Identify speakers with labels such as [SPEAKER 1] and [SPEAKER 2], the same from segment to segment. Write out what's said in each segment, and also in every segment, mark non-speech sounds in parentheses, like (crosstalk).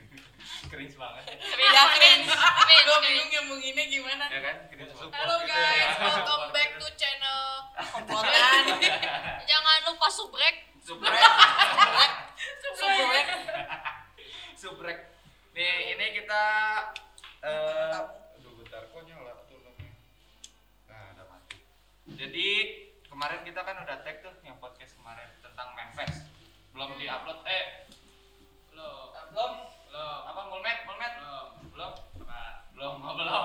[SPEAKER 1] (laughs) cringe banget
[SPEAKER 2] Beda cringe. Cringe,
[SPEAKER 3] Gue
[SPEAKER 2] cringe.
[SPEAKER 3] bingung nyambunginnya gimana.
[SPEAKER 1] ya kan kita support
[SPEAKER 3] Halo
[SPEAKER 1] gitu
[SPEAKER 3] guys,
[SPEAKER 1] ya.
[SPEAKER 3] welcome
[SPEAKER 1] Support
[SPEAKER 3] back
[SPEAKER 1] gitu.
[SPEAKER 3] to channel komplotan.
[SPEAKER 2] Jangan lupa subrek.
[SPEAKER 1] subrek
[SPEAKER 3] Subrek.
[SPEAKER 1] subrek nih ini kita eh aduh bentar kok nyala tuh lampunya. nah udah mati jadi kemarin kita kan udah tag tuh yang podcast kemarin tentang Memphis belum diupload eh belum belum belum apa mulmet mulmet belum belum Nah, belum oh, belum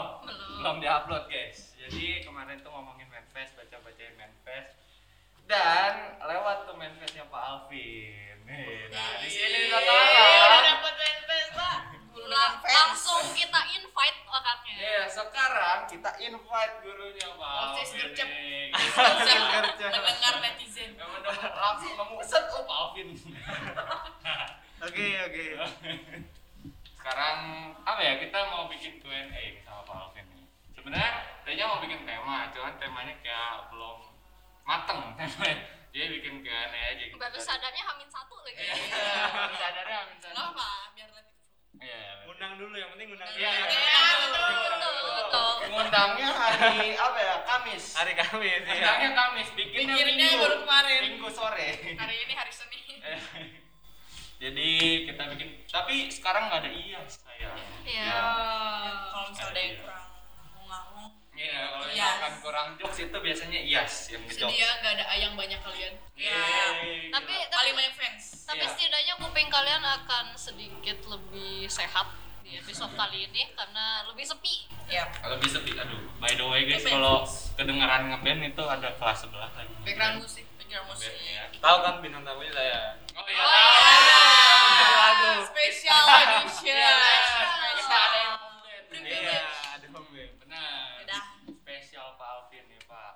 [SPEAKER 1] belum diupload guys jadi kemarin tuh ngomongin Memphis baca bacain Memphis dan lewat tuh Memphis-nya Pak Alvin nih nah di
[SPEAKER 3] iya,
[SPEAKER 1] sini
[SPEAKER 3] Udah
[SPEAKER 1] sekarang
[SPEAKER 3] Iya, dapet manifest, Pak.
[SPEAKER 2] La- langsung kita invite orangnya.
[SPEAKER 1] Iya, sekarang kita invite gurunya, Pak.
[SPEAKER 3] Osis gercep. (laughs)
[SPEAKER 1] Ini.
[SPEAKER 3] Langsung
[SPEAKER 1] gercep.
[SPEAKER 2] (laughs)
[SPEAKER 3] Mendengar netizen.
[SPEAKER 1] Ya, bener. Langsung memuset oh Pak Alvin.
[SPEAKER 4] Oke oke.
[SPEAKER 1] Sekarang apa ya? Kita mau bikin Q&A nih sama Pak Alvin nih. Sebenarnya tadinya mau bikin tema, cuman temanya kayak belum mateng (laughs) temanya. Jadi bikin Q&A aja gitu.
[SPEAKER 2] Baru sadarnya hamin satu lagi.
[SPEAKER 1] Iya, baru sadarnya, baru
[SPEAKER 3] Gak
[SPEAKER 1] sadar. ya,
[SPEAKER 3] apa, biar nanti.
[SPEAKER 1] Iya, iya.
[SPEAKER 4] Undang dulu yang penting undang.
[SPEAKER 1] Iya,
[SPEAKER 4] dulu.
[SPEAKER 1] iya,
[SPEAKER 3] betul,
[SPEAKER 2] betul, betul.
[SPEAKER 1] Ngundangnya hari apa ya? Kamis.
[SPEAKER 4] Hari Kamis
[SPEAKER 1] Ngundangnya
[SPEAKER 4] ya.
[SPEAKER 1] Kamis, bikinnya
[SPEAKER 3] Bikinnya
[SPEAKER 1] minggu.
[SPEAKER 3] baru kemarin.
[SPEAKER 1] Minggu sore.
[SPEAKER 3] Hari ini hari Senin.
[SPEAKER 1] (laughs) Jadi kita bikin, tapi sekarang nggak ada iya saya.
[SPEAKER 2] Iya.
[SPEAKER 1] Ya.
[SPEAKER 3] Kalau misalnya ada yang
[SPEAKER 1] Iya.
[SPEAKER 3] kurang ngomong,
[SPEAKER 1] Iya, kalau
[SPEAKER 3] Yes.
[SPEAKER 1] misalkan kurang jokes itu biasanya ias yang ngejok.
[SPEAKER 3] sedia nggak ada ayang banyak kalian.
[SPEAKER 1] Iya,
[SPEAKER 5] iya.
[SPEAKER 1] Yeay,
[SPEAKER 2] Tapi
[SPEAKER 1] gila.
[SPEAKER 3] ya, Paling
[SPEAKER 2] tapi,
[SPEAKER 3] banyak fans.
[SPEAKER 2] tapi
[SPEAKER 1] Iya.
[SPEAKER 2] setidaknya kuping kalian akan sedikit lebih sehat di episode kali ini karena lebih sepi.
[SPEAKER 3] Iya.
[SPEAKER 1] kalau bisa bi- aduh. By the way guys,
[SPEAKER 3] Itu
[SPEAKER 1] kalau kedengaran ngeband itu ada kelas sebelah lagi.
[SPEAKER 3] Background musik, background musik.
[SPEAKER 1] Band, ya.
[SPEAKER 4] Tahu kan bintang tamunya saya.
[SPEAKER 1] Oh
[SPEAKER 3] Wah,
[SPEAKER 1] iya.
[SPEAKER 3] Wah,
[SPEAKER 4] Lagu.
[SPEAKER 3] Special edition.
[SPEAKER 1] Iya,
[SPEAKER 3] Special.
[SPEAKER 1] kita ada yang komplain.
[SPEAKER 3] Privilege.
[SPEAKER 1] Iya,
[SPEAKER 4] ada pembeli.
[SPEAKER 1] benar.
[SPEAKER 3] Udah.
[SPEAKER 1] Spesial Pak Alvin ya Pak.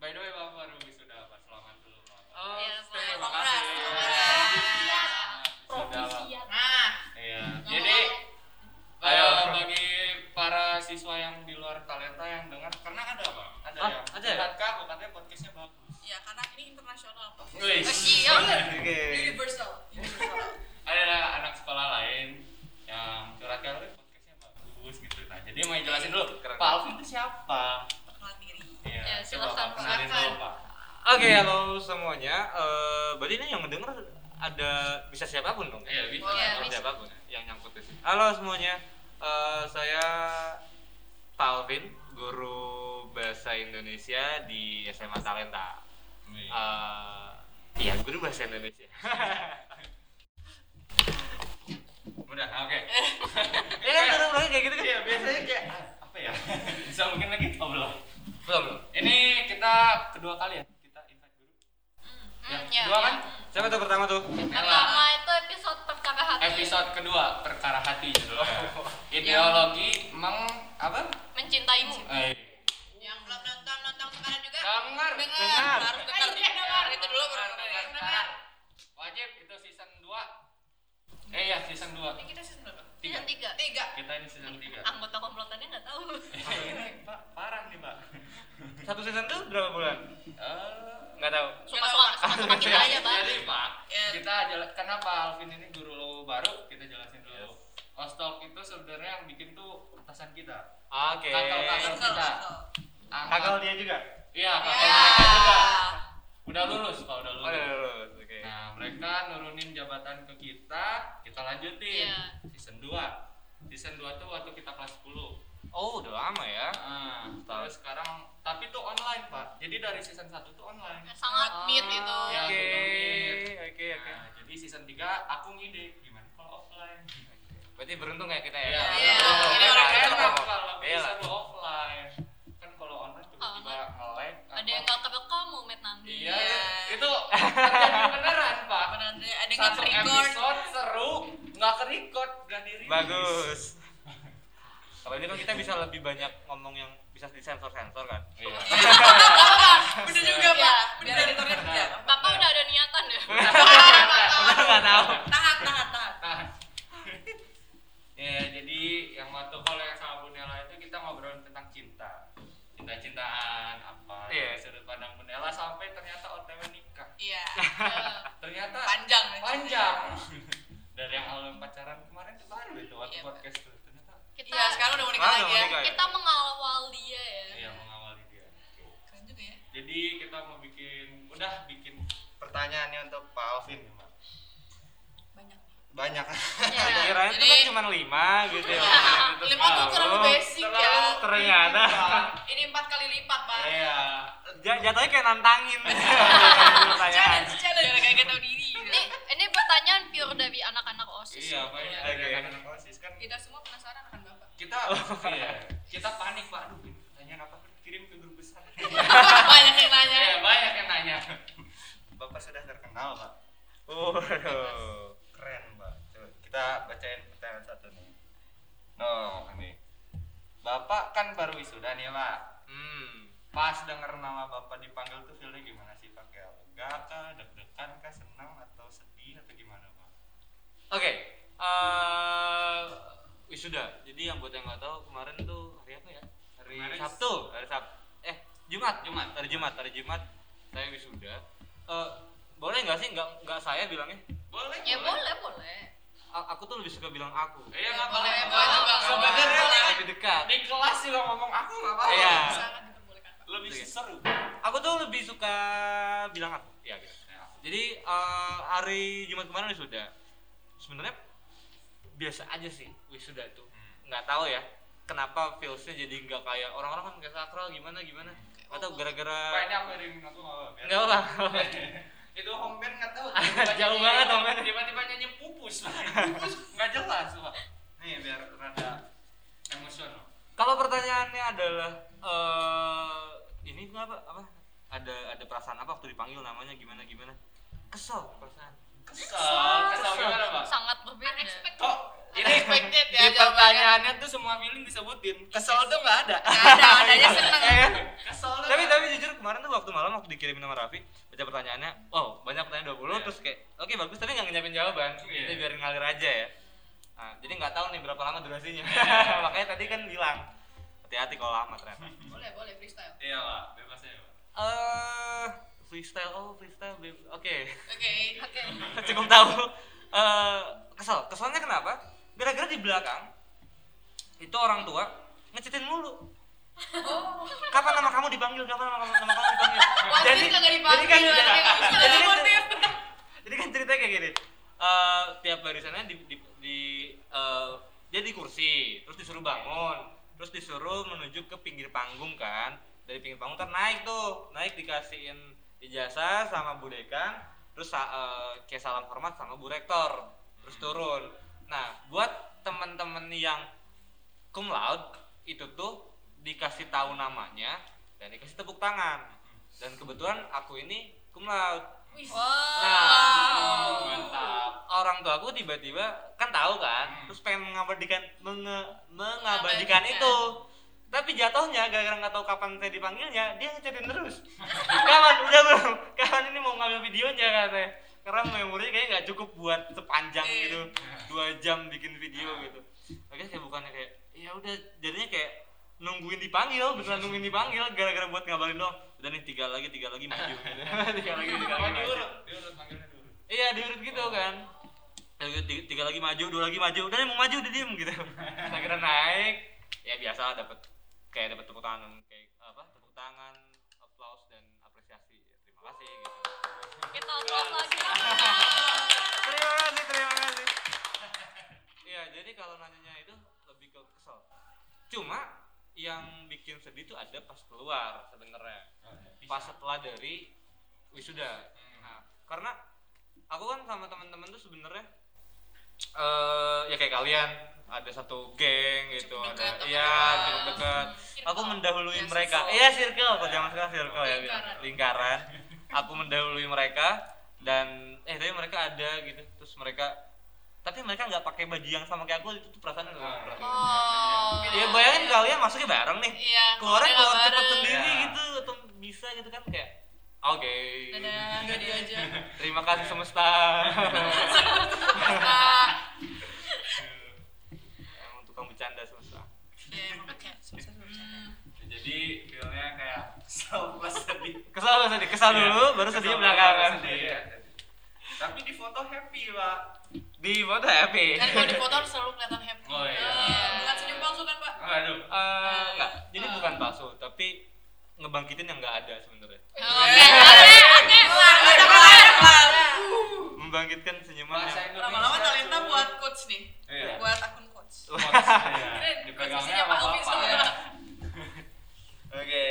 [SPEAKER 1] By the way Pak baru wisuda Pak, selamat dulu Pak.
[SPEAKER 4] Oh,
[SPEAKER 2] Iya,
[SPEAKER 4] saya-
[SPEAKER 2] Pak.
[SPEAKER 3] Kongres, kongres.
[SPEAKER 1] Sudah.
[SPEAKER 3] Nah,
[SPEAKER 1] Iya.
[SPEAKER 3] Ngomong-ngomong.
[SPEAKER 1] Jadi
[SPEAKER 4] Ayo.
[SPEAKER 1] eh, bagi para siswa yang di luar talenta yang dengar karena ada Pak, ada
[SPEAKER 4] Ah,
[SPEAKER 1] yang
[SPEAKER 4] ada ya?
[SPEAKER 1] lihat kak aku katanya podcastnya bagus.
[SPEAKER 3] ya karena ini internasional kok.
[SPEAKER 1] Wih.
[SPEAKER 4] Oh,
[SPEAKER 2] Iya.
[SPEAKER 4] Oke.
[SPEAKER 3] Universal. Universal.
[SPEAKER 1] Ada anak sekolah lain yang curhat kalau podcastnya bagus gitu. Nah, jadi mau jelasin dulu
[SPEAKER 4] Keren.
[SPEAKER 1] Pak Alvin itu siapa?
[SPEAKER 3] Kenal diri.
[SPEAKER 1] Iya,
[SPEAKER 2] Ya,
[SPEAKER 1] coba
[SPEAKER 2] silakan,
[SPEAKER 1] Pak kenalin
[SPEAKER 3] silakan.
[SPEAKER 1] dulu Pak.
[SPEAKER 4] Oke, halo semuanya. Eh, berarti ini yang mendengar ada bisa siapapun dong.
[SPEAKER 1] Iya, bisa.
[SPEAKER 2] Iya,
[SPEAKER 4] Bisa
[SPEAKER 2] bisa.
[SPEAKER 4] siapapun ya, yang nyangkut di sini. Halo semuanya. Eh, saya Pak Alvin, guru bahasa Indonesia di SMA Talenta.
[SPEAKER 1] Wih. Ah,
[SPEAKER 4] Eh, iya, guru bahasa Indonesia.
[SPEAKER 1] Udah, oke.
[SPEAKER 4] Iya kan turun-turun kayak gitu kan?
[SPEAKER 1] Iya, biasanya kayak ah, apa ya? (laughs) Bisa mungkin lagi oh, belum.
[SPEAKER 4] Belum, belum.
[SPEAKER 1] Ini kita kedua kali ya kita invite guru.
[SPEAKER 3] Hmm, ya,
[SPEAKER 1] Yang
[SPEAKER 2] iya,
[SPEAKER 1] kedua
[SPEAKER 2] iya.
[SPEAKER 1] kan?
[SPEAKER 4] Siapa tuh pertama tuh?
[SPEAKER 2] Pertama itu episode pertama hati.
[SPEAKER 1] episode kedua perkara hati judulnya ideologi meng apa
[SPEAKER 2] mencintaimu.
[SPEAKER 1] eh,
[SPEAKER 3] Yang belum nonton nonton kemarin juga.
[SPEAKER 1] dengar
[SPEAKER 3] Dengar, harus dengar.
[SPEAKER 1] Iya,
[SPEAKER 3] Dengar, itu dulu baru
[SPEAKER 1] dengar,
[SPEAKER 3] dengar.
[SPEAKER 1] dengar. wajib itu season 2 eh ya season 2
[SPEAKER 3] Ini kita season berapa?
[SPEAKER 1] tiga
[SPEAKER 2] Yang tiga.
[SPEAKER 3] Tiga.
[SPEAKER 1] kita ini season 3
[SPEAKER 2] Anggota komplotannya nggak tahu.
[SPEAKER 1] ini pak parah nih pak
[SPEAKER 4] Satu season tuh berapa bulan?
[SPEAKER 1] Eh,
[SPEAKER 4] Nggak tahu.
[SPEAKER 2] Suka-suka suka-suka kita aja, Bang.
[SPEAKER 1] jadi pak
[SPEAKER 3] Iya.
[SPEAKER 1] kita jela- kenapa Alvin ini guru lo baru kita jelasin dulu Ostalk itu sebenarnya yang bikin tuh atasan kita
[SPEAKER 4] Oke.
[SPEAKER 1] Kakak-kakak.
[SPEAKER 3] Circle,
[SPEAKER 1] Kita.
[SPEAKER 3] circle.
[SPEAKER 4] Kakak dia juga.
[SPEAKER 1] iya kakak
[SPEAKER 3] Ya.
[SPEAKER 1] mereka juga udah lulus pak udah
[SPEAKER 4] Oh,
[SPEAKER 1] lulus
[SPEAKER 4] udah lulus. Oke.
[SPEAKER 1] Nah, mereka nurunin jabatan ke kita, kita lanjutin
[SPEAKER 2] Iya.
[SPEAKER 1] season 2. Season 2 tuh waktu kita kelas 10.
[SPEAKER 4] Oh, udah lama ya.
[SPEAKER 1] Nah, terus sekarang tapi tuh online, Pak. Jadi dari season 1 tuh online.
[SPEAKER 2] Sangat
[SPEAKER 4] Oh.
[SPEAKER 2] meet gitu. itu.
[SPEAKER 1] Ya,
[SPEAKER 4] Oke.
[SPEAKER 1] belum.
[SPEAKER 4] Oke, oke.
[SPEAKER 1] Nah, jadi season 3 aku ngide gimana kalau offline.
[SPEAKER 4] Berarti beruntung ya kita ya.
[SPEAKER 1] Iya.
[SPEAKER 3] Iya.
[SPEAKER 1] Kalau
[SPEAKER 3] Ini
[SPEAKER 1] online
[SPEAKER 3] orang
[SPEAKER 1] enak
[SPEAKER 4] cocok.
[SPEAKER 1] kalau
[SPEAKER 4] Iya.
[SPEAKER 1] bisa lu offline. Kan kalau online tiba-tiba
[SPEAKER 2] Oh, Online.
[SPEAKER 1] nge-lag.
[SPEAKER 2] Ada
[SPEAKER 1] apa.
[SPEAKER 2] yang nggak kerekam mau met nanti.
[SPEAKER 1] Iya,
[SPEAKER 3] Iya.
[SPEAKER 1] itu terjadi beneran, Pak.
[SPEAKER 3] Benar, ada ada yang
[SPEAKER 1] satu
[SPEAKER 3] record.
[SPEAKER 1] episode seru nggak ke record udah di
[SPEAKER 4] Bagus. Kalau ini kan kita bisa lebih banyak ngomong yang bisa disensor-sensor kan. (laughs)
[SPEAKER 1] iya
[SPEAKER 3] Bener juga,
[SPEAKER 2] Iya.
[SPEAKER 3] Pak. Bener editornya kerja.
[SPEAKER 2] Bapak udah ada niatan ya.
[SPEAKER 4] Udah nggak tahu.
[SPEAKER 3] Tahan, tahan, tahan.
[SPEAKER 1] Tahan. Nah. ya jadi yang waktu kalau yang sama Bunela itu kita ngobrolin tentang cinta cinta-cintaan apa
[SPEAKER 4] Iya.
[SPEAKER 1] dari sudut pandang Bunela sampai ternyata otw nikah
[SPEAKER 3] Iya.
[SPEAKER 1] ternyata
[SPEAKER 3] Panjang. ya.
[SPEAKER 1] (laughs) panjang dari yang awal pacaran kemarin tuh baru itu waktu
[SPEAKER 3] Iya, Pak.
[SPEAKER 1] podcast tuh ternyata
[SPEAKER 2] Kita
[SPEAKER 3] Iya, sekarang udah mau
[SPEAKER 1] Ah,
[SPEAKER 3] nikah
[SPEAKER 4] Mana
[SPEAKER 3] lagi
[SPEAKER 4] mau
[SPEAKER 3] ya.
[SPEAKER 4] nikah?
[SPEAKER 2] kita mengawal dia ya.
[SPEAKER 1] iya mengawali dia Oke.
[SPEAKER 3] Keren juga ya.
[SPEAKER 1] jadi kita mau bikin udah bikin pertanyaannya untuk Pak Alvin ya, Mak.
[SPEAKER 3] Banyak.
[SPEAKER 1] banyak (laughs)
[SPEAKER 2] Iya.
[SPEAKER 4] Kirain itu kan
[SPEAKER 3] Jadi- Iya.
[SPEAKER 4] cuma lima gitu ya. Untuk
[SPEAKER 3] Lima tuh terlalu
[SPEAKER 4] kamu.
[SPEAKER 3] basic ya. Iya.
[SPEAKER 4] Ternyata
[SPEAKER 3] Ini empat kali lipat, Pak.
[SPEAKER 1] iya
[SPEAKER 4] Ja- jatuhnya kayak
[SPEAKER 3] (laughs)
[SPEAKER 4] nantangin. Pertanyaan.
[SPEAKER 3] Challenge, challenge. Jangan kayak tahu diri. gitu.
[SPEAKER 2] Ini ini pertanyaan pure dari anak-anak OSIS. (laughs)
[SPEAKER 1] iya Pak
[SPEAKER 3] Iya.
[SPEAKER 1] dari
[SPEAKER 4] Oke.
[SPEAKER 1] anak-anak OSIS kan
[SPEAKER 3] Kita semua penasaran akan Bapak.
[SPEAKER 1] kita
[SPEAKER 3] Oh,
[SPEAKER 1] iya, kita panik Pak aduh ini pertanyaan apa kirim ke grup
[SPEAKER 3] (laughs)
[SPEAKER 1] besar
[SPEAKER 3] Banyak yang nanya.
[SPEAKER 1] Iya, banyak yang nanya Bapak sudah terkenal Pak
[SPEAKER 4] Waduh.
[SPEAKER 1] keren mbak Coba kita bacain pertanyaan satu nih no ini bapak kan baru wisuda
[SPEAKER 3] Iya,
[SPEAKER 1] nih pak
[SPEAKER 4] Hmm.
[SPEAKER 1] pas denger nama bapak dipanggil tuh feelnya gimana sih pakai lega kah deg-degan kah senang atau sedih atau gimana pak
[SPEAKER 4] Oke. eh, wisuda. Jadi yang buat yang nggak tahu kemarin tuh hari apa ya? Hari
[SPEAKER 1] Kemarin-
[SPEAKER 4] Sabtu. Hari Sabtu. Eh Jumat.
[SPEAKER 1] Jumat.
[SPEAKER 4] Hari Jumat. Hari Jumat. Saya wisuda. Eh, boleh nggak sih nggak nggak saya bilangnya?
[SPEAKER 1] boleh
[SPEAKER 2] Ya boleh, boleh.
[SPEAKER 4] A- aku tuh lebih suka bilang aku.
[SPEAKER 1] Eh, ya nggak
[SPEAKER 3] Boleh,
[SPEAKER 1] apa-apa
[SPEAKER 3] boleh juga.
[SPEAKER 1] sebenarnya
[SPEAKER 3] Boleh.
[SPEAKER 1] Pak,
[SPEAKER 4] lebih dekat.
[SPEAKER 1] di kelas juga ngomong aku nggak apa-apa
[SPEAKER 4] Iya.
[SPEAKER 3] Sangat diperbolehkan, Pak.
[SPEAKER 1] lebih
[SPEAKER 4] Iya.
[SPEAKER 1] seru
[SPEAKER 4] Aku tuh lebih suka bilang aku. Ya gitu. Jadi eh, hari Jumat kemarin wisuda. Sebenarnya biasa aja sih wisuda tuh.
[SPEAKER 1] Hmm.
[SPEAKER 4] Nggak tahu ya kenapa feelsnya jadi nggak kayak orang-orang kan kayak sakral gimana gimana atau
[SPEAKER 1] pak
[SPEAKER 4] gara-gara
[SPEAKER 1] ini aku irimin aku nggak apa-apa biar-
[SPEAKER 4] nggak apa
[SPEAKER 1] (laughs) itu Homben nggak tahu
[SPEAKER 4] Jauh banget, Hong Ben.
[SPEAKER 1] tiba-tiba nyanyi pupus Pak. pupus nggak jelas pak nih biar rada emosional
[SPEAKER 4] kalau pertanyaannya adalah eh ini kenapa apa ada ada perasaan apa waktu dipanggil namanya gimana gimana kesel perasaan
[SPEAKER 1] kesel kesel gimana pak
[SPEAKER 2] Sangat berbeda.
[SPEAKER 1] kok Iya. ini
[SPEAKER 3] Unexpected ya
[SPEAKER 1] di pertanyaannya tuh semua feeling disebutin kesel tuh nggak ada
[SPEAKER 3] Nggak ada, adanya seneng.
[SPEAKER 4] Ya kan?
[SPEAKER 1] kesel tuh
[SPEAKER 4] tapi
[SPEAKER 1] nggak
[SPEAKER 4] tapi jujur kemarin tuh waktu malam waktu dikirimin sama Raffi baca pertanyaannya wow banyak pertanyaan 20
[SPEAKER 1] Iya.
[SPEAKER 4] terus kayak oke bagus tapi nggak nyiapin jawaban
[SPEAKER 1] Iya.
[SPEAKER 4] jadi biarin ngalir aja ya nah, jadi nggak tahu nih berapa lama durasinya
[SPEAKER 1] Iya.
[SPEAKER 4] (laughs) makanya tadi kan bilang hati-hati kalau lama ternyata
[SPEAKER 3] Boleh, boleh freestyle.
[SPEAKER 1] ada. iya pak bebas aja pak
[SPEAKER 4] eh freestyle oh freestyle babe. oke (laughs)
[SPEAKER 3] Oke. Oke.
[SPEAKER 4] cukup tahu Eh, kesel keselnya kenapa gara-gara di belakang itu orang tua ngecetin mulu
[SPEAKER 3] Oh.
[SPEAKER 4] kapan nama kamu dipanggil kapan nama, kamu- nama kamu dipanggil
[SPEAKER 3] Jadi kagak dipanggil.
[SPEAKER 4] jadi kan (laughs)
[SPEAKER 3] berarti nggak bisa
[SPEAKER 4] jadi kan-
[SPEAKER 3] motif.
[SPEAKER 4] jadi kan ceritanya kayak gini Eh, tiap barisannya di di, di eh, dia di kursi terus disuruh bangun terus disuruh menuju ke pinggir panggung kan dari pinggir panggung ntar naik tuh naik dikasihin ijazah sama bu dekan terus sa- eh, kayak salam hormat sama bu rektor terus turun nah buat temen-temen yang cum laude itu tuh dikasih tahu namanya dan dikasih tepuk tangan dan kebetulan aku ini cum laude
[SPEAKER 3] Wih.
[SPEAKER 5] Oh.
[SPEAKER 4] Nah.
[SPEAKER 1] mantap
[SPEAKER 4] orang tua aku tiba-tiba kan tahu kan
[SPEAKER 1] Hmm.
[SPEAKER 4] terus pengen mengabadikan menge- mengabadikan itu tapi jatuhnya gara-gara nggak tahu kapan saya dipanggilnya dia ngechatin terus (laughs) kapan udah belum kapan ini mau ngambil videonya katanya karena memorinya kayaknya nggak cukup buat sepanjang
[SPEAKER 3] Iya.
[SPEAKER 4] gitu dua jam bikin video gitu makanya kayak bukannya kayak ya udah jadinya kayak nungguin dipanggil beneran nungguin dipanggil gara-gara buat ngabarin doang udah nih tiga lagi tiga lagi maju gitu. tiga lagi tiga
[SPEAKER 1] oh
[SPEAKER 4] lagi maju.
[SPEAKER 1] diurut diurut manggilnya diurut
[SPEAKER 4] Iya diurut gitu kan. Tiga, tiga, tiga lagi maju, dua lagi maju, udah nih, mau maju udah diem gitu. (laughs) Akhirnya naik, ya biasa dapat kayak dapat tepuk tangan, kayak apa tepuk tangan, applause dan apresiasi. Ya, terima kasih gitu.
[SPEAKER 2] Kita upload lagi.
[SPEAKER 4] Terima kasih, terima kasih. Iya jadi kalau nanyanya itu lebih ke kesel. Cuma yang bikin sedih tuh ada pas keluar sebenarnya pas setelah dari wisuda
[SPEAKER 3] Hmm.
[SPEAKER 4] nah, karena aku kan sama teman-teman tuh sebenarnya eh ya kayak kalian ada satu geng gitu
[SPEAKER 3] Cukup
[SPEAKER 4] ada
[SPEAKER 3] dekat,
[SPEAKER 4] iya
[SPEAKER 3] teman.
[SPEAKER 4] cukup dekat
[SPEAKER 2] Circle.
[SPEAKER 4] aku mendahului
[SPEAKER 3] Ya,
[SPEAKER 4] mereka
[SPEAKER 3] circle.
[SPEAKER 4] iya circle kalau zaman sekarang circle ya gitu.
[SPEAKER 3] Lingkaran.
[SPEAKER 4] lingkaran aku mendahului mereka dan eh tapi mereka ada gitu terus mereka tapi mereka nggak pakai baju yang sama kayak aku itu tuh perasaan nggak
[SPEAKER 1] Ah.
[SPEAKER 4] perasaan.
[SPEAKER 3] Oh.
[SPEAKER 4] ya bayangin kalian masuknya bareng nih
[SPEAKER 3] Iya.
[SPEAKER 4] keluarnya
[SPEAKER 3] nggak
[SPEAKER 4] keluar cepet
[SPEAKER 3] bareng.
[SPEAKER 4] sendiri
[SPEAKER 1] Ya.
[SPEAKER 4] gitu atau bisa gitu kan kayak oke
[SPEAKER 3] Dadah, nggak diajak.
[SPEAKER 4] terima kasih semesta
[SPEAKER 3] Pak.
[SPEAKER 4] Emang tukang bercanda semesta
[SPEAKER 3] Iya, emang kan kayak susah bercanda.
[SPEAKER 1] jadi feelnya kayak kesel plus sedih
[SPEAKER 4] Iya.
[SPEAKER 1] Iya,
[SPEAKER 4] kesal nggak sedih kesal dulu baru sedih belakangan
[SPEAKER 1] Sedih, ya. Tapi di foto happy pak.
[SPEAKER 4] di foto happy (laughs)
[SPEAKER 3] Kan kalau di foto harus selalu kelihatan happy.
[SPEAKER 4] Oh, iya.
[SPEAKER 3] Eh, Bukan senyum palsu kan pak?
[SPEAKER 1] Aduh.
[SPEAKER 4] Eh, enggak jadi
[SPEAKER 3] Eh.
[SPEAKER 4] bukan palsu tapi ngebangkitin yang enggak ada sebenarnya
[SPEAKER 2] Oke, oke, oke.
[SPEAKER 4] membangkitkan senyuman
[SPEAKER 1] Bahasa
[SPEAKER 4] yang
[SPEAKER 1] Indonesia.
[SPEAKER 3] Lama-lama talenta
[SPEAKER 1] tuh.
[SPEAKER 3] buat coach nih.
[SPEAKER 1] Iya.
[SPEAKER 3] Buat akun coach.
[SPEAKER 1] Coach, iya.
[SPEAKER 3] Keren,
[SPEAKER 1] Dipegangnya
[SPEAKER 3] posisinya
[SPEAKER 1] sama
[SPEAKER 3] Pak Alvin
[SPEAKER 1] bapak, ya.
[SPEAKER 3] soalnya.
[SPEAKER 1] Oke.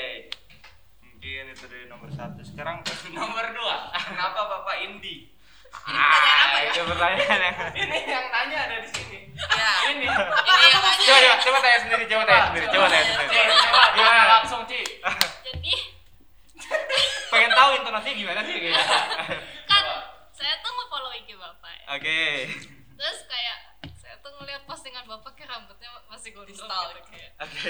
[SPEAKER 1] Mungkin itu dari nomor satu. Sekarang ke (laughs) nomor dua. Kenapa Bapak Indi?
[SPEAKER 3] pertanyaan apa ya?
[SPEAKER 4] Ah, itu pertanyaan yang
[SPEAKER 1] Ini yang nanya ada di sini.
[SPEAKER 3] Ya.
[SPEAKER 1] Ini.
[SPEAKER 3] Ini yang tadi.
[SPEAKER 4] coba coba coba tanya sendiri coba
[SPEAKER 1] Coba,
[SPEAKER 4] tanya
[SPEAKER 1] coba.
[SPEAKER 4] sendiri coba tanya
[SPEAKER 1] Ci,
[SPEAKER 4] sendiri
[SPEAKER 1] coba
[SPEAKER 4] Gimana?
[SPEAKER 1] tanya langsung Ci.
[SPEAKER 2] Jadi
[SPEAKER 4] pengen tahu intonasinya gimana sih kayaknya
[SPEAKER 2] kan saya tuh nge-follow IG bapak ya.
[SPEAKER 4] oke
[SPEAKER 2] Terus kayak saya tuh ngeliat postingan bapak kayak rambutnya masih golden
[SPEAKER 3] Style.
[SPEAKER 2] gitu kayak.
[SPEAKER 4] oke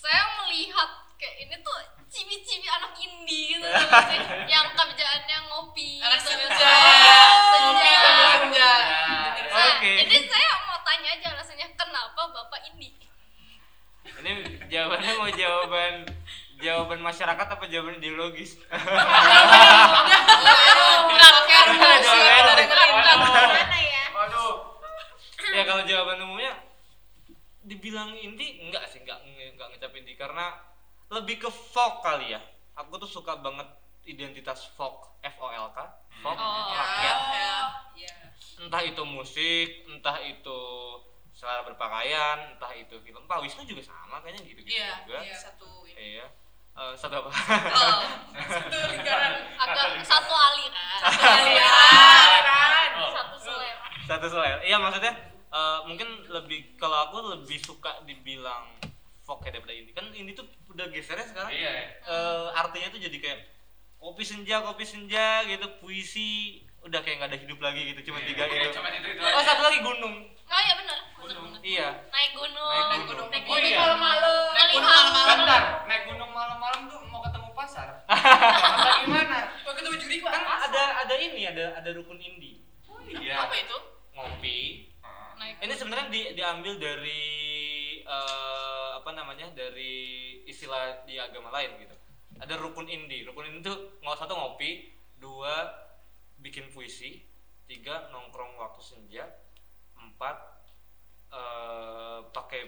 [SPEAKER 2] Saya melihat kayak ini tuh cibi-cibi anak indie gitu loh, sih. yang kerjaannya ngopi.
[SPEAKER 3] Anak
[SPEAKER 2] gitu.
[SPEAKER 3] senja. Ngopi
[SPEAKER 2] Senja.
[SPEAKER 3] sambil senja.
[SPEAKER 1] Senja.
[SPEAKER 2] Nah,
[SPEAKER 4] Oke.
[SPEAKER 2] Jadi saya mau tanya aja alasannya kenapa bapak ini?
[SPEAKER 4] ini jawabannya mau jawaban jawaban masyarakat apa jawaban ideologis
[SPEAKER 2] Bukan, bukan, bukan.
[SPEAKER 4] Jangan, jangan.
[SPEAKER 2] Bukan, bukan.
[SPEAKER 1] Gimana
[SPEAKER 2] ya?
[SPEAKER 1] Waduh.
[SPEAKER 4] ya kalau jawaban umumnya dibilang inti enggak sih enggak enggak ngecap inti karena lebih ke folk kali ya aku tuh suka banget identitas folk F O L K folk
[SPEAKER 2] Oh.
[SPEAKER 4] rakyat
[SPEAKER 3] Ya. Ya.
[SPEAKER 4] entah itu musik entah itu selera berpakaian entah itu film Pak Wisnu juga sama kayaknya gitu gitu
[SPEAKER 3] Iya.
[SPEAKER 4] juga
[SPEAKER 3] Iya. Satu ini.
[SPEAKER 4] iya Eh, satu apa
[SPEAKER 3] Oh, satu lingkaran.
[SPEAKER 2] Agak satu aliran.
[SPEAKER 3] Aliran.
[SPEAKER 2] Satu selera.
[SPEAKER 4] satu selera iya maksudnya eh, mungkin lebih kalau aku lebih suka dibilang folk ya daripada indie kan indie tuh udah gesernya sekarang
[SPEAKER 1] Iya. ya.
[SPEAKER 4] eh, artinya tuh jadi kayak kopi senja kopi senja gitu puisi udah kayak nggak ada hidup lagi gitu cuma tiga
[SPEAKER 1] Iya,
[SPEAKER 4] gitu
[SPEAKER 1] Cuma itu itu
[SPEAKER 4] oh
[SPEAKER 1] aja.
[SPEAKER 4] satu lagi gunung
[SPEAKER 2] Oh iya benar. benar, benar.
[SPEAKER 4] iya
[SPEAKER 2] Naik gunung.
[SPEAKER 4] Naik gunung.
[SPEAKER 2] Naik
[SPEAKER 1] Oh, iya.
[SPEAKER 2] malam-malam.
[SPEAKER 3] Naik gunung
[SPEAKER 2] Melihat.
[SPEAKER 3] malam-malam.
[SPEAKER 1] Bentar, naik gunung malam-malam tuh mau ketemu
[SPEAKER 4] (laughs)
[SPEAKER 1] pasar. Apa gimana?
[SPEAKER 3] Kok ketemu juri pak?
[SPEAKER 4] kan ada ada ini ada ada rukun indie
[SPEAKER 1] Oh
[SPEAKER 5] iya.
[SPEAKER 3] Apa itu?
[SPEAKER 4] ngopi
[SPEAKER 2] Naik
[SPEAKER 4] ini sebenarnya di, diambil dari eh, apa namanya dari istilah di agama lain gitu ada rukun indie rukun indie tuh nggak satu ngopi dua bikin puisi tiga nongkrong waktu senja empat eh, pakai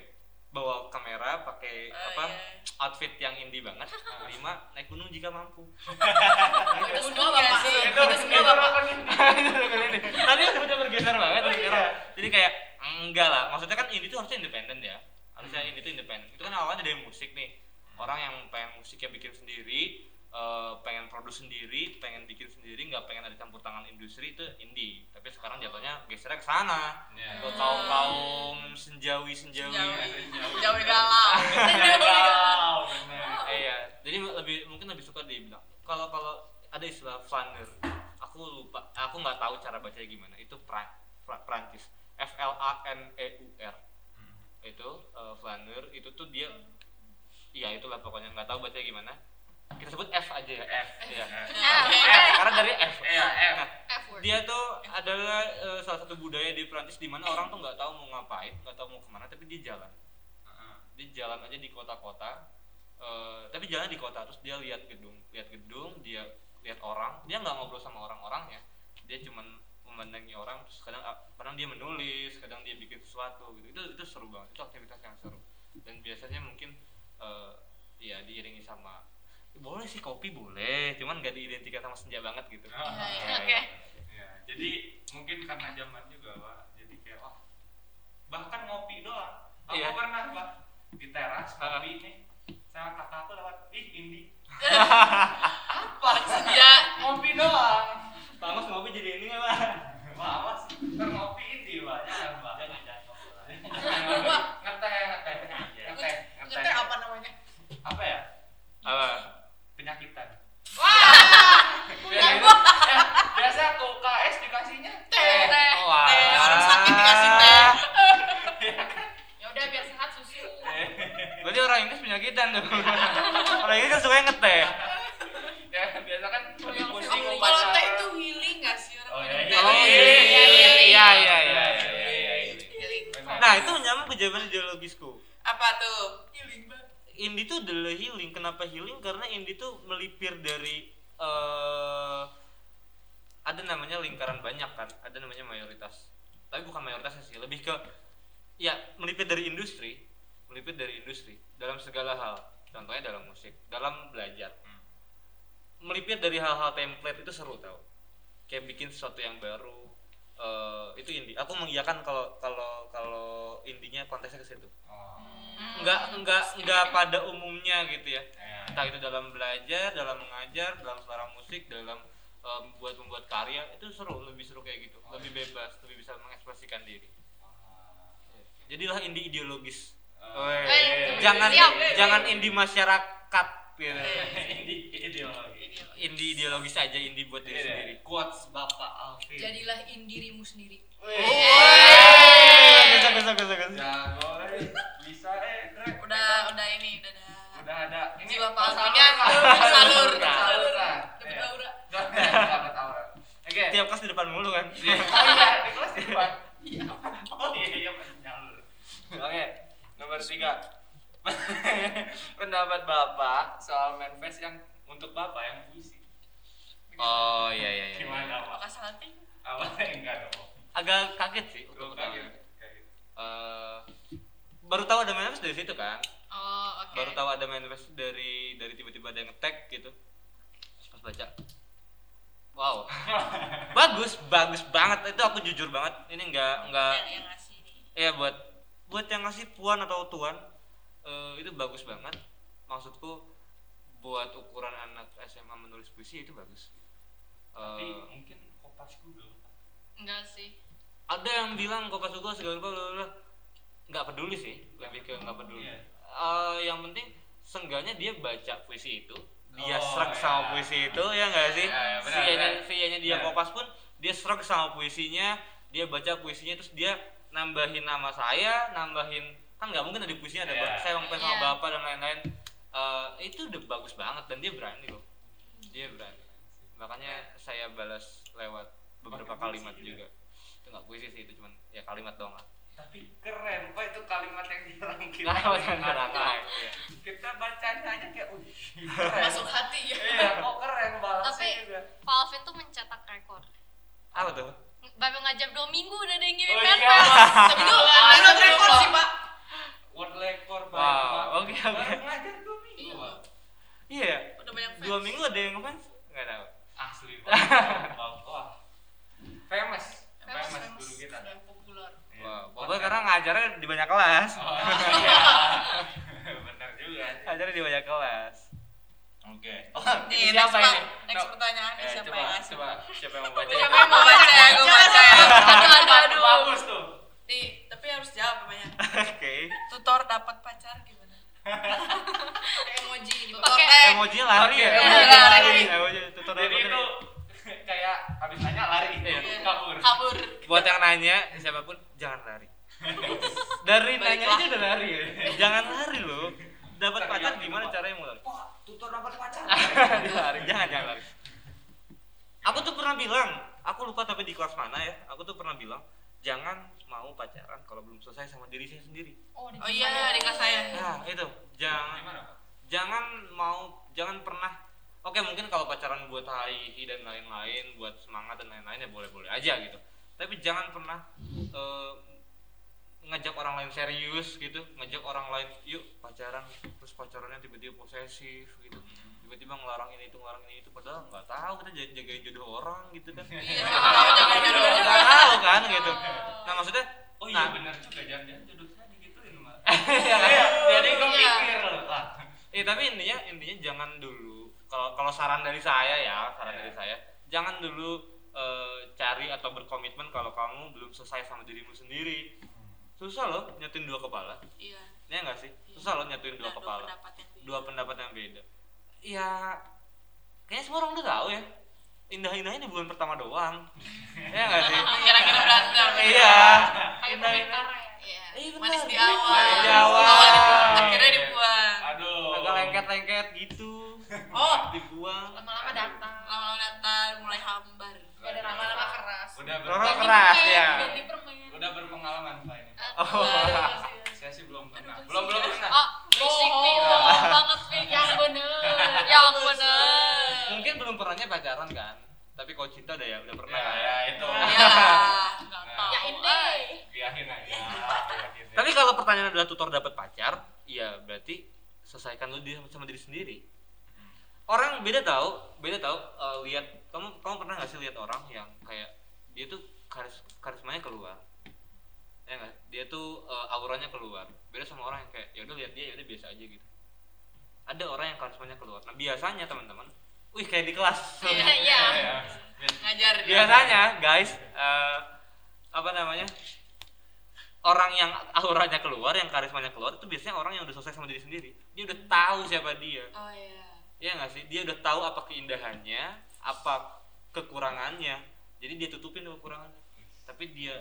[SPEAKER 4] bawa kamera pakai
[SPEAKER 3] Oh,
[SPEAKER 4] apa
[SPEAKER 3] iya.
[SPEAKER 4] outfit yang indie
[SPEAKER 3] (laughs)
[SPEAKER 4] banget lima naik gunung jika mampu
[SPEAKER 3] Kita
[SPEAKER 1] Itu-
[SPEAKER 3] semua bapak.
[SPEAKER 5] Iya,
[SPEAKER 1] itu-
[SPEAKER 3] Kita
[SPEAKER 1] itu
[SPEAKER 3] semua bapak.
[SPEAKER 1] rukun Indi.
[SPEAKER 4] tadi udah bergeser banget
[SPEAKER 1] Oh,
[SPEAKER 4] sekarang.
[SPEAKER 1] iya.
[SPEAKER 4] jadi kayak enggak lah maksudnya kan ini tuh harusnya independen ya harusnya ini tuh independen itu kan awalnya dari musik nih orang yang pengen musiknya bikin sendiri eh, pengen produksi sendiri pengen bikin sendiri nggak pengen ada campur tangan industri itu indie tapi sekarang jatuhnya gesernya ke sana
[SPEAKER 1] Iya.
[SPEAKER 4] ke kaum kaum senjawi senjawi
[SPEAKER 3] Jauhi.
[SPEAKER 1] Jauhi.
[SPEAKER 3] Jauhi galau.
[SPEAKER 1] Iya, galau, bener.
[SPEAKER 4] iya jadi lebih mungkin lebih suka dibilang kalau kalau ada istilah flaner aku lupa aku nggak tahu cara bacanya gimana itu pra, Fra- Prancis F L A N E U R itu eh, flaner itu tuh dia iya itulah pokoknya nggak tahu bacanya gimana kita sebut F aja ya F, iya.
[SPEAKER 2] Ah,
[SPEAKER 3] Oke.
[SPEAKER 4] F karena dari F
[SPEAKER 1] Iya, F.
[SPEAKER 4] Nah,
[SPEAKER 2] F word.
[SPEAKER 4] dia tuh adalah eh, salah satu budaya di Prancis di mana orang tuh nggak tahu mau ngapain nggak tahu mau kemana tapi dia jalan dia jalan aja di kota-kota eh, tapi jalan di kota terus dia lihat gedung lihat gedung dia lihat orang dia nggak ngobrol sama orang-orangnya dia cuman memandangi orang terus kadang ah, kadang dia menulis kadang dia bikin sesuatu gitu itu itu seru banget itu aktivitas yang seru dan biasanya mungkin eh, ya diiringi sama boleh sih kopi boleh cuman nggak diidentikan sama senja banget gitu
[SPEAKER 1] Iya,
[SPEAKER 2] iya. Oke.
[SPEAKER 1] Iya, jadi mungkin karena zaman juga pak jadi kayak wah bahkan ngopi doang aku
[SPEAKER 4] Iya.
[SPEAKER 1] pernah pak di teras
[SPEAKER 4] Ah.
[SPEAKER 1] ngopi nih sama kakak aku lewat ih Indi
[SPEAKER 4] (laughs)
[SPEAKER 3] Pak senja.
[SPEAKER 1] ngopi doang
[SPEAKER 4] Tamas ngopi jadi ini lah
[SPEAKER 1] wah awas ntar ngopi Indi pak jangan pak jangan jangan ngopi, Pak. ngeteh ngeteh ngeteh
[SPEAKER 3] Ngeteh apa namanya?
[SPEAKER 1] apa ya
[SPEAKER 4] apa
[SPEAKER 1] penyakitan
[SPEAKER 3] Wah.
[SPEAKER 1] Biasanya- eh, biasa ke UKS dikasihnya
[SPEAKER 3] Teh.
[SPEAKER 1] teh
[SPEAKER 3] Teh.
[SPEAKER 4] Oh, Wah. Iya kan?
[SPEAKER 3] Teh. Orang sakit dikasih teh. Ya udah biar sehat susu.
[SPEAKER 4] berarti orang Inggris penyakitan tuh orang Inggris kan suka ngeteh
[SPEAKER 1] ya biasa kan
[SPEAKER 3] Oh,
[SPEAKER 1] pusing pusing
[SPEAKER 3] Kalau teh itu healing nggak sih orang?
[SPEAKER 1] Oh, iya,
[SPEAKER 3] minum
[SPEAKER 1] iya.
[SPEAKER 3] teh?
[SPEAKER 1] Oh,
[SPEAKER 4] iya, iya, iya, iya, iya,
[SPEAKER 1] iya, iya, iya.
[SPEAKER 3] Healing.
[SPEAKER 4] Nah itu menyambung ke jawaban ideologisku.
[SPEAKER 3] Apa tuh? Healing banget.
[SPEAKER 4] Indie tuh adalah healing. Kenapa healing? Karena indie tuh melipir dari eh ada namanya lingkaran banyak kan ada namanya mayoritas tapi bukan mayoritasnya sih lebih ke ya melipir dari industri melipir dari industri dalam segala hal contohnya dalam musik dalam belajar
[SPEAKER 1] Hmm.
[SPEAKER 4] melipir dari hal-hal template itu seru tau kayak bikin sesuatu yang baru eh, itu indie aku mengiyakan kalau kalau kalau indinya konteksnya ke situ
[SPEAKER 1] Oh.
[SPEAKER 4] nggak nggak nggak pada umumnya gitu ya
[SPEAKER 1] Ya.
[SPEAKER 4] entah itu dalam belajar dalam mengajar dalam selera musik dalam eh, membuat membuat karya itu seru lebih seru kayak gitu lebih bebas lebih bisa mengekspresikan diri jadilah indie ideologis
[SPEAKER 1] Eh,
[SPEAKER 3] Eh,
[SPEAKER 4] jangan
[SPEAKER 3] Siap.
[SPEAKER 4] jangan
[SPEAKER 1] (laughs)
[SPEAKER 4] indie masyarakat gitu.
[SPEAKER 1] Eh. Ini ideologi.
[SPEAKER 4] indie ideologis aja indie buat diri
[SPEAKER 1] Iya.
[SPEAKER 4] sendiri quotes bapak Alvin
[SPEAKER 5] Jadilah indirimu sendiri.
[SPEAKER 4] Eh, bisa bisa bisa bisa
[SPEAKER 1] Jago, eh. bisa eh. Drek.
[SPEAKER 5] Udah udah ini udah ada.
[SPEAKER 1] udah ada. Ini
[SPEAKER 5] Jiwa
[SPEAKER 1] pas
[SPEAKER 5] pahlawannya
[SPEAKER 1] salur.
[SPEAKER 5] tersalur,
[SPEAKER 1] Nah,
[SPEAKER 5] tersalur.
[SPEAKER 1] nah,
[SPEAKER 5] Dapat
[SPEAKER 1] iya.
[SPEAKER 5] aura.
[SPEAKER 1] Dapat aura. Oke.
[SPEAKER 4] tiap kelas di depan mulu kan
[SPEAKER 1] Oh iya, di kelas di depan. Oh iya, iya, masih nyalur. Oke, nomor tiga. (laughs) Pendapat bapak soal manifest yang untuk bapak yang puisi.
[SPEAKER 4] oh iya iya iya.
[SPEAKER 1] Gimana pak?
[SPEAKER 5] Maka salting.
[SPEAKER 1] Apa enggak dong?
[SPEAKER 4] agak kaget sih
[SPEAKER 1] Belum
[SPEAKER 4] untuk
[SPEAKER 1] kaget.
[SPEAKER 4] pertama.
[SPEAKER 1] Kayak gitu.
[SPEAKER 4] Eh, baru tahu ada manifest dari situ kan
[SPEAKER 2] Oh, oke.
[SPEAKER 4] baru tahu ada manifest dari dari tiba-tiba ada yang ngetek gitu pas baca wow bagus bagus banget itu aku jujur banget ini nggak nggak
[SPEAKER 5] Yang yang ngasih ini.
[SPEAKER 4] ya buat buat yang ngasih puan atau tuan eh, itu bagus banget maksudku buat ukuran anak SMA menulis puisi itu bagus Eh,
[SPEAKER 1] Tapi mungkin kopas dulu.
[SPEAKER 2] Enggak sih.
[SPEAKER 4] ada yang bilang kopas gua segala lupa bla bla bla. nggak peduli sih lebih ke nggak peduli
[SPEAKER 1] Iya.
[SPEAKER 4] Eh, yang penting sengganya dia baca puisi itu dia
[SPEAKER 1] Oh,
[SPEAKER 4] serak
[SPEAKER 1] iya.
[SPEAKER 4] sama puisi itu ya nggak sih
[SPEAKER 1] Iya, iya, benar,
[SPEAKER 4] Sianya-
[SPEAKER 1] benar. Iya.
[SPEAKER 4] sianya dia
[SPEAKER 1] Benar.
[SPEAKER 4] kopas pun dia serak sama puisinya dia baca puisinya terus dia nambahin nama saya nambahin kan nggak mungkin ada puisinya ada
[SPEAKER 1] Iya.
[SPEAKER 4] Bang- saya ngomongin sama
[SPEAKER 2] Iya.
[SPEAKER 4] bapak dan lain-lain Eh, itu udah bagus banget dan dia berani loh dia berani makanya saya balas lewat beberapa
[SPEAKER 1] Pakai puisi
[SPEAKER 4] kalimat
[SPEAKER 1] juga.
[SPEAKER 4] juga itu nggak puisi sih itu cuman ya kalimat doang lah
[SPEAKER 1] Tapi keren, Pak itu kalimat yang dirangkai.
[SPEAKER 4] Nah, (laughs) Kalimat yang dirangkai, iya.
[SPEAKER 1] Kita bacanya aja kayak "Wih, keren.
[SPEAKER 5] Masuk hati ya.
[SPEAKER 1] Iya, kok keren balasnya
[SPEAKER 2] Tapi-
[SPEAKER 1] juga.
[SPEAKER 2] Pak Alvin tuh mencetak rekor.
[SPEAKER 4] apa tuh
[SPEAKER 2] Ng- Baru ngajak dua minggu udah ada yang ngirim
[SPEAKER 1] Oh, iya.
[SPEAKER 2] manifest.
[SPEAKER 5] Tapi kan? itu
[SPEAKER 2] Ah,
[SPEAKER 5] menurut rekor sih, Pak.
[SPEAKER 1] Word lekor
[SPEAKER 4] Wow,
[SPEAKER 1] banyak, Pak.
[SPEAKER 4] oke, oke.
[SPEAKER 1] Baru ngajar dua minggu, Pak.
[SPEAKER 4] iya ya?
[SPEAKER 5] Udah banyak fans.
[SPEAKER 4] dua minggu ada yang ngefans nggak tahu
[SPEAKER 1] Iya. Asli
[SPEAKER 4] (laughs)
[SPEAKER 1] banget. Bang. Wah. Famous.
[SPEAKER 5] Famous,
[SPEAKER 1] Famous
[SPEAKER 5] famous.
[SPEAKER 1] guru kita.
[SPEAKER 5] Udah populer.
[SPEAKER 1] Iya.
[SPEAKER 4] Wah, pokoknya karena ngajarnya di banyak kelas (laughs)
[SPEAKER 1] Oh, iya. Bener juga. sih.
[SPEAKER 4] ngajarnya di banyak kelas
[SPEAKER 1] Oke. Ini
[SPEAKER 5] Nih, next,
[SPEAKER 1] siapa
[SPEAKER 5] Pak.
[SPEAKER 1] ini?
[SPEAKER 5] Next
[SPEAKER 1] No.
[SPEAKER 5] pertanyaan
[SPEAKER 1] Eh,
[SPEAKER 5] siapa
[SPEAKER 1] coba,
[SPEAKER 5] yang ngasih?
[SPEAKER 1] Coba, siapa yang mau baca?
[SPEAKER 5] Siapa yang mau baca? Gue baca.
[SPEAKER 2] Aduh, aduh,
[SPEAKER 1] Bagus,
[SPEAKER 2] aduh.
[SPEAKER 1] Bagus tuh.
[SPEAKER 5] Nih, tapi harus jawab banyak.
[SPEAKER 4] oke
[SPEAKER 5] Tutor dapat pacar gimana? Emoji ini. Tutor
[SPEAKER 2] Pakai-
[SPEAKER 5] eh,
[SPEAKER 4] emoji lari ya
[SPEAKER 1] Oke,
[SPEAKER 5] emoji lari.
[SPEAKER 4] emoji tutor
[SPEAKER 1] Jadi
[SPEAKER 4] emoji.
[SPEAKER 1] itu kayak habis nanya lari,
[SPEAKER 4] Iya.
[SPEAKER 1] kabur.
[SPEAKER 5] kabur.
[SPEAKER 4] buat yang nanya siapapun jangan lari dari nanya aja udah lari ya jangan lari loh dapat
[SPEAKER 1] Teriak
[SPEAKER 4] pacar
[SPEAKER 1] gitu,
[SPEAKER 4] gimana
[SPEAKER 1] Pak.
[SPEAKER 4] caranya mau
[SPEAKER 1] (laughs)
[SPEAKER 4] lari
[SPEAKER 1] Wah, tutor dapat
[SPEAKER 4] (laughs)
[SPEAKER 1] pacar.
[SPEAKER 4] lari jangan jangan lari aku tuh pernah bilang aku lupa tapi di kelas mana ya aku tuh pernah bilang jangan mau pacaran kalau belum selesai sama diri saya sendiri
[SPEAKER 5] Oh iya, adik saya.
[SPEAKER 4] nah itu jangan
[SPEAKER 1] Gimana, Pak?
[SPEAKER 4] jangan mau jangan pernah oke mungkin kalau pacaran buat HII dan lain-lain buat semangat dan lain-lain ya boleh-boleh aja gitu tapi jangan pernah eh, ngajak orang lain serius gitu ngajak orang lain yuk pacaran terus pacarannya tiba-tiba posesif gitu tiba-tiba ngelarang ini itu ngelarang ini itu padahal nggak tahu kita jaga jagain jodoh orang gitu kan (laughs)
[SPEAKER 5] Iya, jangan jodoh.
[SPEAKER 4] nggak tahu kan gitu nah maksudnya
[SPEAKER 1] Oh
[SPEAKER 4] nah,
[SPEAKER 1] iya benar juga, jangan-jangan jodoh saya digituin,
[SPEAKER 4] (laughs)
[SPEAKER 1] Pak.
[SPEAKER 4] jadi
[SPEAKER 1] Iya, Jadi
[SPEAKER 4] Iya.
[SPEAKER 1] kepikir loh, Pak.
[SPEAKER 4] Eh tapi intinya intinya jangan dulu kalau kalau saran dari saya ya saran
[SPEAKER 5] Iya.
[SPEAKER 1] Ya.
[SPEAKER 4] dari saya jangan dulu eh, cari atau berkomitmen kalau kamu belum selesai sama dirimu sendiri susah loh nyatuin dua kepala
[SPEAKER 5] Iya.
[SPEAKER 4] ya nggak sih susah loh nyatuin dua
[SPEAKER 5] Nah,
[SPEAKER 4] kepala
[SPEAKER 5] pendapat yang beda.
[SPEAKER 4] dua pendapat yang beda ya kayaknya semua orang udah tahu ya indah indahnya di bulan pertama doang ya nggak
[SPEAKER 5] (laughs)
[SPEAKER 4] sih
[SPEAKER 5] Kira-kira berantem.
[SPEAKER 4] iya
[SPEAKER 3] Kayak
[SPEAKER 4] indah indah
[SPEAKER 3] komentar ya.
[SPEAKER 5] Iya.
[SPEAKER 4] Iya, benar.
[SPEAKER 5] Manis di awal.
[SPEAKER 4] Manis di
[SPEAKER 1] awal.
[SPEAKER 5] Akhirnya dibuang.
[SPEAKER 1] Aduh.
[SPEAKER 4] agak lengket lengket gitu
[SPEAKER 5] Oh,
[SPEAKER 4] dibuang
[SPEAKER 3] Lama-lama datang.
[SPEAKER 2] Oh,
[SPEAKER 5] lama-lama datar mulai hambar.
[SPEAKER 3] Ada lama-lama keras.
[SPEAKER 1] Udah ber-
[SPEAKER 4] Orang keras ya
[SPEAKER 3] Jadi permen.
[SPEAKER 1] udah berpengalaman, Pak ini.
[SPEAKER 4] Oh.
[SPEAKER 1] (laughs) Saya sih belum pernah.
[SPEAKER 5] Aduh,
[SPEAKER 1] Belum belum pernah.
[SPEAKER 2] Oh, berisik nih,
[SPEAKER 3] Bohong.
[SPEAKER 2] bohong banget nih.
[SPEAKER 3] (laughs) Yang bener.
[SPEAKER 5] Ya
[SPEAKER 4] (laughs)
[SPEAKER 2] Yang bener.
[SPEAKER 4] mungkin belum pernahnya pacaran kan tapi kalau cinta udah ya udah pernah
[SPEAKER 1] Ya,
[SPEAKER 4] lah
[SPEAKER 1] ya
[SPEAKER 4] ya.
[SPEAKER 1] itu.
[SPEAKER 5] Iyalah.
[SPEAKER 2] Nggak
[SPEAKER 1] Nah.
[SPEAKER 2] tahu.
[SPEAKER 3] Ya ini.
[SPEAKER 1] (laughs) Biarin aja. biarin aja.
[SPEAKER 4] Tapi kalau pertanyaan adalah tutor dapat pacar, ya berarti selesaikan lu diri sama diri sendiri. Orang beda tahu, beda tahu eh, lihat kamu kamu pernah nggak sih lihat orang yang kayak dia tuh karis karismanya keluar. Ya nggak? Dia tuh eh, auranya keluar. Beda sama orang yang kayak ya udah lihat dia ya udah biasa aja gitu. Ada orang yang karismanya keluar. Nah, biasanya teman-teman, wih kayak di kelas.
[SPEAKER 2] Iya, iya.
[SPEAKER 1] Ya, ya.
[SPEAKER 5] Ngajar dia.
[SPEAKER 4] biasanya guys eh, apa namanya orang yang auranya keluar yang karismanya keluar itu biasanya orang yang udah selesai sama diri sendiri dia udah tahu siapa dia
[SPEAKER 5] Oh iya.
[SPEAKER 4] ya nggak sih dia udah tahu apa keindahannya apa kekurangannya jadi dia tutupin tuh kekurangannya tapi dia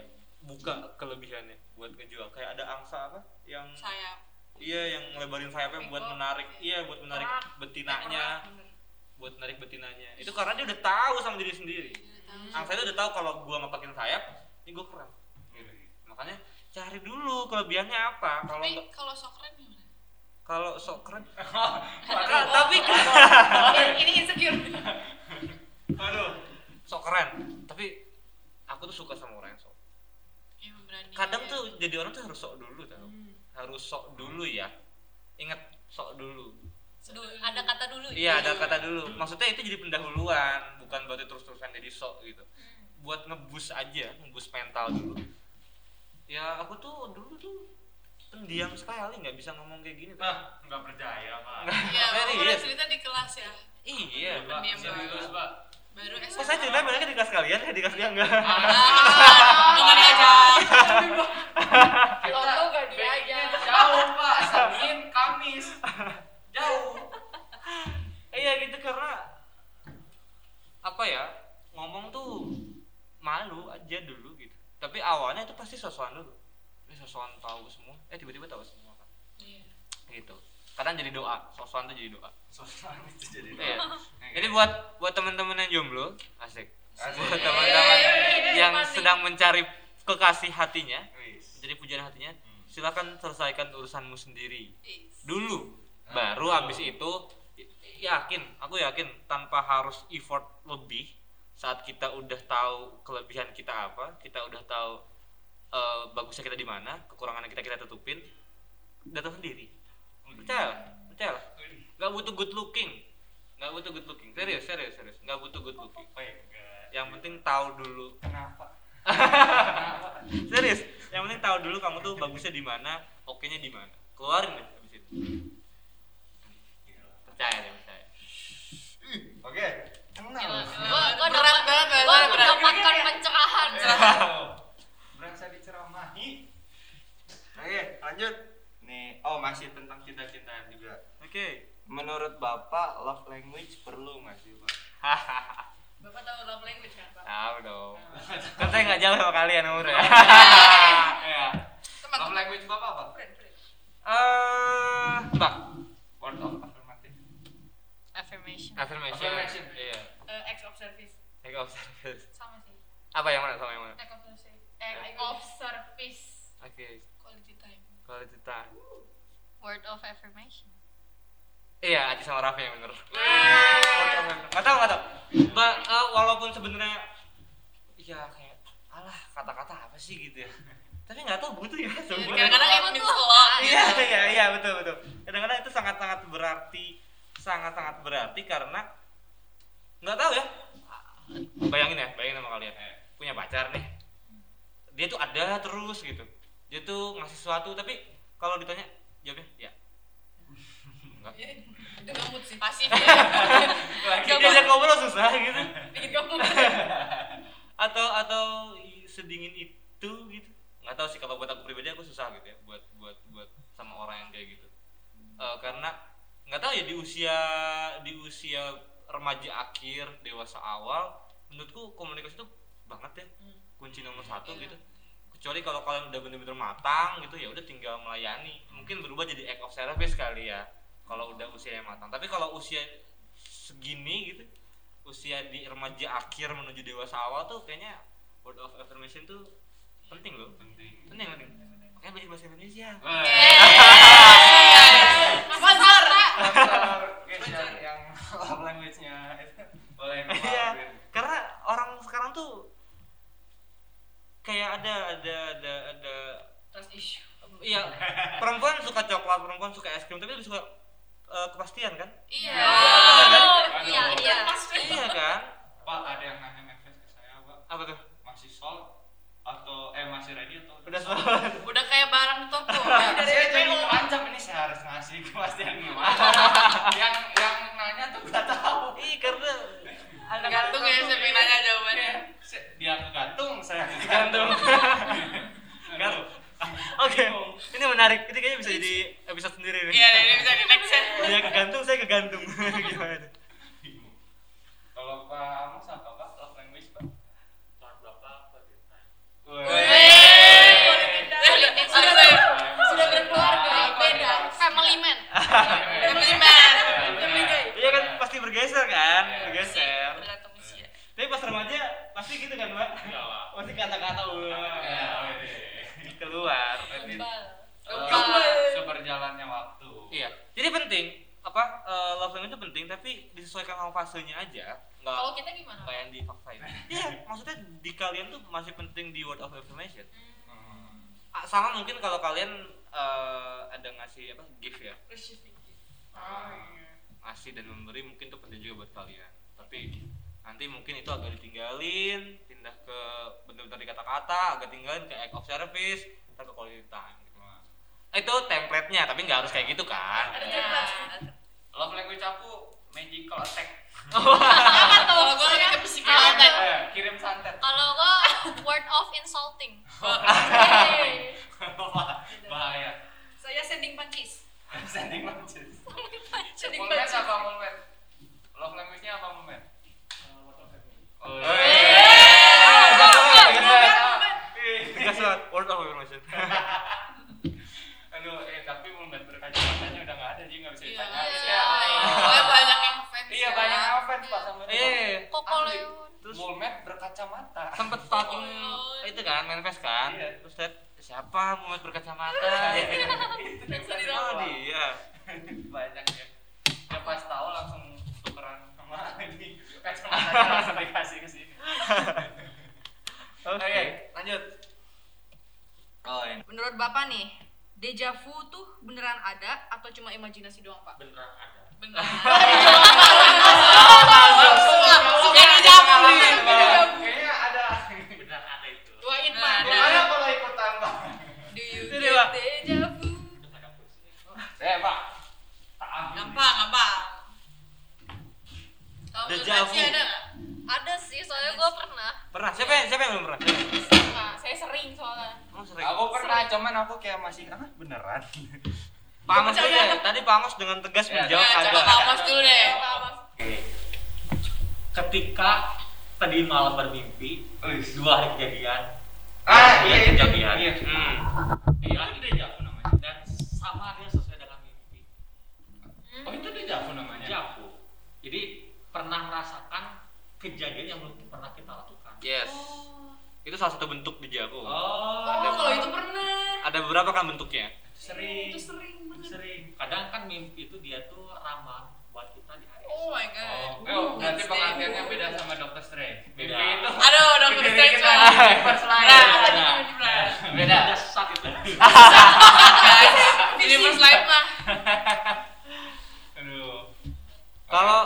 [SPEAKER 4] buka kelebihannya buat ngejual kayak ada angsa apa yang
[SPEAKER 5] Sayap.
[SPEAKER 4] iya yang ngelebarin sayapnya buat
[SPEAKER 5] Ekor.
[SPEAKER 4] menarik iya buat menarik
[SPEAKER 3] Orang.
[SPEAKER 4] betinanya
[SPEAKER 5] Bener.
[SPEAKER 4] buat menarik betinanya itu karena dia udah tahu sama diri sendiri angsa itu udah tahu kalau gua ngepakin sayap ini gua keren makanya cari dulu kelebihannya apa kalau
[SPEAKER 5] Tapi
[SPEAKER 4] nggak-
[SPEAKER 5] kalau sok keren
[SPEAKER 4] (laughs)
[SPEAKER 5] gimana?
[SPEAKER 4] kalau sok keren
[SPEAKER 1] Aduh,
[SPEAKER 4] tapi
[SPEAKER 3] Ini insecure.
[SPEAKER 1] aduh.
[SPEAKER 4] sok keren tapi aku tuh suka sama orang yang sok
[SPEAKER 5] Yang berani.
[SPEAKER 4] Iya, kadang
[SPEAKER 5] ya.
[SPEAKER 4] tuh jadi orang tuh harus sok dulu tau
[SPEAKER 5] Hmm.
[SPEAKER 4] harus sok dulu ya inget sok dulu
[SPEAKER 2] Dulu, ada kata dulu.
[SPEAKER 4] iya ada kata dulu maksudnya itu jadi pendahuluan bukan berarti terus-terusan jadi sok gitu buat ngebus aja ngebus mental dulu ya aku tuh dulu tuh pendiam sekali nggak bisa ngomong kayak gini
[SPEAKER 1] Nah,
[SPEAKER 4] Pak.
[SPEAKER 1] nggak percaya, Pak.
[SPEAKER 5] Iya, kamu pernah
[SPEAKER 4] serius
[SPEAKER 5] cerita di kelas ya.
[SPEAKER 4] iya
[SPEAKER 1] Pak.
[SPEAKER 5] Pendiam
[SPEAKER 1] Serius,
[SPEAKER 5] banget.
[SPEAKER 1] Pak.
[SPEAKER 5] Baru SMA.
[SPEAKER 4] kok Oh, saya cerita banyak di kelas kalian di kelas dia enggak
[SPEAKER 5] Ah, dengar aja.
[SPEAKER 3] Kalau lu gak dia aja.
[SPEAKER 1] Backnya Jauh, Pak. Senin, Kamis. Jauh.
[SPEAKER 4] iya gitu karena apa ya ngomong tuh malu aja dulu gitu tapi awalnya itu pasti sosokan dulu ini sosokan tahu semua eh tiba-tiba tahu semua kan
[SPEAKER 5] Iya.
[SPEAKER 4] gitu kadang jadi doa sosokan tuh jadi doa
[SPEAKER 1] Sosial itu jadi.
[SPEAKER 4] Iya.
[SPEAKER 1] Jadi
[SPEAKER 4] jadi buat buat teman-teman yang jomblo asik buat
[SPEAKER 1] Asik.
[SPEAKER 4] teman-teman
[SPEAKER 3] Yeay,
[SPEAKER 4] yang
[SPEAKER 3] mati.
[SPEAKER 4] sedang mencari kekasih hatinya
[SPEAKER 1] Wis.
[SPEAKER 4] jadi pujian hatinya
[SPEAKER 1] Hmm.
[SPEAKER 4] silakan selesaikan urusanmu sendiri
[SPEAKER 5] Is.
[SPEAKER 4] dulu
[SPEAKER 1] Ah,
[SPEAKER 4] baru
[SPEAKER 1] betul.
[SPEAKER 4] abis itu y- yakin aku yakin tanpa harus effort lebih saat kita udah tahu kelebihan kita apa kita udah tahu eh, bagusnya kita di mana kekurangan kita kita tutupin datang sendiri percaya lah, percaya lah.
[SPEAKER 1] Wih.
[SPEAKER 4] nggak butuh good looking nggak butuh good looking serius serius serius nggak butuh good looking
[SPEAKER 1] Oh, ya, enggak.
[SPEAKER 4] yang penting tahu dulu
[SPEAKER 1] kenapa?
[SPEAKER 4] serius yang penting tahu dulu kamu tuh bagusnya di mana oke nya di mana keluarin deh abis itu
[SPEAKER 1] Gila.
[SPEAKER 4] percaya deh percaya
[SPEAKER 1] Oke. Tenang.
[SPEAKER 2] Gua gua
[SPEAKER 5] Berat
[SPEAKER 2] dapat
[SPEAKER 5] banget, berat,
[SPEAKER 2] gua
[SPEAKER 5] berat.
[SPEAKER 2] mendapatkan pencerahan.
[SPEAKER 1] Berasa diceramahi. Oke, lanjut. Nih, oh masih tentang cinta-cintaan juga.
[SPEAKER 4] oke
[SPEAKER 1] Menurut Bapak, love language perlu nggak sih, Pak?
[SPEAKER 4] hahaha
[SPEAKER 3] Bapak tahu love language kan, Pak?
[SPEAKER 4] tahu (laughs) dong kan saya nggak jauh sama kalian ya? umurnya
[SPEAKER 1] Iya.
[SPEAKER 5] Teman
[SPEAKER 1] Love language Bapak apa?
[SPEAKER 3] Friend, friend.
[SPEAKER 4] eh mbak
[SPEAKER 1] Word of affirmative.
[SPEAKER 2] Affirmation.
[SPEAKER 4] affirmation
[SPEAKER 1] Affirmation.
[SPEAKER 4] iya
[SPEAKER 3] Eh, Act of service.
[SPEAKER 4] take off service
[SPEAKER 3] Sama sih.
[SPEAKER 4] apa yang mana sama yang mana
[SPEAKER 3] Act of service. Act of service.
[SPEAKER 4] oke
[SPEAKER 5] quality time.
[SPEAKER 4] quality time
[SPEAKER 2] Word of affirmation.
[SPEAKER 4] Iya, Aci sama Raffi yang bener. Gak tau, gak tau. Ba, eh, walaupun sebenarnya ya kayak alah kata-kata apa sih gitu ya. Tapi nggak tau butuh ya sebenarnya.
[SPEAKER 5] Kadang-kadang it means a lot.
[SPEAKER 4] Iya, iya, iya betul betul. Kadang-kadang itu sangat-sangat berarti, sangat-sangat berarti karena nggak tahu ya. Bayangin ya, bayangin sama kalian punya pacar nih. Dia tuh ada terus gitu. Dia tuh ngasih sesuatu tapi kalau ditanya jawabnya ya. Enggak.
[SPEAKER 5] Itu gemut sih. Pasif. ya.
[SPEAKER 4] Dia ajak ngobrol susah gitu.
[SPEAKER 5] Bikin gemut.
[SPEAKER 4] atau atau i- sedingin itu gitu nggak tahu sih kalau buat aku pribadi aku susah gitu ya buat buat buat sama orang yang kayak gitu Eh, karena nggak tahu ya di usia di usia remaja akhir dewasa awal menurutku komunikasi itu banget ya kunci nomor satu gitu kecuali kalau kalian udah bener-bener matang gitu ya udah tinggal melayani mungkin berubah jadi act of service kali ya kalau udah usianya matang tapi kalau usia segini gitu usia di remaja akhir menuju dewasa awal tuh kayaknya word of affirmation tuh penting loh
[SPEAKER 1] Penting.
[SPEAKER 4] penting penting makanya belajar bahasa Indonesia
[SPEAKER 2] Iya.
[SPEAKER 5] Sponsor.
[SPEAKER 1] Sponsor, guys, yang- yang love language-nya itu boleh
[SPEAKER 4] iya
[SPEAKER 1] ngelakuin.
[SPEAKER 4] karena ada ada ada ada
[SPEAKER 5] Trust issue.
[SPEAKER 4] iya perempuan suka coklat perempuan suka es krim tapi lebih suka eh, kepastian kan
[SPEAKER 5] Iya.
[SPEAKER 2] Iya, iya.
[SPEAKER 4] iya kan
[SPEAKER 1] Pak, ada yang nanya medsos ke saya, Pak.
[SPEAKER 4] apa tuh
[SPEAKER 1] Masih sol atau eh masih ready atau
[SPEAKER 4] udah soal
[SPEAKER 5] Udah kayak barang di toko.
[SPEAKER 1] Saya
[SPEAKER 5] Dari
[SPEAKER 1] jadi
[SPEAKER 5] PO.
[SPEAKER 1] terancam ini saya harus ngasih kepastian gimana. yang yang nanya tuh nggak tahu.
[SPEAKER 4] Ih, karena
[SPEAKER 5] Gantung ya siapa yang nanya jawabannya.
[SPEAKER 1] Se- Iya. Dia kegantung, saya
[SPEAKER 5] Iya.
[SPEAKER 4] Gantung.
[SPEAKER 1] kegantung.
[SPEAKER 4] Gantung. Oke, ini menarik. Ini kayaknya bisa jadi episode sendiri nih.
[SPEAKER 5] Iya, ini bisa di next ya.
[SPEAKER 4] Dia kegantung, saya kegantung. (laughs) Gimana? tuh?
[SPEAKER 1] Bingung. Kalau Pak Amos apa Pak? Love language Pak?
[SPEAKER 5] Weh,
[SPEAKER 2] Politik
[SPEAKER 5] Sudah
[SPEAKER 2] sudah-
[SPEAKER 5] ber- sudah berkeluarga, beda.
[SPEAKER 2] Family man.
[SPEAKER 5] Family man. Family guy.
[SPEAKER 4] Iya kan pasti bergeser kan?
[SPEAKER 1] Iya.
[SPEAKER 4] Bergeser.
[SPEAKER 5] Tergantung usia.
[SPEAKER 4] Tapi pas remaja pasti gitu kan, Mbak? Pasti kata-kata wah,
[SPEAKER 1] Iya.
[SPEAKER 4] keluar.
[SPEAKER 2] Gembal.
[SPEAKER 1] Seberjalannya waktu.
[SPEAKER 4] Iya. Jadi penting apa eh, love language itu penting tapi disesuaikan sama fasenya aja. Enggak
[SPEAKER 3] Kalau kita gimana?
[SPEAKER 4] kayak yang dipaksain. Iya, maksudnya di kalian tuh masih penting di word of affirmation.
[SPEAKER 1] Hmm.
[SPEAKER 4] Ah, sama mungkin kalau kalian eh, ada ngasih apa gift ya ngasih dan memberi mungkin itu penting juga buat kalian tapi nanti mungkin itu agak ditinggalin pindah ke bener-bener di kata-kata agak tinggalin ke act of service atau ke quality time gitu.
[SPEAKER 1] Wah.
[SPEAKER 4] itu template-nya tapi nggak harus kayak gitu kan
[SPEAKER 5] Ada
[SPEAKER 3] Iya.
[SPEAKER 5] tempat.
[SPEAKER 1] Love language aku magical attack.
[SPEAKER 2] Apa tuh?
[SPEAKER 5] Kalau gue lebih ke psikopat.
[SPEAKER 2] Apa tuh?
[SPEAKER 1] Eh, kirim santet.
[SPEAKER 2] Kalau gua word of insulting.
[SPEAKER 5] Oh. Hey.
[SPEAKER 1] Bahaya.
[SPEAKER 5] Saya sending pakis.
[SPEAKER 1] Sending matches.
[SPEAKER 5] Sending
[SPEAKER 1] Mulmen
[SPEAKER 5] pakis.
[SPEAKER 1] apa mulmen? Love language-nya apa mulmen?
[SPEAKER 4] Eh.
[SPEAKER 1] Oh,
[SPEAKER 4] Tegas banget,
[SPEAKER 1] iya. Eh,
[SPEAKER 4] tegas
[SPEAKER 5] Eh.
[SPEAKER 4] banget.
[SPEAKER 1] Ih.
[SPEAKER 4] Tegas banget, word of affirmation
[SPEAKER 1] Aduh, eh tapi mulmen berkaca-kacanya udah nggak ada, jadi nggak bisa
[SPEAKER 5] Iya.
[SPEAKER 1] ditanya. Oh.
[SPEAKER 5] Soalnya banyak yang fans.
[SPEAKER 1] Iya,
[SPEAKER 5] ya.
[SPEAKER 1] banyak offense pak sama dia.
[SPEAKER 4] eh
[SPEAKER 2] Koko
[SPEAKER 1] Asli.
[SPEAKER 2] Leon.
[SPEAKER 4] terus
[SPEAKER 1] Mulmen berkacamata.
[SPEAKER 4] sempet stalking itu kan manifest kan
[SPEAKER 1] Iya.
[SPEAKER 4] terus liat siapa mau berkacamata
[SPEAKER 1] (laughs) Itu
[SPEAKER 5] Yang sedih
[SPEAKER 4] oh
[SPEAKER 1] doang.
[SPEAKER 4] dia
[SPEAKER 1] Banyak ya. Ya pas tahu langsung tukeran sama (laughs) ini kacamata langsung dikasih ke sini.
[SPEAKER 4] oke
[SPEAKER 1] lanjut.
[SPEAKER 4] oh ini
[SPEAKER 3] Menurut Bapak nih, deja vu tuh beneran ada atau cuma imajinasi doang, Pak?
[SPEAKER 4] beneran ada
[SPEAKER 5] Benar.
[SPEAKER 1] Jangan
[SPEAKER 4] dijawab, Bang.
[SPEAKER 1] Kayaknya ada.
[SPEAKER 4] beneran ada itu
[SPEAKER 5] Doain
[SPEAKER 3] Nah,
[SPEAKER 5] Pak.
[SPEAKER 1] Gimana kalau ikut tambah?
[SPEAKER 5] Do you
[SPEAKER 4] Itu dia, Pak.
[SPEAKER 5] get deja vu?
[SPEAKER 1] Eh pak, tak ambil.
[SPEAKER 5] Gampang, gampang. Kalau menurut
[SPEAKER 4] Deja
[SPEAKER 5] Paci
[SPEAKER 4] vu.
[SPEAKER 5] ada nggak?
[SPEAKER 2] Ada sih, soalnya gua pernah.
[SPEAKER 4] pernah siapa yang siapa yang belum pernah
[SPEAKER 3] Nah, saya sering soalnya.
[SPEAKER 4] Emang sering?
[SPEAKER 1] Aku pernah, cuman aku kayak masih ah beneran.
[SPEAKER 4] Pak Amos dulu deh. Tadi Pak Amos dengan tegas
[SPEAKER 1] Ya,
[SPEAKER 4] menjawab
[SPEAKER 5] Nah, coba
[SPEAKER 4] ada.
[SPEAKER 5] Pak Mas dulu deh.
[SPEAKER 6] ketika tadi malam bermimpi dua hari kejadian
[SPEAKER 1] Ah iya iya
[SPEAKER 6] Kejadian.
[SPEAKER 1] iya.
[SPEAKER 4] Hmm.
[SPEAKER 6] iya
[SPEAKER 1] Itu deja vu namanya.
[SPEAKER 6] dan sama dia sesuai dengan mimpi
[SPEAKER 5] Hmm.
[SPEAKER 1] Oh itu deja vu namanya.
[SPEAKER 6] jago jadi pernah merasakan kejadian yang belum pernah kita lakukan
[SPEAKER 4] Yes.
[SPEAKER 2] Oh.
[SPEAKER 4] Itu salah satu bentuk di jago.
[SPEAKER 6] oh
[SPEAKER 5] Oh, kalau itu pernah.
[SPEAKER 4] Ada beberapa kan bentuknya.
[SPEAKER 1] Sering.
[SPEAKER 5] Itu sering banget.
[SPEAKER 6] sering kadang kan mimpi itu dia tuh ramal buat kita di hari
[SPEAKER 5] Oh my god.
[SPEAKER 1] Oh, oh, berarti
[SPEAKER 5] Wednesday.
[SPEAKER 1] pengertiannya beda sama Dr. Strange.
[SPEAKER 6] Beda.
[SPEAKER 1] Mimpi itu
[SPEAKER 5] Aduh, udah
[SPEAKER 1] Ke diri
[SPEAKER 5] beristirahat.
[SPEAKER 1] kita. First line.
[SPEAKER 5] Nah,
[SPEAKER 6] Beda.
[SPEAKER 5] tadi gimana di belakang?
[SPEAKER 1] beda.
[SPEAKER 6] Ada sesak itu
[SPEAKER 5] Guys, ini first line mah.
[SPEAKER 1] Aduh.
[SPEAKER 4] Kalau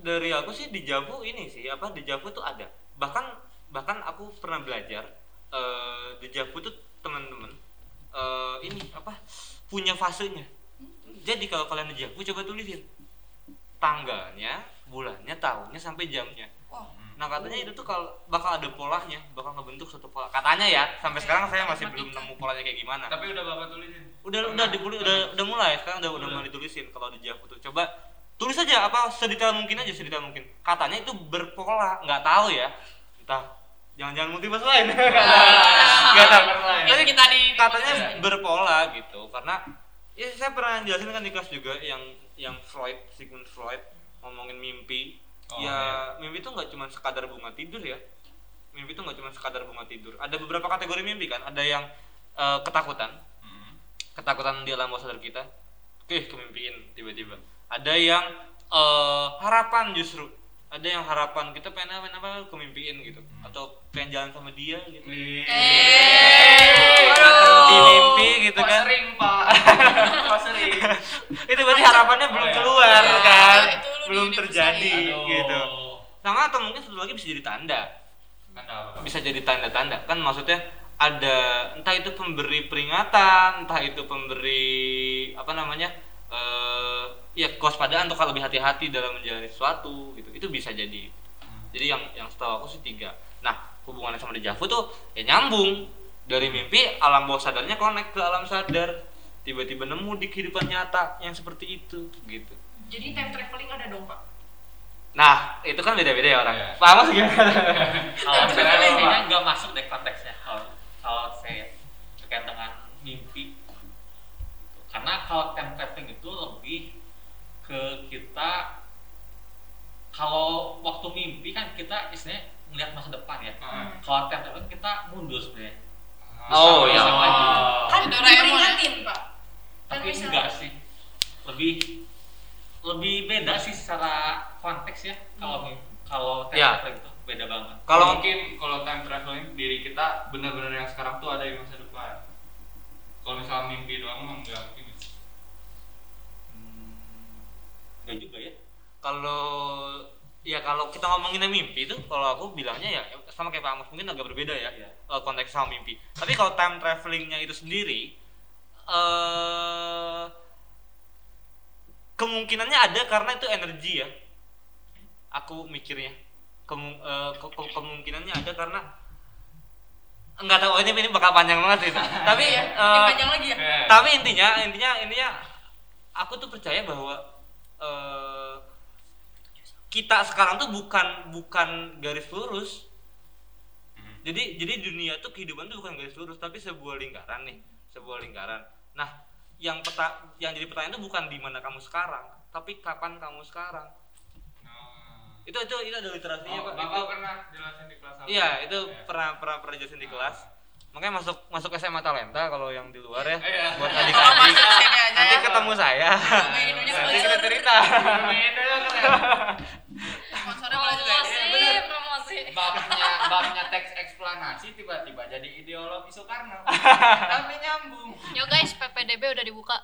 [SPEAKER 4] dari aku sih di Javu ini sih apa di Javu tuh ada. Bahkan bahkan aku pernah belajar eh di Javu tuh teman-teman eh ini apa punya fasenya. Jadi kalau kalian di Javu coba tulisin tanggalnya, bulannya, tahunnya sampai jamnya. Nah katanya itu tuh kalau bakal ada polanya, bakal ngebentuk satu pola. Katanya ya, sampai sekarang saya masih belum nemu polanya kayak gimana.
[SPEAKER 1] tapi udah Bapak tulisin.
[SPEAKER 4] Udah
[SPEAKER 1] Pernah.
[SPEAKER 4] udah dipuli, udah udah mulai sekarang udah udah
[SPEAKER 1] Udah.
[SPEAKER 4] mulai ditulisin kalau di Javu tuh. Coba tulis aja apa sedetail mungkin aja sedetail mungkin. Katanya itu berpola, nggak tahu ya. Entah jangan-jangan multiverse lain. (laughs) Nggak tahu.
[SPEAKER 1] Pernah ya?
[SPEAKER 4] Tadi
[SPEAKER 5] Kita di-
[SPEAKER 4] katanya
[SPEAKER 1] Iya.
[SPEAKER 4] berpola gitu karena ya saya pernah jelasin kan di kelas juga yang yang Freud Sigmund Freud ngomongin mimpi
[SPEAKER 1] Oh,
[SPEAKER 4] ya mimpi itu nggak cuma sekadar bunga tidur ya mimpi itu nggak cuma sekadar bunga tidur ada beberapa kategori mimpi kan ada yang eh, ketakutan
[SPEAKER 1] Hmm.
[SPEAKER 4] ketakutan di alam bawah sadar kita oke kemimpiin tiba-tiba ada yang eh, harapan justru ada yang harapan kita pengen apa, pengen apa kemimpiin gitu atau pengen jalan sama dia gitu
[SPEAKER 1] Iya. Waduh.
[SPEAKER 4] Di mimpi gitu
[SPEAKER 1] Kok
[SPEAKER 4] kan.
[SPEAKER 1] sering
[SPEAKER 4] (laughs)
[SPEAKER 1] pak Kok sering
[SPEAKER 4] itu berarti harapannya belum
[SPEAKER 1] iya.
[SPEAKER 4] keluar
[SPEAKER 5] Iya,
[SPEAKER 4] kan
[SPEAKER 5] itu lu
[SPEAKER 4] belum
[SPEAKER 5] di- di
[SPEAKER 4] terjadi
[SPEAKER 6] Aduh.
[SPEAKER 4] gitu sama atau mungkin satu lagi bisa jadi tanda
[SPEAKER 6] Kata apa?
[SPEAKER 4] bisa jadi tanda-tanda kan maksudnya ada entah itu pemberi peringatan entah itu pemberi apa namanya eh ya kewaspadaan untuk lebih hati-hati dalam menjalani sesuatu gitu itu bisa jadi jadi yang yang setahu aku sih tiga nah hubungannya sama di Javu tuh ya nyambung dari mimpi alam bawah sadarnya connect ke alam sadar tiba-tiba nemu di kehidupan nyata yang seperti itu gitu
[SPEAKER 5] Jadi time traveling ada dong pak?
[SPEAKER 4] nah itu kan beda-beda ya orang
[SPEAKER 1] Iya.
[SPEAKER 4] paham Mas, gimana
[SPEAKER 6] Kalau
[SPEAKER 5] Tapi
[SPEAKER 6] saya
[SPEAKER 5] boleh.
[SPEAKER 6] kayaknya nggak masuk deh konteksnya kalau kalau saya terkait dengan mimpi. Karena kalau time traveling itu lebih ke kita kalau waktu mimpi kan kita istilahnya melihat masa depan ya.
[SPEAKER 1] Hmm.
[SPEAKER 6] Kalau time traveling kita mundur sebenarnya.
[SPEAKER 1] Ah.
[SPEAKER 4] Oh, iya.
[SPEAKER 6] Bisa maju.
[SPEAKER 5] Kan
[SPEAKER 2] Doraemon ya?
[SPEAKER 5] diperingatin pak. Kan
[SPEAKER 6] Tapi
[SPEAKER 5] bisa-
[SPEAKER 6] enggak sih. Lebih lebih beda sih secara konteks ya kalau mimpi- kalau gitu. time
[SPEAKER 4] Iya.
[SPEAKER 6] traveling itu beda banget.
[SPEAKER 1] kalau
[SPEAKER 4] Kalau-
[SPEAKER 1] mungkin kalau time traveling diri kita benar-benar yang sekarang tuh ada di masa depan kalau misalnya mimpi doang emang nggak mungkin
[SPEAKER 6] Enggak juga ya.
[SPEAKER 4] kalau ya kalau kita ngomongin mimpi itu kalau aku bilangnya ya sama kayak Pak Amos mungkin agak berbeda ya
[SPEAKER 6] Iya.
[SPEAKER 4] eh, konteks sama mimpi tapi kalau time travelingnya itu sendiri eh kemungkinannya ada karena itu energi ya aku mikirnya Kemu- eh, ke- ke- kemungkinannya ada karena nggak tahu ini ini bakal panjang banget itu tapi
[SPEAKER 5] Iya,
[SPEAKER 4] eh,
[SPEAKER 5] Ini panjang lagi ya?
[SPEAKER 4] tapi intinya intinya intinya aku tuh percaya bahwa eh, kita sekarang tuh bukan bukan garis lurus jadi jadi dunia tuh kehidupan tuh bukan garis lurus tapi sebuah lingkaran nih sebuah lingkaran nah yang peta yang jadi pertanyaan tuh bukan di mana kamu sekarang tapi kapan kamu sekarang itu itu itu ada literasinya
[SPEAKER 1] Iya,
[SPEAKER 4] pak
[SPEAKER 1] Nah, Bapak
[SPEAKER 4] Itu-
[SPEAKER 1] pernah jelasin di kelas satu.
[SPEAKER 4] iya itu
[SPEAKER 1] Iya.
[SPEAKER 4] pernah pernah pernah jelasin di
[SPEAKER 1] Ah.
[SPEAKER 4] kelas makanya masuk masuk SMA talenta kalau yang di luar ya
[SPEAKER 1] Iya.
[SPEAKER 4] buat
[SPEAKER 5] Kalau
[SPEAKER 4] adik-adik
[SPEAKER 5] masuk sini aja
[SPEAKER 4] nanti
[SPEAKER 5] ya.
[SPEAKER 4] ketemu saya
[SPEAKER 5] (laughs) Sama Indonya
[SPEAKER 4] nanti
[SPEAKER 5] sponsor.
[SPEAKER 4] kita cerita (laughs)
[SPEAKER 1] Beda kan.
[SPEAKER 5] Sponsornya boleh juga ya?
[SPEAKER 2] promosi
[SPEAKER 1] bener.
[SPEAKER 2] promosi
[SPEAKER 1] Babnya babnya teks eksplanasi tiba-tiba jadi ideologi
[SPEAKER 4] (laughs)
[SPEAKER 1] Soekarno. Tapi nyambung. Iya,
[SPEAKER 2] yo guys PPDB udah dibuka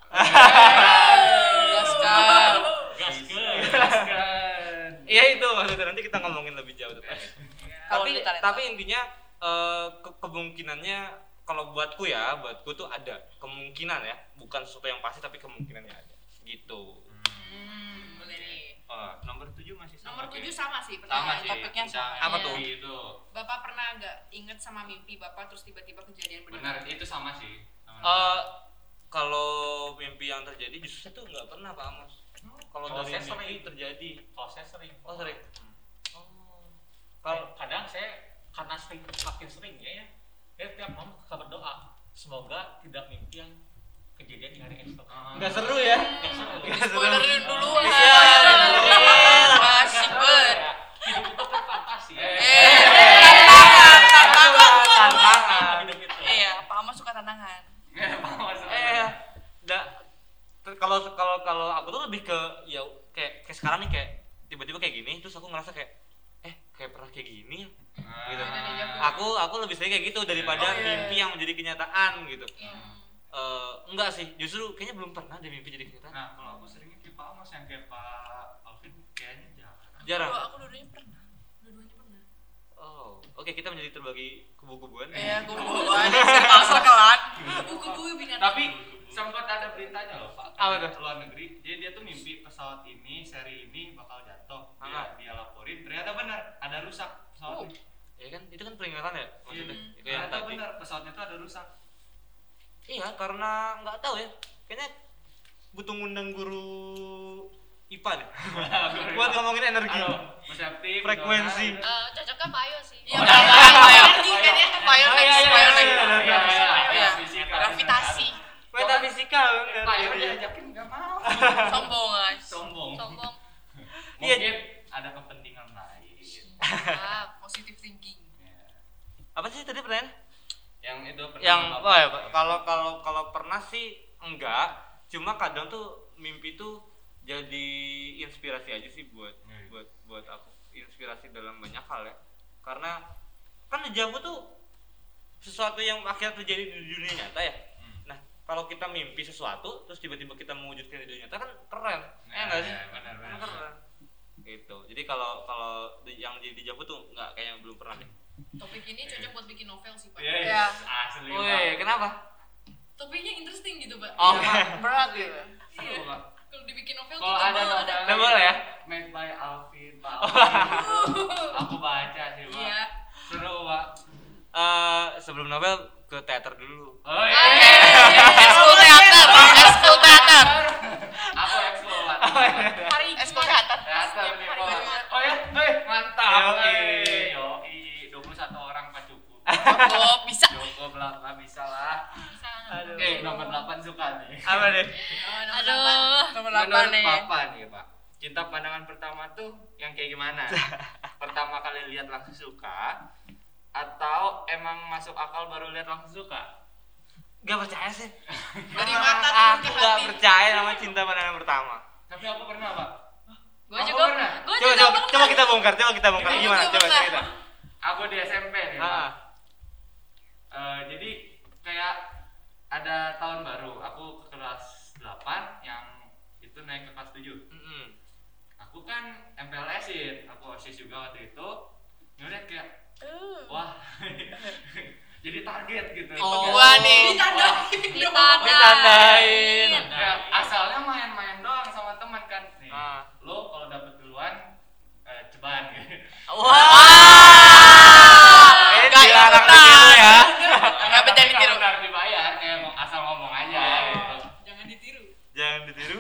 [SPEAKER 5] Gaskan.
[SPEAKER 6] Gas ke.
[SPEAKER 1] Jelaskan.
[SPEAKER 4] iya itu maksudnya nanti kita ngomongin lebih jauh tentang itu.
[SPEAKER 5] Kalau
[SPEAKER 4] tapi
[SPEAKER 5] di talenta.
[SPEAKER 4] tapi intinya eh, ke- kemungkinannya kalau buatku ya buatku tuh ada kemungkinan ya bukan sesuatu yang pasti tapi kemungkinannya ada gitu
[SPEAKER 5] Hmm, boleh nih.
[SPEAKER 4] Eh, nomor tujuh masih sama
[SPEAKER 5] Nomor
[SPEAKER 4] Oke.
[SPEAKER 5] tujuh sama sih
[SPEAKER 1] Sama
[SPEAKER 5] pertanyaan
[SPEAKER 1] sih.
[SPEAKER 5] topiknya
[SPEAKER 1] tentang
[SPEAKER 5] sama.
[SPEAKER 4] Apa
[SPEAKER 5] Iya.
[SPEAKER 4] tuh?
[SPEAKER 1] Itu.
[SPEAKER 5] Bapak pernah nggak inget sama mimpi bapak terus tiba-tiba kejadian
[SPEAKER 1] Benar, itu sama sih. Sama.
[SPEAKER 6] Oh,
[SPEAKER 4] Eh, kalau mimpi yang terjadi justru saya tuh nggak pernah Pak Amos. Kalau
[SPEAKER 6] Kalau
[SPEAKER 4] dari
[SPEAKER 6] saya
[SPEAKER 4] mimpi
[SPEAKER 6] sering.
[SPEAKER 4] terjadi.
[SPEAKER 6] Kalau saya sering.
[SPEAKER 4] Oh, sering.
[SPEAKER 6] Kalau
[SPEAKER 4] Kalau
[SPEAKER 6] kadang saya karena sering makin sering ya, ya saya tiap malam suka berdoa semoga tidak mimpi yang kejadian di hari esok.
[SPEAKER 1] Ah.
[SPEAKER 4] nggak seru ya?
[SPEAKER 6] Nggak seru.
[SPEAKER 5] Spoilerin dulu
[SPEAKER 4] Iya,
[SPEAKER 5] ah.
[SPEAKER 4] iya.
[SPEAKER 5] Masih ber.
[SPEAKER 6] Ya, Hidup itu kan fantasi ya. kan
[SPEAKER 1] Eh.
[SPEAKER 5] tantangan, tantangan.
[SPEAKER 4] Tantangan.
[SPEAKER 6] Hidup itu.
[SPEAKER 5] Iya, Pak Amos suka tantangan.
[SPEAKER 6] Nah.
[SPEAKER 4] Eh, nggak. Ter- Kalau kalau kalau aku tuh lebih ke ya kayak kayak sekarang nih kayak tiba-tiba kayak gini terus aku ngerasa kayak eh kayak pernah kayak gini ya. Gitu. Aku aku lebih sering kayak gitu daripada
[SPEAKER 5] Ah. Oh, iya,
[SPEAKER 4] mimpi
[SPEAKER 5] iya.
[SPEAKER 4] yang menjadi kenyataan gitu.
[SPEAKER 5] Iya.
[SPEAKER 4] Eh, enggak sih, justru kayaknya belum pernah deh mimpi jadi
[SPEAKER 5] Ah.
[SPEAKER 4] kenyataan.
[SPEAKER 1] Nah, kalau aku seringnya kayak Pak Amos yang kayak Pak Alvin kayaknya jarang.
[SPEAKER 4] Jarang.
[SPEAKER 5] Dua- aku dua-duanya pernah. Dua-duanya pernah.
[SPEAKER 4] Oh, oke kita menjadi terbagi kubu-kubuan.
[SPEAKER 5] Iya, gue bukan. Serkel-serkelan. Buku-buku binatang.
[SPEAKER 1] Tapi sempat ada beritanya loh Pak.
[SPEAKER 4] Apa tuh?
[SPEAKER 1] Dari Luar negeri. Jadi dia tuh mimpi pesawat ini, seri ini bakal jatuh. Dia,
[SPEAKER 4] Ah.
[SPEAKER 1] dia laporin, ternyata benar ada rusak pesawatnya.
[SPEAKER 4] Ya kan, itu kan peringatan ya
[SPEAKER 1] Hmm.
[SPEAKER 4] maksudnya. Iya. Kayak
[SPEAKER 5] Iya,
[SPEAKER 4] yang
[SPEAKER 1] Ternyata
[SPEAKER 4] tadi.
[SPEAKER 1] benar pesawatnya tuh ada rusak.
[SPEAKER 4] Iya, karena nggak tahu ya. Kayaknya butuh ngundang guru IPA
[SPEAKER 5] (laughs)
[SPEAKER 4] deh. (laughs) Buat ngomongin energi.
[SPEAKER 1] Halo, Mas Septi,
[SPEAKER 4] Frekuensi.
[SPEAKER 1] Dona.
[SPEAKER 2] Eh, cocoknya Payo sih
[SPEAKER 5] Iya, Pak
[SPEAKER 1] Payo.
[SPEAKER 5] kan ya. Payo
[SPEAKER 4] Payo,
[SPEAKER 5] next,
[SPEAKER 4] Oh, iya,
[SPEAKER 5] Payo
[SPEAKER 4] iya,
[SPEAKER 5] next.
[SPEAKER 1] Iya, iya, iya,
[SPEAKER 5] Iya.
[SPEAKER 1] fisika.
[SPEAKER 5] Gravitasi.
[SPEAKER 4] Metafisika
[SPEAKER 1] Eh, Pak Yon diajakin nggak
[SPEAKER 4] (laughs)
[SPEAKER 1] mau.
[SPEAKER 5] Sombong, guys.
[SPEAKER 1] Sombong.
[SPEAKER 2] sombong
[SPEAKER 4] Iya.
[SPEAKER 1] Mungkin ada kepentingan lain. Iya.
[SPEAKER 5] Ah, positive
[SPEAKER 4] (laughs)
[SPEAKER 5] thinking.
[SPEAKER 1] Ya.
[SPEAKER 4] Apa sih tadi pertanyaan?
[SPEAKER 1] Yang itu pernah
[SPEAKER 4] Yang
[SPEAKER 1] Bapak-
[SPEAKER 4] oh ya, kalau kalau kalau pernah sih enggak, cuma kadang tuh mimpi tuh jadi inspirasi aja sih buat
[SPEAKER 1] Hmm.
[SPEAKER 4] buat buat aku. inspirasi dalam banyak hal ya karena kan dejavu tuh sesuatu yang akhirnya terjadi di dunia nyata ya
[SPEAKER 1] Hmm.
[SPEAKER 4] nah kalau kita mimpi sesuatu terus tiba-tiba kita mewujudkan di dunia nyata kan keren ya nggak sih
[SPEAKER 1] Nah, benar
[SPEAKER 4] Kan keren gitu jadi kalau kalau di- yang jadi dejavu tuh nggak kayaknya belum pernah deh
[SPEAKER 2] Topik ini cocok buat bikin novel sih, Pak.
[SPEAKER 1] Yes,
[SPEAKER 7] Iya.
[SPEAKER 1] Ah, asli
[SPEAKER 4] Woi,
[SPEAKER 1] banget.
[SPEAKER 4] kenapa?
[SPEAKER 2] Topiknya interesting gitu, Pak.
[SPEAKER 4] Oke.
[SPEAKER 7] berat gitu
[SPEAKER 5] ya.
[SPEAKER 1] Seru banget.
[SPEAKER 2] Kalau dibikin novel
[SPEAKER 1] Kalau
[SPEAKER 2] tuh
[SPEAKER 1] ada
[SPEAKER 2] tebal,
[SPEAKER 1] novel
[SPEAKER 4] Nah, boleh ya?
[SPEAKER 1] made by Alvin,
[SPEAKER 4] (laughs)
[SPEAKER 1] Pak Alvin. Aku baca sih, Pak.
[SPEAKER 2] Iya.
[SPEAKER 1] Seru, Pak.
[SPEAKER 4] Eh, sebelum novel ke teater dulu.
[SPEAKER 1] Oh, iya.
[SPEAKER 4] (laughs)
[SPEAKER 7] Eskul Oh, teater, eskul teater.
[SPEAKER 1] Aku eksplo, Pak.
[SPEAKER 4] Oh, iya.
[SPEAKER 2] Hari
[SPEAKER 7] Eskul
[SPEAKER 2] Jumat.
[SPEAKER 7] teater.
[SPEAKER 1] Teater nih,
[SPEAKER 2] Hari
[SPEAKER 1] Pak.
[SPEAKER 2] Jumat.
[SPEAKER 1] Oh ya, eh mantap.
[SPEAKER 4] Yoi.
[SPEAKER 1] Eh, Yoi, 21 orang Pak
[SPEAKER 4] (laughs)
[SPEAKER 1] cukup.
[SPEAKER 7] Cukup bisa.
[SPEAKER 1] Cukup lah, Pak, bisa lah.
[SPEAKER 2] Bisa.
[SPEAKER 1] Aduh, eh, nomor 8 suka nih.
[SPEAKER 4] Apa deh?
[SPEAKER 2] Oh, nomor delapan.
[SPEAKER 7] Aduh.
[SPEAKER 5] nomor
[SPEAKER 1] Menurut
[SPEAKER 5] 8 nih
[SPEAKER 1] Papa nih, Pak. Cinta pandangan pertama tuh yang kayak
[SPEAKER 4] (laughs)
[SPEAKER 1] gimana? pertama kali lihat langsung suka atau emang masuk akal baru lihat langsung suka?
[SPEAKER 4] Gak percaya sih.
[SPEAKER 2] Dari mata turun
[SPEAKER 4] aku
[SPEAKER 2] ke
[SPEAKER 4] gak
[SPEAKER 2] hati.
[SPEAKER 4] percaya sama cinta pandangan pertama.
[SPEAKER 1] Tapi aku pernah, Pak.
[SPEAKER 7] Gue
[SPEAKER 1] Aku
[SPEAKER 7] juga,
[SPEAKER 1] pernah.
[SPEAKER 7] gue
[SPEAKER 4] Coba
[SPEAKER 7] juga
[SPEAKER 4] coba,
[SPEAKER 7] pernah.
[SPEAKER 4] coba kita bongkar, coba kita bongkar
[SPEAKER 2] Gimana,
[SPEAKER 4] gimana? Coba
[SPEAKER 2] gimana?
[SPEAKER 4] cerita.
[SPEAKER 1] Aku di SMP nih, Pak.
[SPEAKER 4] Ah,
[SPEAKER 1] Eh, jadi kayak ada tahun baru, aku ke kelas 8 yang itu naik ke kelas 7.
[SPEAKER 4] mm-mm.
[SPEAKER 1] aku kan MPLS-in, aku OSIS juga waktu itu. Ngeliat kayak wah. (laughs) jadi target gitu.
[SPEAKER 4] Oh.
[SPEAKER 7] Gua nih.
[SPEAKER 2] Ditandai.
[SPEAKER 7] Ditandai.
[SPEAKER 4] Ditandain.
[SPEAKER 1] Ya, asalnya main-main doang sama teman kan. Nih,
[SPEAKER 4] Ah.
[SPEAKER 1] lo kalau dapet duluan eh, ceban (laughs) gitu.
[SPEAKER 4] Wah. Ini
[SPEAKER 7] Gak
[SPEAKER 4] dilarang
[SPEAKER 7] ikutan.
[SPEAKER 4] ditiru
[SPEAKER 7] (laughs)
[SPEAKER 4] ya.
[SPEAKER 1] Enggak
[SPEAKER 7] betul ditiru.
[SPEAKER 1] dibayar kayak mau asal ngomong aja gitu.
[SPEAKER 2] Jangan ditiru.
[SPEAKER 4] Jangan ditiru.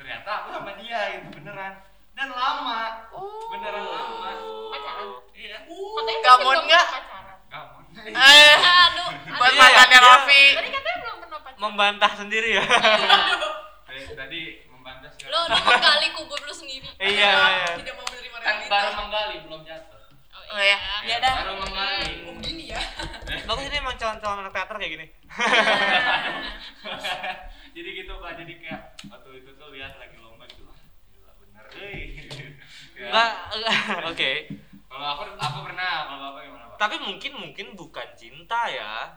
[SPEAKER 1] Ternyata aku sama dia gitu beneran. Dan lama. Beneran lama.
[SPEAKER 2] Pacaran. Oh.
[SPEAKER 1] Iya.
[SPEAKER 2] Katanya
[SPEAKER 7] Gak
[SPEAKER 2] belum
[SPEAKER 7] mau
[SPEAKER 2] pernah
[SPEAKER 7] enggak?
[SPEAKER 2] pacaran.
[SPEAKER 1] Gampang.
[SPEAKER 7] Eh,
[SPEAKER 2] Aduh.
[SPEAKER 7] buat
[SPEAKER 4] Iya,
[SPEAKER 7] makannya
[SPEAKER 4] dia-
[SPEAKER 7] Raffi.
[SPEAKER 2] Tadi katanya belum pernah pacaran.
[SPEAKER 4] Membantah
[SPEAKER 7] (laughs)
[SPEAKER 4] sendiri ya.
[SPEAKER 1] Eh, Tadi membantah segala-
[SPEAKER 7] Lo udah menggali kubur lu sendiri.
[SPEAKER 4] Iya. iya.
[SPEAKER 2] Tidak mau menerima
[SPEAKER 1] kan baru
[SPEAKER 2] realita.
[SPEAKER 1] menggali belum jatuh
[SPEAKER 7] Oh iya.
[SPEAKER 2] Ya dah.
[SPEAKER 1] baru menggali
[SPEAKER 5] Oh,
[SPEAKER 2] Hmm, Gini ya.
[SPEAKER 4] Bagus ini emang calon-calon anak teater kayak gini.
[SPEAKER 1] jadi gitu pak jadi kayak waktu itu tuh lihat lagi lomba gitu wah gila bener eh (laughs) Ya.
[SPEAKER 4] Enggak, (laughs) oke.
[SPEAKER 1] kalau aku aku pernah kalau bapak gimana pak
[SPEAKER 4] Tapi mungkin mungkin bukan cinta ya.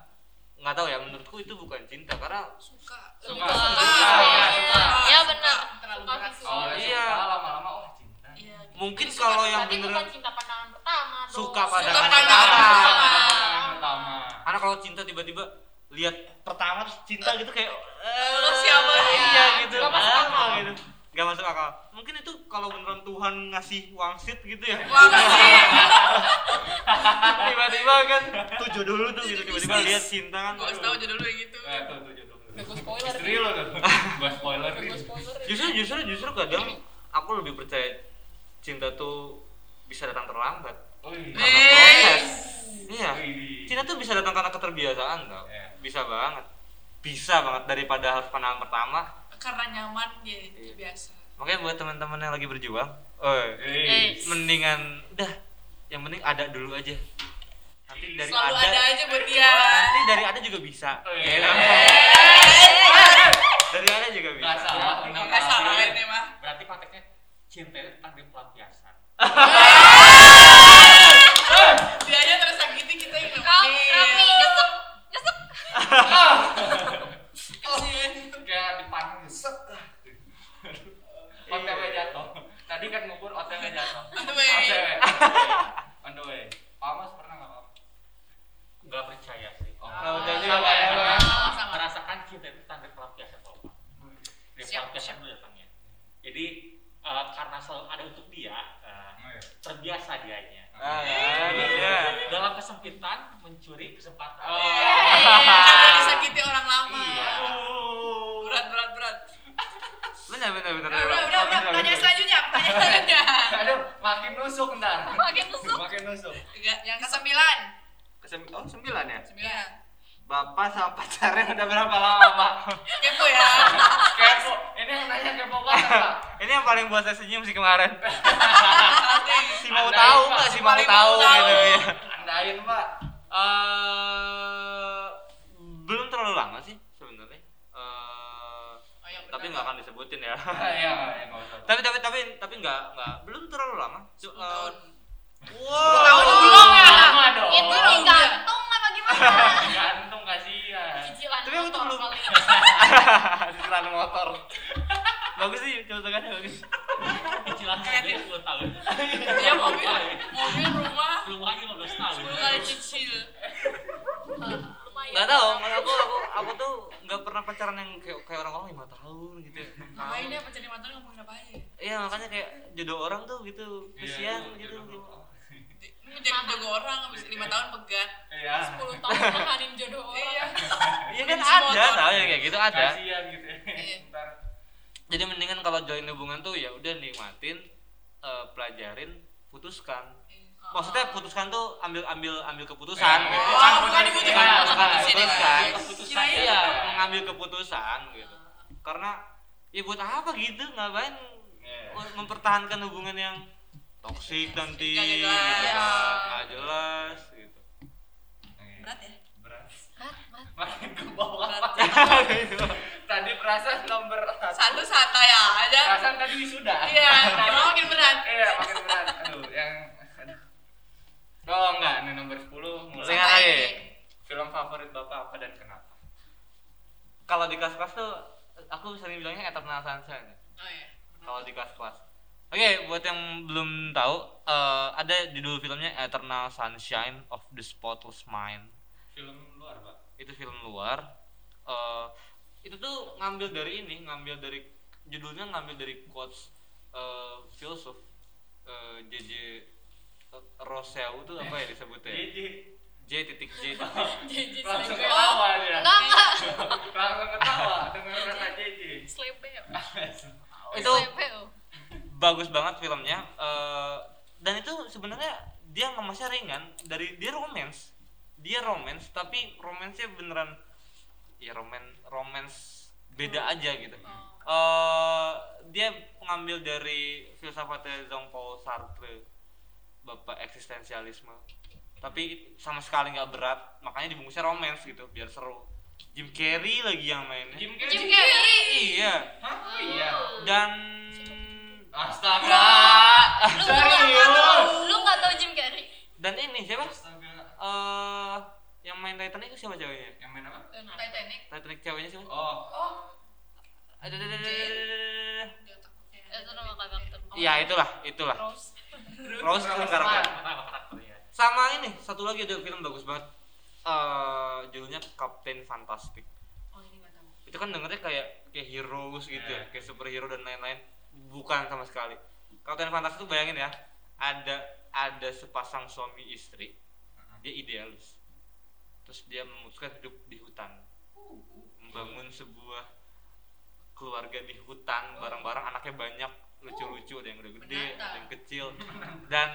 [SPEAKER 4] Nggak tahu ya menurutku itu bukan cinta karena
[SPEAKER 5] suka
[SPEAKER 1] Suka.
[SPEAKER 5] Lebih
[SPEAKER 1] Suka.
[SPEAKER 5] Iya,
[SPEAKER 1] Suka.
[SPEAKER 5] suka.
[SPEAKER 7] Iya, benar.
[SPEAKER 5] terlalu
[SPEAKER 2] Suka
[SPEAKER 5] berat
[SPEAKER 2] visual.
[SPEAKER 1] oh
[SPEAKER 4] Iya.
[SPEAKER 1] iya lama-lama wah cinta
[SPEAKER 2] Iya. gitu.
[SPEAKER 4] mungkin
[SPEAKER 2] Jadi
[SPEAKER 4] kalau
[SPEAKER 2] suka-
[SPEAKER 4] Oh, yang
[SPEAKER 2] berarti
[SPEAKER 4] beneran
[SPEAKER 2] bukan cinta pandangan pertama dong.
[SPEAKER 4] Suka
[SPEAKER 5] pandangan
[SPEAKER 1] Pertama,
[SPEAKER 5] pertama.
[SPEAKER 1] pertama, pertama
[SPEAKER 4] karena kalau cinta tiba-tiba lihat pertama terus cinta gitu kayak eh,
[SPEAKER 2] Lu siapa ya?
[SPEAKER 4] iya gitu
[SPEAKER 2] Gak masuk
[SPEAKER 4] Ah,
[SPEAKER 2] akal.
[SPEAKER 4] gitu gak masuk akal mungkin itu kalau beneran Tuhan ngasih wangsit gitu ya (laughs) tiba-tiba kan tuh jodoh lu tuh gitu tiba-tiba
[SPEAKER 5] Bisnis.
[SPEAKER 4] lihat cinta kan
[SPEAKER 5] gue kasih tau judul lu yang gitu
[SPEAKER 1] eh tuh tuh jodoh lu.
[SPEAKER 2] Gak gua spoiler.
[SPEAKER 1] istri lo tuh gua spoiler nih
[SPEAKER 2] Gua spoiler.
[SPEAKER 4] justru justru justru kadang aku lebih percaya cinta tuh bisa datang terlambat
[SPEAKER 1] Wih.
[SPEAKER 4] karena proses iya
[SPEAKER 1] Wih.
[SPEAKER 4] cinta tuh bisa datang karena keterbiasaan tau
[SPEAKER 1] Iya.
[SPEAKER 4] bisa banget bisa banget daripada harus pandangan pertama
[SPEAKER 5] karena nyaman ya itu
[SPEAKER 4] Iya.
[SPEAKER 5] biasa
[SPEAKER 4] makanya buat teman-teman yang lagi berjuang eh
[SPEAKER 1] Eh,
[SPEAKER 4] mendingan udah yang penting ada dulu aja nanti dari
[SPEAKER 5] selalu
[SPEAKER 4] ada,
[SPEAKER 5] ada aja buat dia
[SPEAKER 4] nanti dari ada juga bisa
[SPEAKER 1] Eh.
[SPEAKER 4] Ya, dari ada juga bisa
[SPEAKER 1] nggak salah bener.
[SPEAKER 5] Iya. nggak salah ini mah
[SPEAKER 1] berarti konteksnya cinta itu tadi pelampiasan
[SPEAKER 5] dia aja tersakiti kita yang
[SPEAKER 7] Kau, Raffi,
[SPEAKER 5] nemenin
[SPEAKER 7] nyesek, nyesek.
[SPEAKER 1] kayak dipanggil set OTW jatuh tadi kan ngukur OTW jatuh
[SPEAKER 5] On the way.
[SPEAKER 1] OTW. on the way Pamas pernah nggak Pak?
[SPEAKER 8] nggak percaya sih
[SPEAKER 1] Oh,
[SPEAKER 4] Nggak percaya juga,
[SPEAKER 1] sama ya,
[SPEAKER 4] Pak.
[SPEAKER 1] Pak.
[SPEAKER 5] sama
[SPEAKER 8] merasakan cinta itu tanda pelampiasan kalau Pak. Dari
[SPEAKER 5] Siap,
[SPEAKER 8] pelampiasan dulu datangnya jadi eh, karena selalu ada untuk dia eh,
[SPEAKER 1] Oh, iya.
[SPEAKER 8] terbiasa dianya
[SPEAKER 4] Ah, iya.
[SPEAKER 8] dalam kesempitan mencuri kesempatan
[SPEAKER 5] Iya,
[SPEAKER 1] Oh.
[SPEAKER 5] karena disakiti orang lama
[SPEAKER 8] Iya.
[SPEAKER 5] berat berat berat
[SPEAKER 4] benar benar
[SPEAKER 5] udah
[SPEAKER 4] benar
[SPEAKER 5] udah
[SPEAKER 4] benar.
[SPEAKER 5] udah
[SPEAKER 4] Benar,
[SPEAKER 5] pertanyaan
[SPEAKER 4] benar.
[SPEAKER 5] selanjutnya pertanyaan selanjutnya
[SPEAKER 1] aduh makin nusuk ntar
[SPEAKER 7] Makin tusuk.
[SPEAKER 1] makin nusuk
[SPEAKER 5] Enggak, yang kesembilan
[SPEAKER 1] Kesem oh sembilan ya
[SPEAKER 5] sembilan
[SPEAKER 1] bapak sama pacarnya udah berapa lama pak
[SPEAKER 5] kepo ya (laughs)
[SPEAKER 1] kepo ini yang nanya kepo banget pak
[SPEAKER 4] ini yang paling buat saya senyum sih kemarin si mau
[SPEAKER 1] Andai,
[SPEAKER 4] tahu
[SPEAKER 1] Pak.
[SPEAKER 4] nggak si
[SPEAKER 1] Si
[SPEAKER 4] mau
[SPEAKER 1] paling
[SPEAKER 4] tahu
[SPEAKER 1] mau tahu.
[SPEAKER 4] gitu ya
[SPEAKER 1] andain pak
[SPEAKER 4] Eh, belum terlalu lama sih sebenarnya Eh,
[SPEAKER 5] Oh, iya, yang
[SPEAKER 4] tapi
[SPEAKER 5] pertama.
[SPEAKER 4] nggak akan disebutin ya (laughs)
[SPEAKER 1] Ah, iya iya nggak usah Pak.
[SPEAKER 4] tapi tapi tapi tapi nggak nggak belum terlalu lama. Cu- eh,
[SPEAKER 3] Sepuluh
[SPEAKER 4] wow.
[SPEAKER 3] tahun
[SPEAKER 4] (laughs)
[SPEAKER 3] belum ya?
[SPEAKER 6] Lama dong.
[SPEAKER 1] Oh,
[SPEAKER 2] Itu
[SPEAKER 1] iya.
[SPEAKER 2] digantung apa gimana?
[SPEAKER 6] Gantung kasihan.
[SPEAKER 3] Cicilan
[SPEAKER 4] Tapi aku tuh
[SPEAKER 3] motor
[SPEAKER 4] belum-
[SPEAKER 3] paling.
[SPEAKER 4] Cicilan motor. (laughs) bagus sih contohnya bagus.
[SPEAKER 6] Cicilan kredit 10 tahun.
[SPEAKER 3] Dia mobil, mobil rumah,
[SPEAKER 6] Belum lagi 15 tahun.
[SPEAKER 3] sepuluh kali cicil. Ah,
[SPEAKER 9] gitu.
[SPEAKER 3] lumayan.
[SPEAKER 4] Gak tau, malah aku aku aku tuh nggak pernah pacaran yang kayak kayak orang-orang lima tahun gitu. enam tahun.
[SPEAKER 3] Ngapain ya pencari mantan ngomongin apa aja?
[SPEAKER 4] Iya makanya kayak jodoh orang tuh gitu
[SPEAKER 6] Iya,
[SPEAKER 4] kesian gitu.
[SPEAKER 5] Ini Menjadi jago orang habis 5 tahun pegat.
[SPEAKER 6] Iya.
[SPEAKER 3] 10 tahun makanin jodoh
[SPEAKER 5] Iya.
[SPEAKER 3] orang.
[SPEAKER 4] Iya kan
[SPEAKER 5] Benci
[SPEAKER 4] ada
[SPEAKER 5] motor.
[SPEAKER 4] tau yang kayak gitu ada.
[SPEAKER 6] Kasihan gitu ya.
[SPEAKER 5] Iya.
[SPEAKER 6] Ntar
[SPEAKER 4] Jadi mendingan kalau join hubungan tuh ya udah nikmatin, eh, pelajarin, putuskan.
[SPEAKER 5] Iya.
[SPEAKER 4] Maksudnya putuskan tuh ambil ambil ambil keputusan.
[SPEAKER 1] Oh,
[SPEAKER 6] Eh,
[SPEAKER 4] gitu.
[SPEAKER 5] Wah, Oh. bukan dibutuhkan
[SPEAKER 4] Iya,
[SPEAKER 5] proses
[SPEAKER 4] bukan,
[SPEAKER 5] di sini.
[SPEAKER 1] ya.
[SPEAKER 4] putuskan.
[SPEAKER 5] Kirain
[SPEAKER 4] Iya, mengambil keputusan gitu. Karena ya buat apa gitu ngapain
[SPEAKER 5] Iya.
[SPEAKER 4] mempertahankan hubungan yang toksik nanti
[SPEAKER 5] Nggak
[SPEAKER 4] gitu
[SPEAKER 5] jelas. Iya.
[SPEAKER 4] kan, nggak jelas gitu. (laughs)
[SPEAKER 5] berat ya?
[SPEAKER 1] Berat.
[SPEAKER 6] makin ke
[SPEAKER 5] Oh,
[SPEAKER 6] bawah.
[SPEAKER 1] Tadi perasaan nomor
[SPEAKER 5] Satu santai aja.
[SPEAKER 1] Perasaan tadi wisuda.
[SPEAKER 5] Iya, malah makin berat.
[SPEAKER 1] Iya, makin berat. Aduh, yang aduh. Oh enggak, ini nomor 10 mulai.
[SPEAKER 4] Ringan aja.
[SPEAKER 1] Film favorit Bapak apa dan kenapa?
[SPEAKER 4] Kalau di kelas-kelas tuh aku sering bilangnya Eternal Sunshine.
[SPEAKER 5] Oh iya.
[SPEAKER 4] kalau di kelas-kelas. Oke, buat yang belum tahu, eh, ada judul filmnya Eternal Sunshine of the Spotless Mind.
[SPEAKER 1] Film luar, Pak.
[SPEAKER 4] Itu film luar. Eh, itu tuh ngambil dari ini, ngambil dari judulnya ngambil dari quotes eh, filsuf eh, JJ Rousseau tuh apa ya disebutnya? J titik J titik
[SPEAKER 3] Jadi
[SPEAKER 1] Langsung
[SPEAKER 3] selebel.
[SPEAKER 1] ketawa dia.
[SPEAKER 2] Oh, Enggak enggak.
[SPEAKER 1] (laughs) Langsung ketawa dengan kata JJ.
[SPEAKER 9] ya?
[SPEAKER 2] Selebel. iya.
[SPEAKER 4] Itu
[SPEAKER 2] Selebel.
[SPEAKER 4] bagus banget filmnya eh, dan itu sebenarnya dia ngemasnya ringan dari dia romance dia romance tapi romansnya beneran ya roman romance beda aja gitu Eh, dia ngambil dari filsafatnya Jean Paul Sartre bapak eksistensialisme tapi sama sekali nggak berat makanya dibungkusnya romance gitu biar seru Jim Carrey lagi yang mainnya
[SPEAKER 1] Jim Carrey.
[SPEAKER 2] Jim Carrey.
[SPEAKER 4] iya
[SPEAKER 1] Hah? Oh Iya.
[SPEAKER 4] dan
[SPEAKER 1] Astaga.
[SPEAKER 2] Lu nggak tahu.
[SPEAKER 1] Serius.
[SPEAKER 2] Lu nggak tahu Jim Carrey.
[SPEAKER 4] dan ini siapa
[SPEAKER 1] Astaga.
[SPEAKER 4] eh yang main Titanic itu siapa ceweknya?
[SPEAKER 1] Yang main apa?
[SPEAKER 5] Titanic
[SPEAKER 4] Titanic ceweknya siapa?
[SPEAKER 1] Oh,
[SPEAKER 4] Ada ada ada ada, ada, ada.
[SPEAKER 5] di otaknya.
[SPEAKER 9] ya.
[SPEAKER 2] Itu nama karakter.
[SPEAKER 4] Iya itulah itulah.
[SPEAKER 5] Rose.
[SPEAKER 4] Rose film karakter.
[SPEAKER 6] Kenapa karakternya?
[SPEAKER 4] Sama ini satu lagi ada film bagus banget. Eh judulnya Captain Fantastic.
[SPEAKER 5] Oh, ini enggak tahu.
[SPEAKER 4] Itu kan dengernya kayak kayak heroes gitu ya, kayak superhero dan lain-lain. Bukan sama sekali. Captain Fantastic itu bayangin ya, ada ada sepasang suami istri. Dia idealis. Terus dia memutuskan hidup di hutan. membangun sebuah keluarga di hutan bareng-bareng anaknya banyak lucu-lucu ada yang udah gede
[SPEAKER 5] Menantang.
[SPEAKER 4] ada yang kecil dan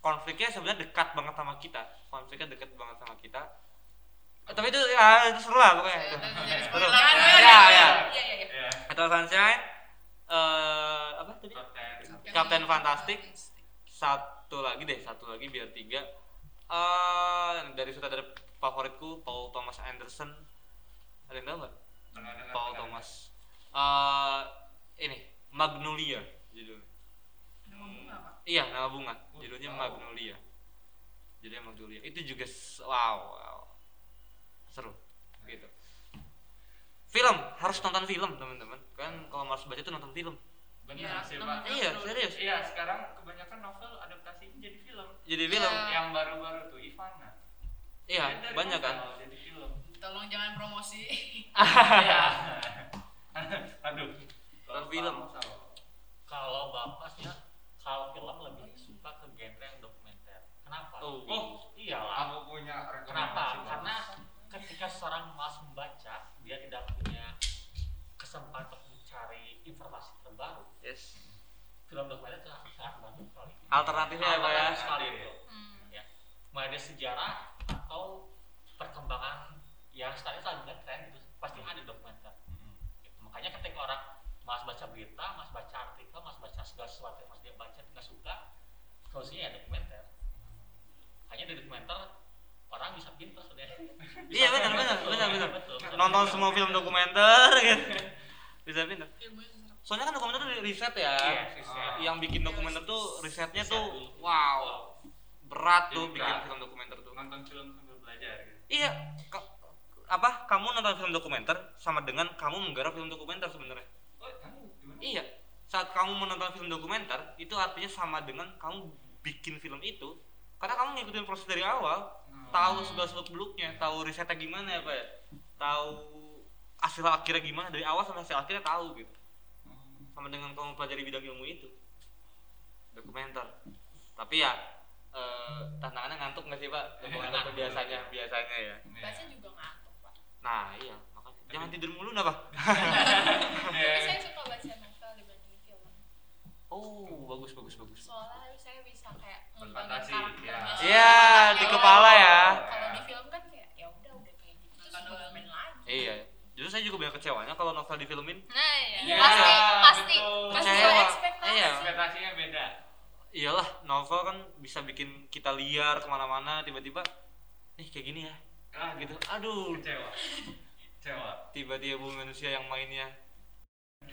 [SPEAKER 4] konfliknya sebenarnya dekat banget sama kita konfliknya dekat banget sama kita Eh, tapi itu ya itu seru
[SPEAKER 5] Iya,
[SPEAKER 4] lah pokoknya itu seru
[SPEAKER 5] Jangan, jangan,
[SPEAKER 4] ya
[SPEAKER 5] jangan.
[SPEAKER 4] ya
[SPEAKER 5] Iya, iya, iya.
[SPEAKER 1] ya.
[SPEAKER 4] atau sunshine eh apa tadi
[SPEAKER 1] Konten.
[SPEAKER 5] iya.
[SPEAKER 4] Captain Fantastic. satu lagi deh satu lagi biar tiga eh dari sutradara favoritku Paul Thomas Anderson ada yang tahu nggak Paul
[SPEAKER 1] kan?
[SPEAKER 4] Thomas. Eh, ini Magnolia judulnya. Iya, nama bunga. Judulnya Magnolia. Judulnya Magnolia. Itu juga s- wow, wow. Seru gitu. Film, harus nonton film, teman-teman. Kan kalau harus baca itu nonton film.
[SPEAKER 1] Benar sih,
[SPEAKER 5] Iya,
[SPEAKER 1] Pak.
[SPEAKER 4] Iya, serius.
[SPEAKER 1] Iya, sekarang kebanyakan novel adaptasinya jadi film.
[SPEAKER 4] Jadi film.
[SPEAKER 2] Iya.
[SPEAKER 1] Yang baru-baru tuh Ivana.
[SPEAKER 4] Iya,
[SPEAKER 1] Dia dari
[SPEAKER 4] banyak kan.
[SPEAKER 1] novel Jadi
[SPEAKER 4] (laughs)
[SPEAKER 1] film.
[SPEAKER 5] Tolong jangan promosi.
[SPEAKER 1] Iya. Aduh.
[SPEAKER 4] Nonton film.
[SPEAKER 6] Kalau bapak sih, kalau film lebih suka ke genre yang dokumenter. Kenapa?
[SPEAKER 4] Oh.
[SPEAKER 6] oh iyalah.
[SPEAKER 1] Aku punya rekomendasi.
[SPEAKER 6] Kenapa?
[SPEAKER 1] bagus.
[SPEAKER 6] Karena ketika seorang malas membaca, dia tidak punya kesempatan untuk mencari informasi terbaru.
[SPEAKER 4] Yes.
[SPEAKER 6] Film dokumenter itu sangat banyak sekali.
[SPEAKER 4] Alternatifnya apa ya?
[SPEAKER 6] Alternatif sekali itu.
[SPEAKER 2] Hmm.
[SPEAKER 6] Ya. Mulai dari sejarah atau perkembangan yang sekarang selanjutnya tren itu pasti ada dokumenter. Gitu. Makanya ketika orang malas baca berita, malas baca artikel, malas baca segala sesuatu yang mas dia baca nggak suka, solusinya ya dokumenter. Hanya dari dokumenter orang bisa pintar sebenarnya. Bisa
[SPEAKER 4] (laughs) Iya, benar,
[SPEAKER 6] pintar,
[SPEAKER 4] benar,
[SPEAKER 6] betul.
[SPEAKER 4] benar, benar.
[SPEAKER 6] Betul, betul.
[SPEAKER 4] Nonton semua film dokumenter gitu. Bisa pindah.
[SPEAKER 5] Ilmunya seserap.
[SPEAKER 4] soalnya kan dokumenter tuh riset ya
[SPEAKER 1] Iya,
[SPEAKER 6] riset.
[SPEAKER 4] yang bikin dokumenter tuh risetnya
[SPEAKER 1] Riset
[SPEAKER 4] tuh
[SPEAKER 1] dulu.
[SPEAKER 4] wow berat tuh
[SPEAKER 1] Jadi
[SPEAKER 4] bikin
[SPEAKER 1] berat.
[SPEAKER 4] film dokumenter tuh
[SPEAKER 1] nonton film sambil belajar gitu.
[SPEAKER 4] iya ka- apa kamu nonton film dokumenter sama dengan kamu menggarap film dokumenter sebenarnya
[SPEAKER 1] Oh, gimana?
[SPEAKER 4] iya saat kamu menonton film dokumenter itu artinya sama dengan kamu bikin film itu karena kamu ngikutin proses dari awal tahu segala seluk beluknya tahu risetnya gimana ya pak ya tahu hasil akhirnya gimana dari awal sampai hasil akhirnya tahu gitu
[SPEAKER 1] Oh,
[SPEAKER 4] sama dengan kamu pelajari bidang ilmu itu dokumenter tapi ya eh, tantangannya ngantuk nggak sih pak (laughs) dokumenter tuh biasanya biasanya ya
[SPEAKER 1] Iya.
[SPEAKER 9] Baca juga ngantuk, Pak.
[SPEAKER 4] nah iya makanya jangan tidur mulu nah pak
[SPEAKER 1] iya.
[SPEAKER 9] Tapi saya suka baca novel dibanding film.
[SPEAKER 4] oh bagus bagus bagus
[SPEAKER 9] Soalnya saya bisa kayak
[SPEAKER 6] Berfantasi, ya.
[SPEAKER 4] Iya, di kepala ya.
[SPEAKER 9] Kalau di film kan kayak ya udah udah kayak gitu. Terus
[SPEAKER 5] Nonton
[SPEAKER 9] juga
[SPEAKER 5] doang.
[SPEAKER 9] main lagi.
[SPEAKER 4] iya justru saya juga banyak kecewanya kalau novel difilmin
[SPEAKER 2] Nah, ya.
[SPEAKER 9] Iya,
[SPEAKER 2] pasti, pasti.
[SPEAKER 1] betul.
[SPEAKER 9] Pasti
[SPEAKER 4] Kecewa.
[SPEAKER 9] ada ekspektasi.
[SPEAKER 4] Iya.
[SPEAKER 1] Ekspektasinya beda.
[SPEAKER 4] iyalah novel kan bisa bikin kita liar kemana-mana tiba-tiba nih kayak gini ya
[SPEAKER 1] Ah,
[SPEAKER 4] gitu aduh
[SPEAKER 1] Kecewa. Kecewa.
[SPEAKER 4] (laughs) tiba-tiba manusia yang mainnya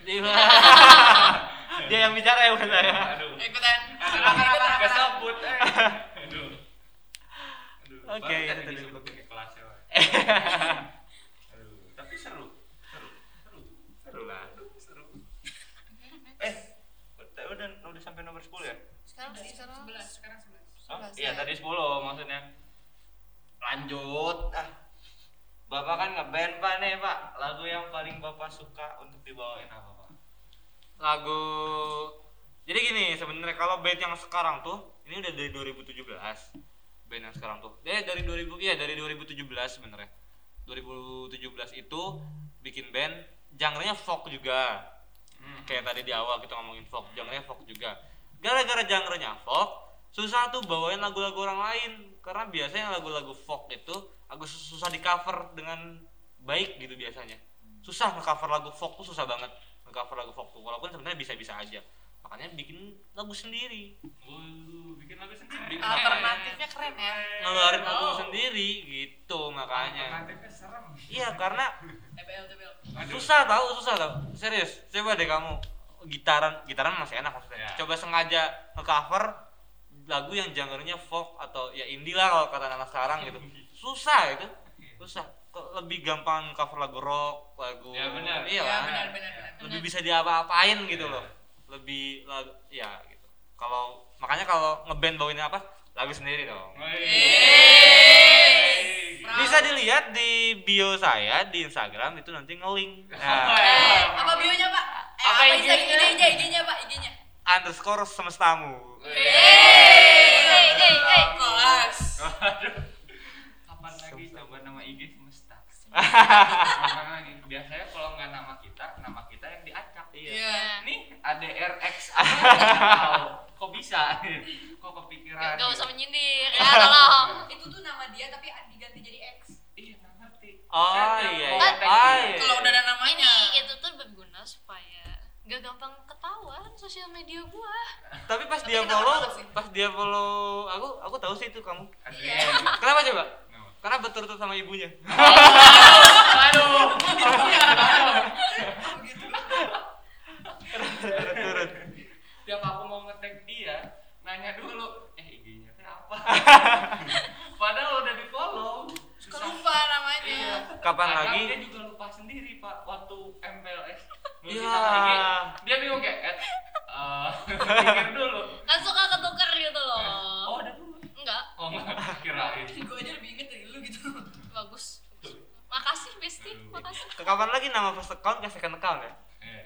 [SPEAKER 4] Tiba- (laughs) dia yang bicara ya bukan saya
[SPEAKER 1] Aduh.
[SPEAKER 5] Ikutan.
[SPEAKER 1] Gak sebut. eh. Aduh. Aduh.
[SPEAKER 4] Oke,
[SPEAKER 1] baru
[SPEAKER 4] itu
[SPEAKER 1] tadi
[SPEAKER 4] tadi
[SPEAKER 1] disebutin
[SPEAKER 4] dulu.
[SPEAKER 1] ke kelas ya.
[SPEAKER 4] (laughs)
[SPEAKER 1] Pak. Aduh, tapi seru. Seru. Seru. Seru lah. Aduh, seru. Eh, udah udah udah sampai nomor 10 ya?
[SPEAKER 2] Sekarang sekarang
[SPEAKER 5] Sebelas, sekarang sebelas.
[SPEAKER 1] Hah?
[SPEAKER 2] Sebelas,
[SPEAKER 1] Iya
[SPEAKER 2] ya.
[SPEAKER 1] tadi 10 maksudnya. Lanjut. Ah. Bapak kan ngeband pak nih pak. Lagu yang paling bapak suka untuk dibawain apa pak?
[SPEAKER 4] lagu jadi gini sebenarnya kalau band yang sekarang tuh ini udah dari 2017 band yang sekarang tuh eh, dari 2000 iya dari 2017 sebenarnya 2017 itu bikin band genre-nya folk juga kayak tadi di awal kita ngomongin folk genre-nya folk juga gara-gara genre-nya folk susah tuh bawain lagu-lagu orang lain karena biasanya lagu-lagu folk itu aku sus- susah di cover dengan baik gitu biasanya susah nge-cover lagu folk tuh susah banget nge-cover lagu folk tuh walaupun sebenarnya bisa-bisa aja makanya bikin lagu sendiri
[SPEAKER 1] Wuh, bikin lagu sendiri.
[SPEAKER 4] Bikin
[SPEAKER 5] Alternatifnya keren ya.
[SPEAKER 4] ngeluarin lagu sendiri gitu makanya
[SPEAKER 1] Alternatifnya serem.
[SPEAKER 4] iya karena
[SPEAKER 5] TBL, TBL.
[SPEAKER 1] Aduh.
[SPEAKER 4] susah tahu susah tahu serius coba deh kamu gitaran gitaran masih enak maksudnya
[SPEAKER 1] Ya.
[SPEAKER 4] coba sengaja ngecover lagu yang genre-nya folk atau ya indie lah kalau kata anak sekarang gitu susah itu susah kok lebih gampang cover lagu rock lagu
[SPEAKER 1] Ya, benar.
[SPEAKER 4] iya
[SPEAKER 5] Ya,
[SPEAKER 4] lah.
[SPEAKER 5] benar, benar, benar.
[SPEAKER 4] lebih bisa diapa-apain gitu
[SPEAKER 1] Iya.
[SPEAKER 4] loh lebih lagu ya gitu kalau makanya kalau ngeband bawainnya apa lagu sendiri dong
[SPEAKER 5] Proud.
[SPEAKER 4] bisa dilihat di bio saya di Instagram itu nanti
[SPEAKER 1] (laughs)
[SPEAKER 4] ngelink nah,
[SPEAKER 5] Eh, apa bionya pak? Eh, apa,
[SPEAKER 9] Apa
[SPEAKER 5] IG nya?
[SPEAKER 9] IG-nya?
[SPEAKER 5] IG nya, IG nya pak, Eh, IG nya.
[SPEAKER 4] underscore semestamu
[SPEAKER 5] Iya.
[SPEAKER 2] Hey, hey, hey.
[SPEAKER 5] eh, Kelas.
[SPEAKER 1] Kapan lagi
[SPEAKER 4] Semesta.
[SPEAKER 1] coba nama IG semesta?
[SPEAKER 4] (laughs)
[SPEAKER 1] Kapan lagi? Biasanya kalau nggak nama kita, nama kita yang diacak.
[SPEAKER 5] Iya.
[SPEAKER 1] Nih ADRX. Wow, Kok bisa? Kok kepikiran?
[SPEAKER 2] Gak usah menyindir ya tolong.
[SPEAKER 5] Itu tuh nama dia tapi diganti jadi X.
[SPEAKER 1] Iya, nggak ngerti.
[SPEAKER 4] Oh
[SPEAKER 1] Saya
[SPEAKER 4] iya,
[SPEAKER 1] bilang,
[SPEAKER 4] iya.
[SPEAKER 1] "Oh,
[SPEAKER 4] Oh,
[SPEAKER 1] thank you."
[SPEAKER 4] iya.
[SPEAKER 5] gitu. Kalau udah ada namanya.
[SPEAKER 2] Ini itu tuh berguna supaya gak gampang ketahuan sosial media gua.
[SPEAKER 4] Tapi pas dia
[SPEAKER 5] kita nggak
[SPEAKER 4] follow,
[SPEAKER 5] tahu sih.
[SPEAKER 4] pas dia follow aku, aku tahu sih itu kamu.
[SPEAKER 1] Aduh,
[SPEAKER 5] Iya.
[SPEAKER 4] Kenapa coba?
[SPEAKER 1] Kenapa?
[SPEAKER 4] Karena berturut sama ibunya.
[SPEAKER 5] gitu.
[SPEAKER 4] Berturut.
[SPEAKER 1] Tiap aku mau ngetek dia, nanya dulu, eh IG-nya teh
[SPEAKER 4] (laughs)
[SPEAKER 1] apa? Padahal udah di-follow.
[SPEAKER 5] Suka lupa namanya.
[SPEAKER 4] Kapan
[SPEAKER 1] Kadang
[SPEAKER 4] lagi?
[SPEAKER 1] dia juga lupa sendiri, Pak, waktu MPLS. Nulis
[SPEAKER 4] Iya.
[SPEAKER 1] nama IG, dia bingung kayak, eh, eh, (laughs) pikir dulu.
[SPEAKER 2] Kan suka ketuker gitu
[SPEAKER 1] Oh,
[SPEAKER 2] loh.
[SPEAKER 1] ada dulu.
[SPEAKER 2] Enggak,
[SPEAKER 1] Oh, enggak kirain.
[SPEAKER 5] Gue aja lebih inget dari lu gitu.
[SPEAKER 2] bagus. Makasih Besti, makasih.
[SPEAKER 4] Kapan lagi nama first account ke second account ya?
[SPEAKER 1] Eh,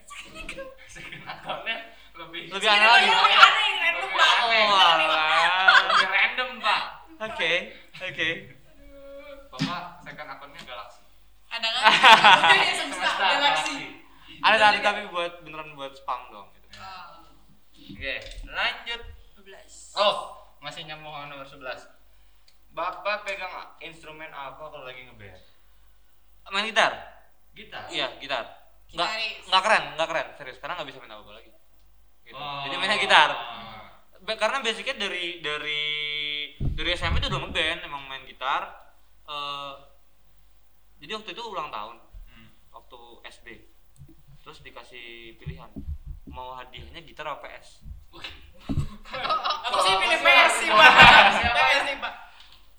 [SPEAKER 1] second account-nya lebih
[SPEAKER 4] Lebih aneh lagi.
[SPEAKER 5] Yang paling aneh, yang random
[SPEAKER 1] Lebih
[SPEAKER 5] pak.
[SPEAKER 1] aneh.
[SPEAKER 4] Walah.
[SPEAKER 1] Lebih random, Pak.
[SPEAKER 4] Oke, oke.
[SPEAKER 1] Bapak second account-nya Galaxy.
[SPEAKER 5] Ada nggak? Ini semesta,
[SPEAKER 1] Semesta
[SPEAKER 5] galaksi.
[SPEAKER 4] Ada tadi tapi buat beneran buat spam dong. Gitu.
[SPEAKER 1] Oke, lanjut.
[SPEAKER 5] 12.
[SPEAKER 1] Oh, masih nyambung sama nomor 11. Bapak pegang instrumen apa kalau lagi ngeband?
[SPEAKER 4] Main gitar?
[SPEAKER 1] Gitar.
[SPEAKER 4] Iya, gitar. Nggak,
[SPEAKER 5] Gitaris.
[SPEAKER 4] nggak keren, nggak keren. Serius, karena nggak bisa main apa-apa lagi. Gitu.
[SPEAKER 1] Oh. Hmm.
[SPEAKER 4] Jadi mainnya gitar. Ba- karena basicnya dari dari dari SMP itu udah ngeband emang main gitar Eh, jadi waktu itu ulang tahun
[SPEAKER 1] Hmm.
[SPEAKER 4] waktu SD terus dikasih pilihan mau hadiahnya gitar apa PS?
[SPEAKER 3] Aku sih pilih PS sih, Pak. PS sih, Pak.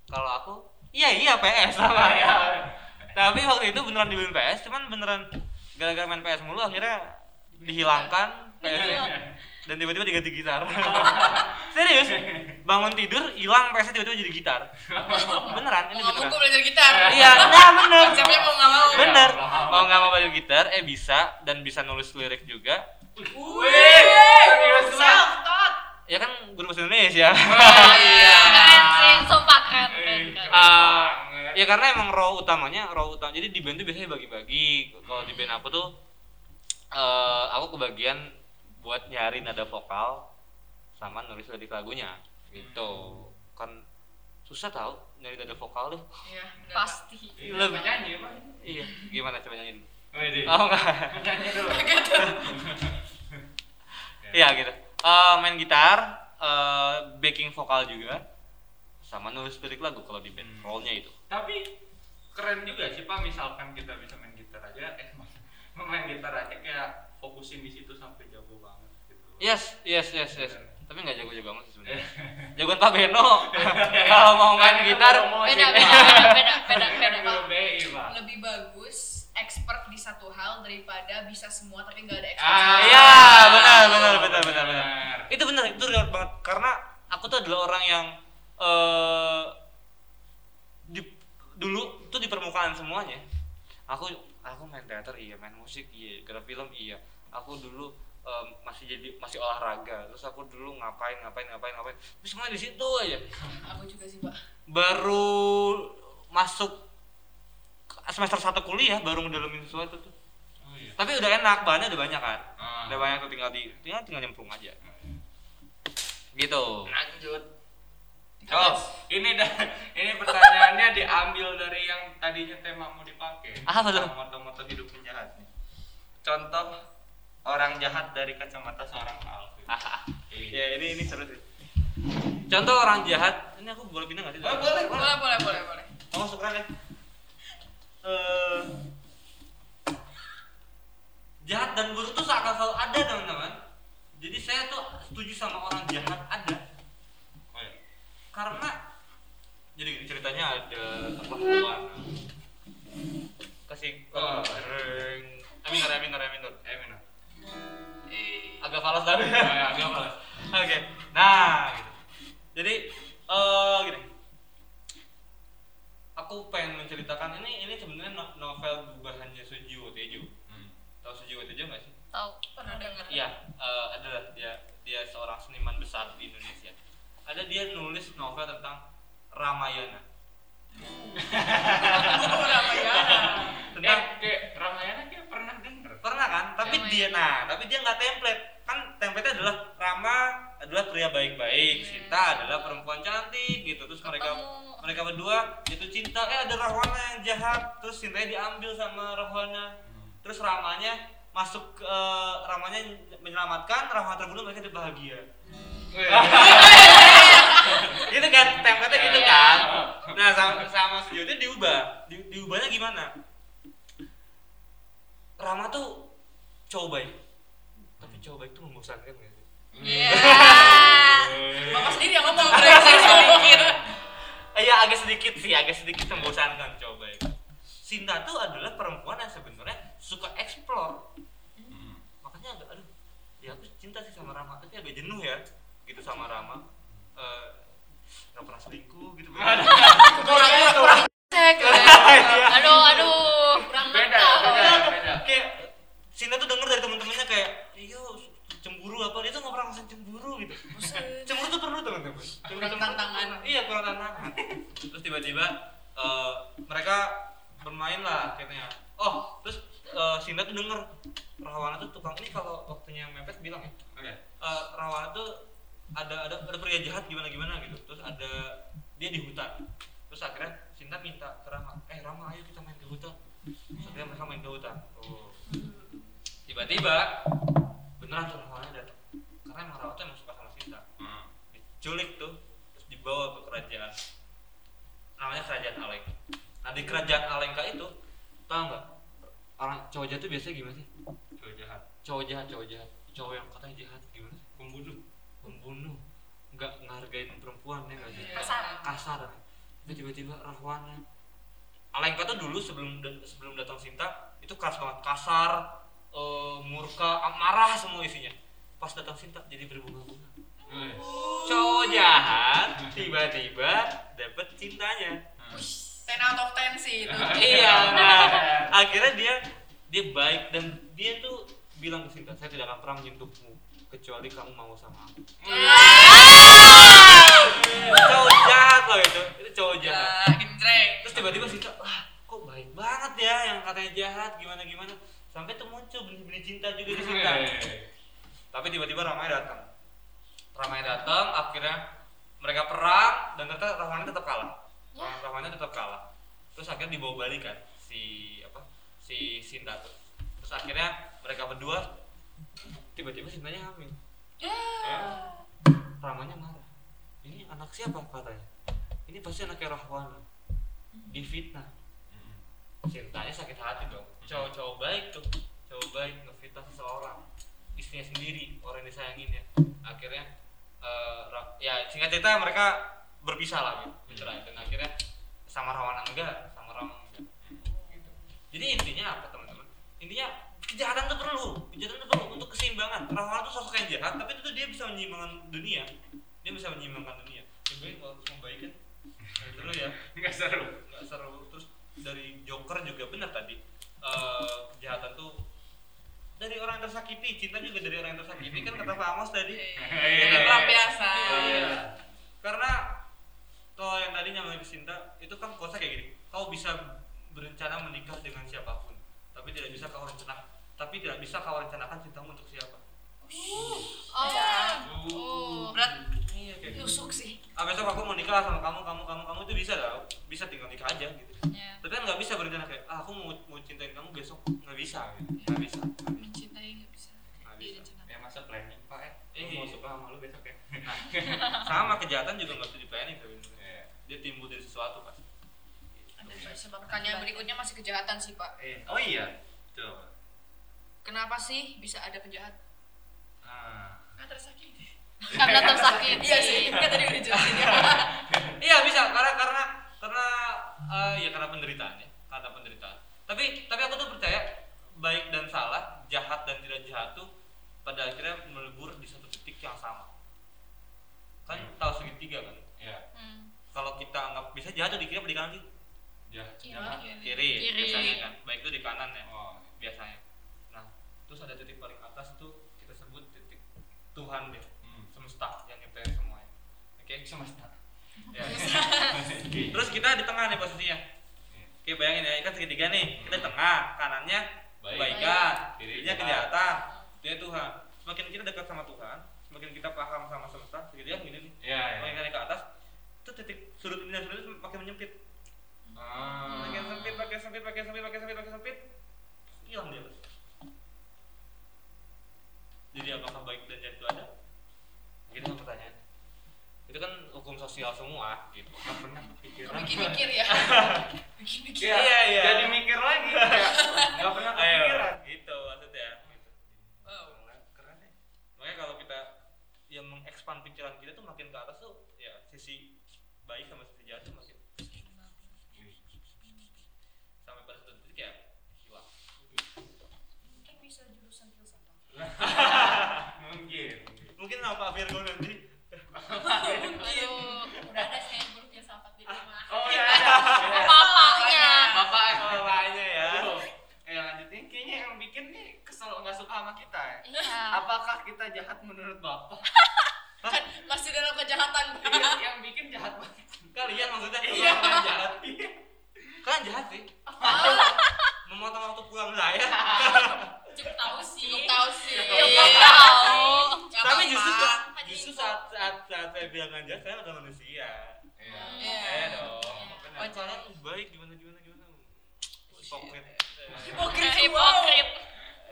[SPEAKER 4] Kalau aku, iya iya PS sama ya. Tapi waktu itu beneran dibeliin PS, cuman beneran gara-gara main PS mulu akhirnya dihilangkan PS
[SPEAKER 1] Iya.
[SPEAKER 4] dan tiba-tiba diganti gitar. (laughs) Serius, bangun tidur hilang PS tiba-tiba jadi gitar. Beneran, ini
[SPEAKER 3] Mau
[SPEAKER 4] beneran.
[SPEAKER 3] ngomong gue belajar gitar.
[SPEAKER 5] (laughs)
[SPEAKER 4] Iya, nah bener.
[SPEAKER 3] Konsepnya mau nggak mau.
[SPEAKER 4] Bener. Mau nggak mau belajar gitar, eh bisa dan bisa nulis lirik juga.
[SPEAKER 3] Wih,
[SPEAKER 5] Iya,
[SPEAKER 1] Self
[SPEAKER 3] taught.
[SPEAKER 4] Ya kan guru bahasa Indonesia.
[SPEAKER 2] Iya. Keren sih, sumpah
[SPEAKER 1] Eh,
[SPEAKER 2] keren keren. keren.
[SPEAKER 4] Eh, Ah,
[SPEAKER 10] Iya.
[SPEAKER 4] ya karena emang role utamanya role utama jadi di band tuh biasanya bagi-bagi kalau di band aku tuh eh aku kebagian buat nyari nada vokal sama nulis lirik lagunya gitu kan susah tau nyari nada vokal deh
[SPEAKER 3] Iya, bener, Pak.
[SPEAKER 2] Pasti.
[SPEAKER 4] ya, Lebih-
[SPEAKER 10] nyanyi apa?
[SPEAKER 4] iya gimana coba nyanyiin
[SPEAKER 10] Wih,
[SPEAKER 4] oh enggak
[SPEAKER 10] nyanyi dulu.
[SPEAKER 4] iya gitu Eh, main gitar eh, backing vokal juga sama nulis lirik lagu kalau di band
[SPEAKER 10] Hmm.
[SPEAKER 4] role-nya itu
[SPEAKER 10] Tapi keren juga sih Pak misalkan kita bisa main gitar aja eh main gitar aja kayak fokusin di situ sampai jago banget gitu.
[SPEAKER 4] Yes, yes, yes, yes. Tapi nggak jago-jago banget sih sebenarnya. (laughs) Jagoan Pak Beno. (laughs) Kalau mau
[SPEAKER 10] Kan
[SPEAKER 4] main gitar,
[SPEAKER 1] Oh,
[SPEAKER 2] Beda
[SPEAKER 1] iya.
[SPEAKER 2] beda beda beda beda beda.
[SPEAKER 10] Belum BI, Pak.
[SPEAKER 5] lebih bagus expert di satu hal daripada bisa semua tapi nggak ada expert.
[SPEAKER 10] Ah,
[SPEAKER 4] iya, benar, benar, benar, benar, benar.
[SPEAKER 10] Benar.
[SPEAKER 4] itu benar, itu real banget. Karena aku tuh adalah orang yang eh di, dulu tuh di permukaan semuanya. Aku aku main teater iya, main musik iya, gerak film iya. Aku dulu eh, masih jadi masih olahraga terus aku dulu ngapain ngapain ngapain ngapain terus semuanya di situ aja
[SPEAKER 5] Aku juga sih pak.
[SPEAKER 4] baru masuk semester satu kuliah baru ngedalamin sesuatu tuh
[SPEAKER 10] Oh iya.
[SPEAKER 4] tapi udah enak bahannya udah banyak kan
[SPEAKER 10] Ah. Hmm.
[SPEAKER 4] udah banyak tuh tinggal di tinggal tinggal nyemplung aja gitu
[SPEAKER 10] lanjut oh ini (laughs) dah ini pertanyaannya diambil dari yang tadinya tema mau dipakai
[SPEAKER 4] Apa tuh?
[SPEAKER 10] Tentang moto-moto hidup penjahat nih contoh orang jahat dari kacamata seorang Pak Alvin
[SPEAKER 4] ya
[SPEAKER 10] Iya,
[SPEAKER 4] ini ini seru sih contoh orang jahat ini aku boleh pindah nggak sih
[SPEAKER 10] Oh, boleh boleh
[SPEAKER 5] Boleh boleh boleh boleh.
[SPEAKER 4] kamu suka kan ya Eh, jahat dan buruk tuh seakan selalu ada teman-teman jadi saya tuh setuju sama orang jahat ada
[SPEAKER 10] Oh, iya.
[SPEAKER 4] karena jadi gini, ceritanya ada apa kawan kasih
[SPEAKER 10] Oh.
[SPEAKER 4] Reng. amin Nur, amin Nur, amin Nur.
[SPEAKER 10] eh Mino eh
[SPEAKER 4] agak falas tapi
[SPEAKER 10] ya, agak falas.
[SPEAKER 4] (laughs) oke nah gitu jadi eh gini aku pengen menceritakan ini ini sebenarnya no- novel gubahannya Sujiwo Tejo
[SPEAKER 10] Hmm.
[SPEAKER 4] tahu Sujiwo Tejo nggak sih
[SPEAKER 2] Tahu.
[SPEAKER 5] Pernah dengar?
[SPEAKER 4] iya eh, adalah dia dia seorang seniman besar di Indonesia ada dia nulis novel tentang Ramayana
[SPEAKER 10] eh
[SPEAKER 5] Eh. ya?
[SPEAKER 4] tentang
[SPEAKER 10] Eh, kayak Ramayana kayak pernah denger
[SPEAKER 4] pernah kan tapi
[SPEAKER 2] Ramayana.
[SPEAKER 4] dia nah tapi dia nggak template kan template adalah Rama adalah pria baik-baik Sita adalah perempuan cantik gitu terus mereka
[SPEAKER 2] Ketemu.
[SPEAKER 4] mereka berdua jatuh cinta eh ada Rahwana yang jahat terus Sintanya diambil sama Rahwana terus Ramanya masuk ke eh, Ramanya menyelamatkan Rahwana terbunuh mereka itu bahagia
[SPEAKER 10] Oh, iya. Ah,
[SPEAKER 4] gitu kan template gitu kan nah sama sama sejauhnya diubah Di- diubahnya gimana Rama tuh cowok baik tapi cowok baik tuh membosankan gak sih
[SPEAKER 5] Iya.
[SPEAKER 10] Eh,
[SPEAKER 5] Bapak sendiri yang (laughs) ngomong bereaksi sedikit.
[SPEAKER 4] Eh, ya agak sedikit sih agak sedikit membosankan cowok baik Sinta tuh adalah perempuan yang sebenarnya suka explore makanya agak aduh ya aku cinta sih sama Rama tapi agak jenuh ya gitu sama Rama Eh, nggak pernah selingkuh gitu
[SPEAKER 5] Kurang kurang
[SPEAKER 2] Iya,
[SPEAKER 5] cek.
[SPEAKER 2] (laughs) Aduh aduh. Kurang
[SPEAKER 10] beda beda beda
[SPEAKER 4] kayak Sinta tuh denger dari temen-temennya kayak iya cemburu apa dia tuh nggak pernah ngerasain cemburu gitu cemburu tuh perlu teman-teman Cemburu-
[SPEAKER 5] Kurang
[SPEAKER 4] cemburu
[SPEAKER 5] tantangan.
[SPEAKER 4] tuh perlu. iya kurang tantangan terus tiba-tiba eh, mereka bermain lah akhirnya oh terus eh, Sinta tuh denger Rahwana tuh tukang ini kalau waktunya mepet bilang ya
[SPEAKER 10] oke
[SPEAKER 4] eh, Rahwana tuh ada ada ada pria jahat gimana gimana gitu terus ada dia di hutan terus akhirnya Sinta minta ke Rama eh Rama ayo kita main ke hutan terus akhirnya mereka main ke hutan oh. tiba-tiba beneran tuh Rahwana datang karena emang Rahwana tuh emang suka sama Sinta
[SPEAKER 10] Hmm.
[SPEAKER 4] diculik tuh terus dibawa ke kerajaan namanya kerajaan Alengka nah di kerajaan Alengka itu tau nggak orang cowok jahat tuh biasanya gimana sih
[SPEAKER 10] cowok jahat
[SPEAKER 4] cowok jahat cowok jahat cowok yang katanya jahat gimana sih pembunuh pembunuh nggak ngehargain perempuan ya nggak sih
[SPEAKER 5] Kasar.
[SPEAKER 4] kasar tapi tiba-tiba Rahwana Alengka tuh dulu sebelum da- sebelum datang Sinta itu keras banget kasar eh, murka ah, marah semua isinya pas datang Sinta jadi berbunga-bunga cowok jahat tiba-tiba dapet cintanya
[SPEAKER 5] Ten out of ten sih (laughs) itu.
[SPEAKER 4] iya nah akhirnya dia dia baik dan dia tuh bilang ke Sinta saya tidak akan pernah menyentuhmu kecuali kamu mau sama aku cowok jahat loh itu itu cowok jahat
[SPEAKER 5] Ya, Indrek.
[SPEAKER 4] terus tiba-tiba Sinta wah kok baik banget ya yang katanya jahat gimana gimana sampai tuh muncul benih-benih cinta juga
[SPEAKER 1] Iya,
[SPEAKER 4] di Sinta tapi tiba-tiba ramai datang ramai datang akhirnya mereka perang dan ternyata Rahmani tetap kalah Rahmani Rahmani tetap kalah terus akhirnya dibawa balik kan si apa si Sinta tuh terus akhirnya mereka berdua tiba-tiba Sintanya hamil ya. Ramanya marah ini anak siapa katanya ini pasti anaknya Rahwana difitnah Sintanya sakit hati dong cowok-cowok baik tuh cowok baik ngefitnah seseorang istrinya sendiri orang yang disayangin ya akhirnya eh, Ra- ya singkat cerita mereka berpisah lah gitu bercerai dan akhirnya sama Rawana enggak sama Rama enggak gitu. jadi intinya apa teman-teman intinya kejahatan itu perlu kejahatan itu perlu untuk keseimbangan Rawana tuh sosok yang jahat tapi itu dia bisa menyeimbangkan dunia dia bisa menyeimbangkan dunia cobain kalau terus membaikan dulu ya
[SPEAKER 10] Nggak seru.
[SPEAKER 4] nggak seru terus dari Joker juga benar tadi eh, kejahatan tuh dari orang yang tersakiti cinta juga dari orang yang tersakiti kan kata Pak Amos tadi
[SPEAKER 5] Iya. Indrek luar biasa.
[SPEAKER 4] karena kalau yang tadi nyambungin ke cinta itu kan kuasa kayak gini kau bisa berencana menikah dengan siapapun tapi tidak bisa kau rencana tapi tidak bisa kau rencanakan cintamu untuk siapa
[SPEAKER 2] Oh,
[SPEAKER 10] Uh.
[SPEAKER 5] Berat
[SPEAKER 4] iya kayak gitu.
[SPEAKER 5] tusuk sih.
[SPEAKER 4] ah besok aku mau nikah sama kamu kamu kamu kamu itu bisa tau bisa tinggal nikah aja gitu
[SPEAKER 2] ya.
[SPEAKER 4] tapi kan nggak bisa berencana kayak ah aku mau mau cintain kamu besok nggak bisa gitu. nggak bisa nggak bisa.
[SPEAKER 2] Mencintai nggak bisa.
[SPEAKER 4] Nggak bisa
[SPEAKER 2] Direncanakan.
[SPEAKER 10] Ya masa planning pak eh.
[SPEAKER 4] Iya.
[SPEAKER 10] Mau suka sama lu besok ya.
[SPEAKER 4] sama kejahatan juga nggak bisa di planning sebenarnya
[SPEAKER 10] Iya.
[SPEAKER 4] dia timbul dari sesuatu pasti
[SPEAKER 5] Makanya berikutnya masih kejahatan sih pak.
[SPEAKER 10] Eh, oh iya. Coba.
[SPEAKER 5] Kenapa sih bisa ada penjahat?
[SPEAKER 10] Ah.
[SPEAKER 5] Karena tersakiti.
[SPEAKER 2] Karena tersakiti.
[SPEAKER 5] Iya sih, kan tadi udah jelasin ya.
[SPEAKER 4] iya bisa karena karena karena eh, ya karena penderitaan ya karena penderitaan tapi tapi aku tuh percaya baik dan salah jahat dan tidak jahat tuh pada akhirnya melebur di satu titik yang sama kan tahu segitiga kan
[SPEAKER 10] Ya.
[SPEAKER 2] Hmm.
[SPEAKER 4] kalau kita anggap bisa jahat tuh di kiri apa di kanan sih?
[SPEAKER 10] Ya.
[SPEAKER 2] Kira.
[SPEAKER 10] jangan.
[SPEAKER 4] kiri,
[SPEAKER 2] Kiri.
[SPEAKER 4] biasanya kan baik itu di kanan ya
[SPEAKER 10] Oh.
[SPEAKER 4] biasanya nah terus ada titik paling atas tuh kita sebut titik Tuhan deh
[SPEAKER 10] Hmm.
[SPEAKER 4] semesta yang nyiptain semuanya oke semesta ya.
[SPEAKER 10] Oke.
[SPEAKER 4] terus kita di tengah nih posisinya oke bayangin ya kan segitiga nih kita di tengah kanannya
[SPEAKER 10] Baik.
[SPEAKER 4] kebaikan
[SPEAKER 10] Kiri
[SPEAKER 4] kirinya
[SPEAKER 10] jahat.
[SPEAKER 4] kejahatan dia Tuhan semakin kita dekat sama Tuhan semakin kita paham sama semesta segitiga gini nih
[SPEAKER 10] Ya.
[SPEAKER 4] semakin
[SPEAKER 10] ya.
[SPEAKER 4] kita ke atas itu titik sudut ini dan sudut itu makin menyempit
[SPEAKER 10] Ah.
[SPEAKER 4] makin sempit makin sempit makin sempit makin sempit makin sempit hilang dia terus jadi apakah baik dan jahat itu ada gitu pertanyaan itu kan hukum sosial semua gitu
[SPEAKER 10] Nggak pernah kepikiran.
[SPEAKER 5] Mikir-mikir ya. Mikir-mikir.
[SPEAKER 4] Iya, iya, iya.
[SPEAKER 10] Jadi mikir lagi. Enggak pernah kepikiran.
[SPEAKER 4] gitu maksudnya gitu.
[SPEAKER 5] Wow.
[SPEAKER 10] Keren ya.
[SPEAKER 4] makanya kalau kita yang mengekspan pikiran kita tuh makin ke atas tuh ya sisi baik sama sisi jahat tuh makin sampai pada satu titik ya hilang
[SPEAKER 5] Mungkin bisa jurusan filsafat.
[SPEAKER 10] Mungkin.
[SPEAKER 4] mungkin apa Virgo nanti
[SPEAKER 3] Aduh, udah ada saya guru filsafat di rumah.
[SPEAKER 10] Oh iya. ada. Iya.
[SPEAKER 2] Bapaknya.
[SPEAKER 10] Bapak eh,
[SPEAKER 4] Awalnya ya
[SPEAKER 10] Eh lanjutin kayaknya yang bikin nih kesel nggak suka sama kita ya.
[SPEAKER 2] Iya.
[SPEAKER 10] Apakah kita jahat menurut Bapak?
[SPEAKER 5] Kan masih dalam kejahatan.
[SPEAKER 10] Iya, yang bikin jahat banget.
[SPEAKER 4] kalian maksudnya
[SPEAKER 10] Iya.
[SPEAKER 4] kalian jahat kalian jahat
[SPEAKER 5] (laughs)
[SPEAKER 4] sih memotong waktu pulang ya. saya
[SPEAKER 3] Cukup tahu sih.
[SPEAKER 5] Cukup tahu sih.
[SPEAKER 2] Iya.
[SPEAKER 5] Nggak
[SPEAKER 4] tapi
[SPEAKER 5] apa-apa.
[SPEAKER 4] justru saat,
[SPEAKER 3] Hanya
[SPEAKER 4] justru
[SPEAKER 3] info.
[SPEAKER 4] saat saat saat saya bilang nggak jahat saya adalah manusia
[SPEAKER 10] Iya.
[SPEAKER 5] Iya.
[SPEAKER 4] eh dong
[SPEAKER 5] Oh,
[SPEAKER 4] oh, kalian baik gimana gimana gimana
[SPEAKER 5] Iya.
[SPEAKER 4] hipokrit
[SPEAKER 5] Hipokrit. wow.
[SPEAKER 2] Hipokrit.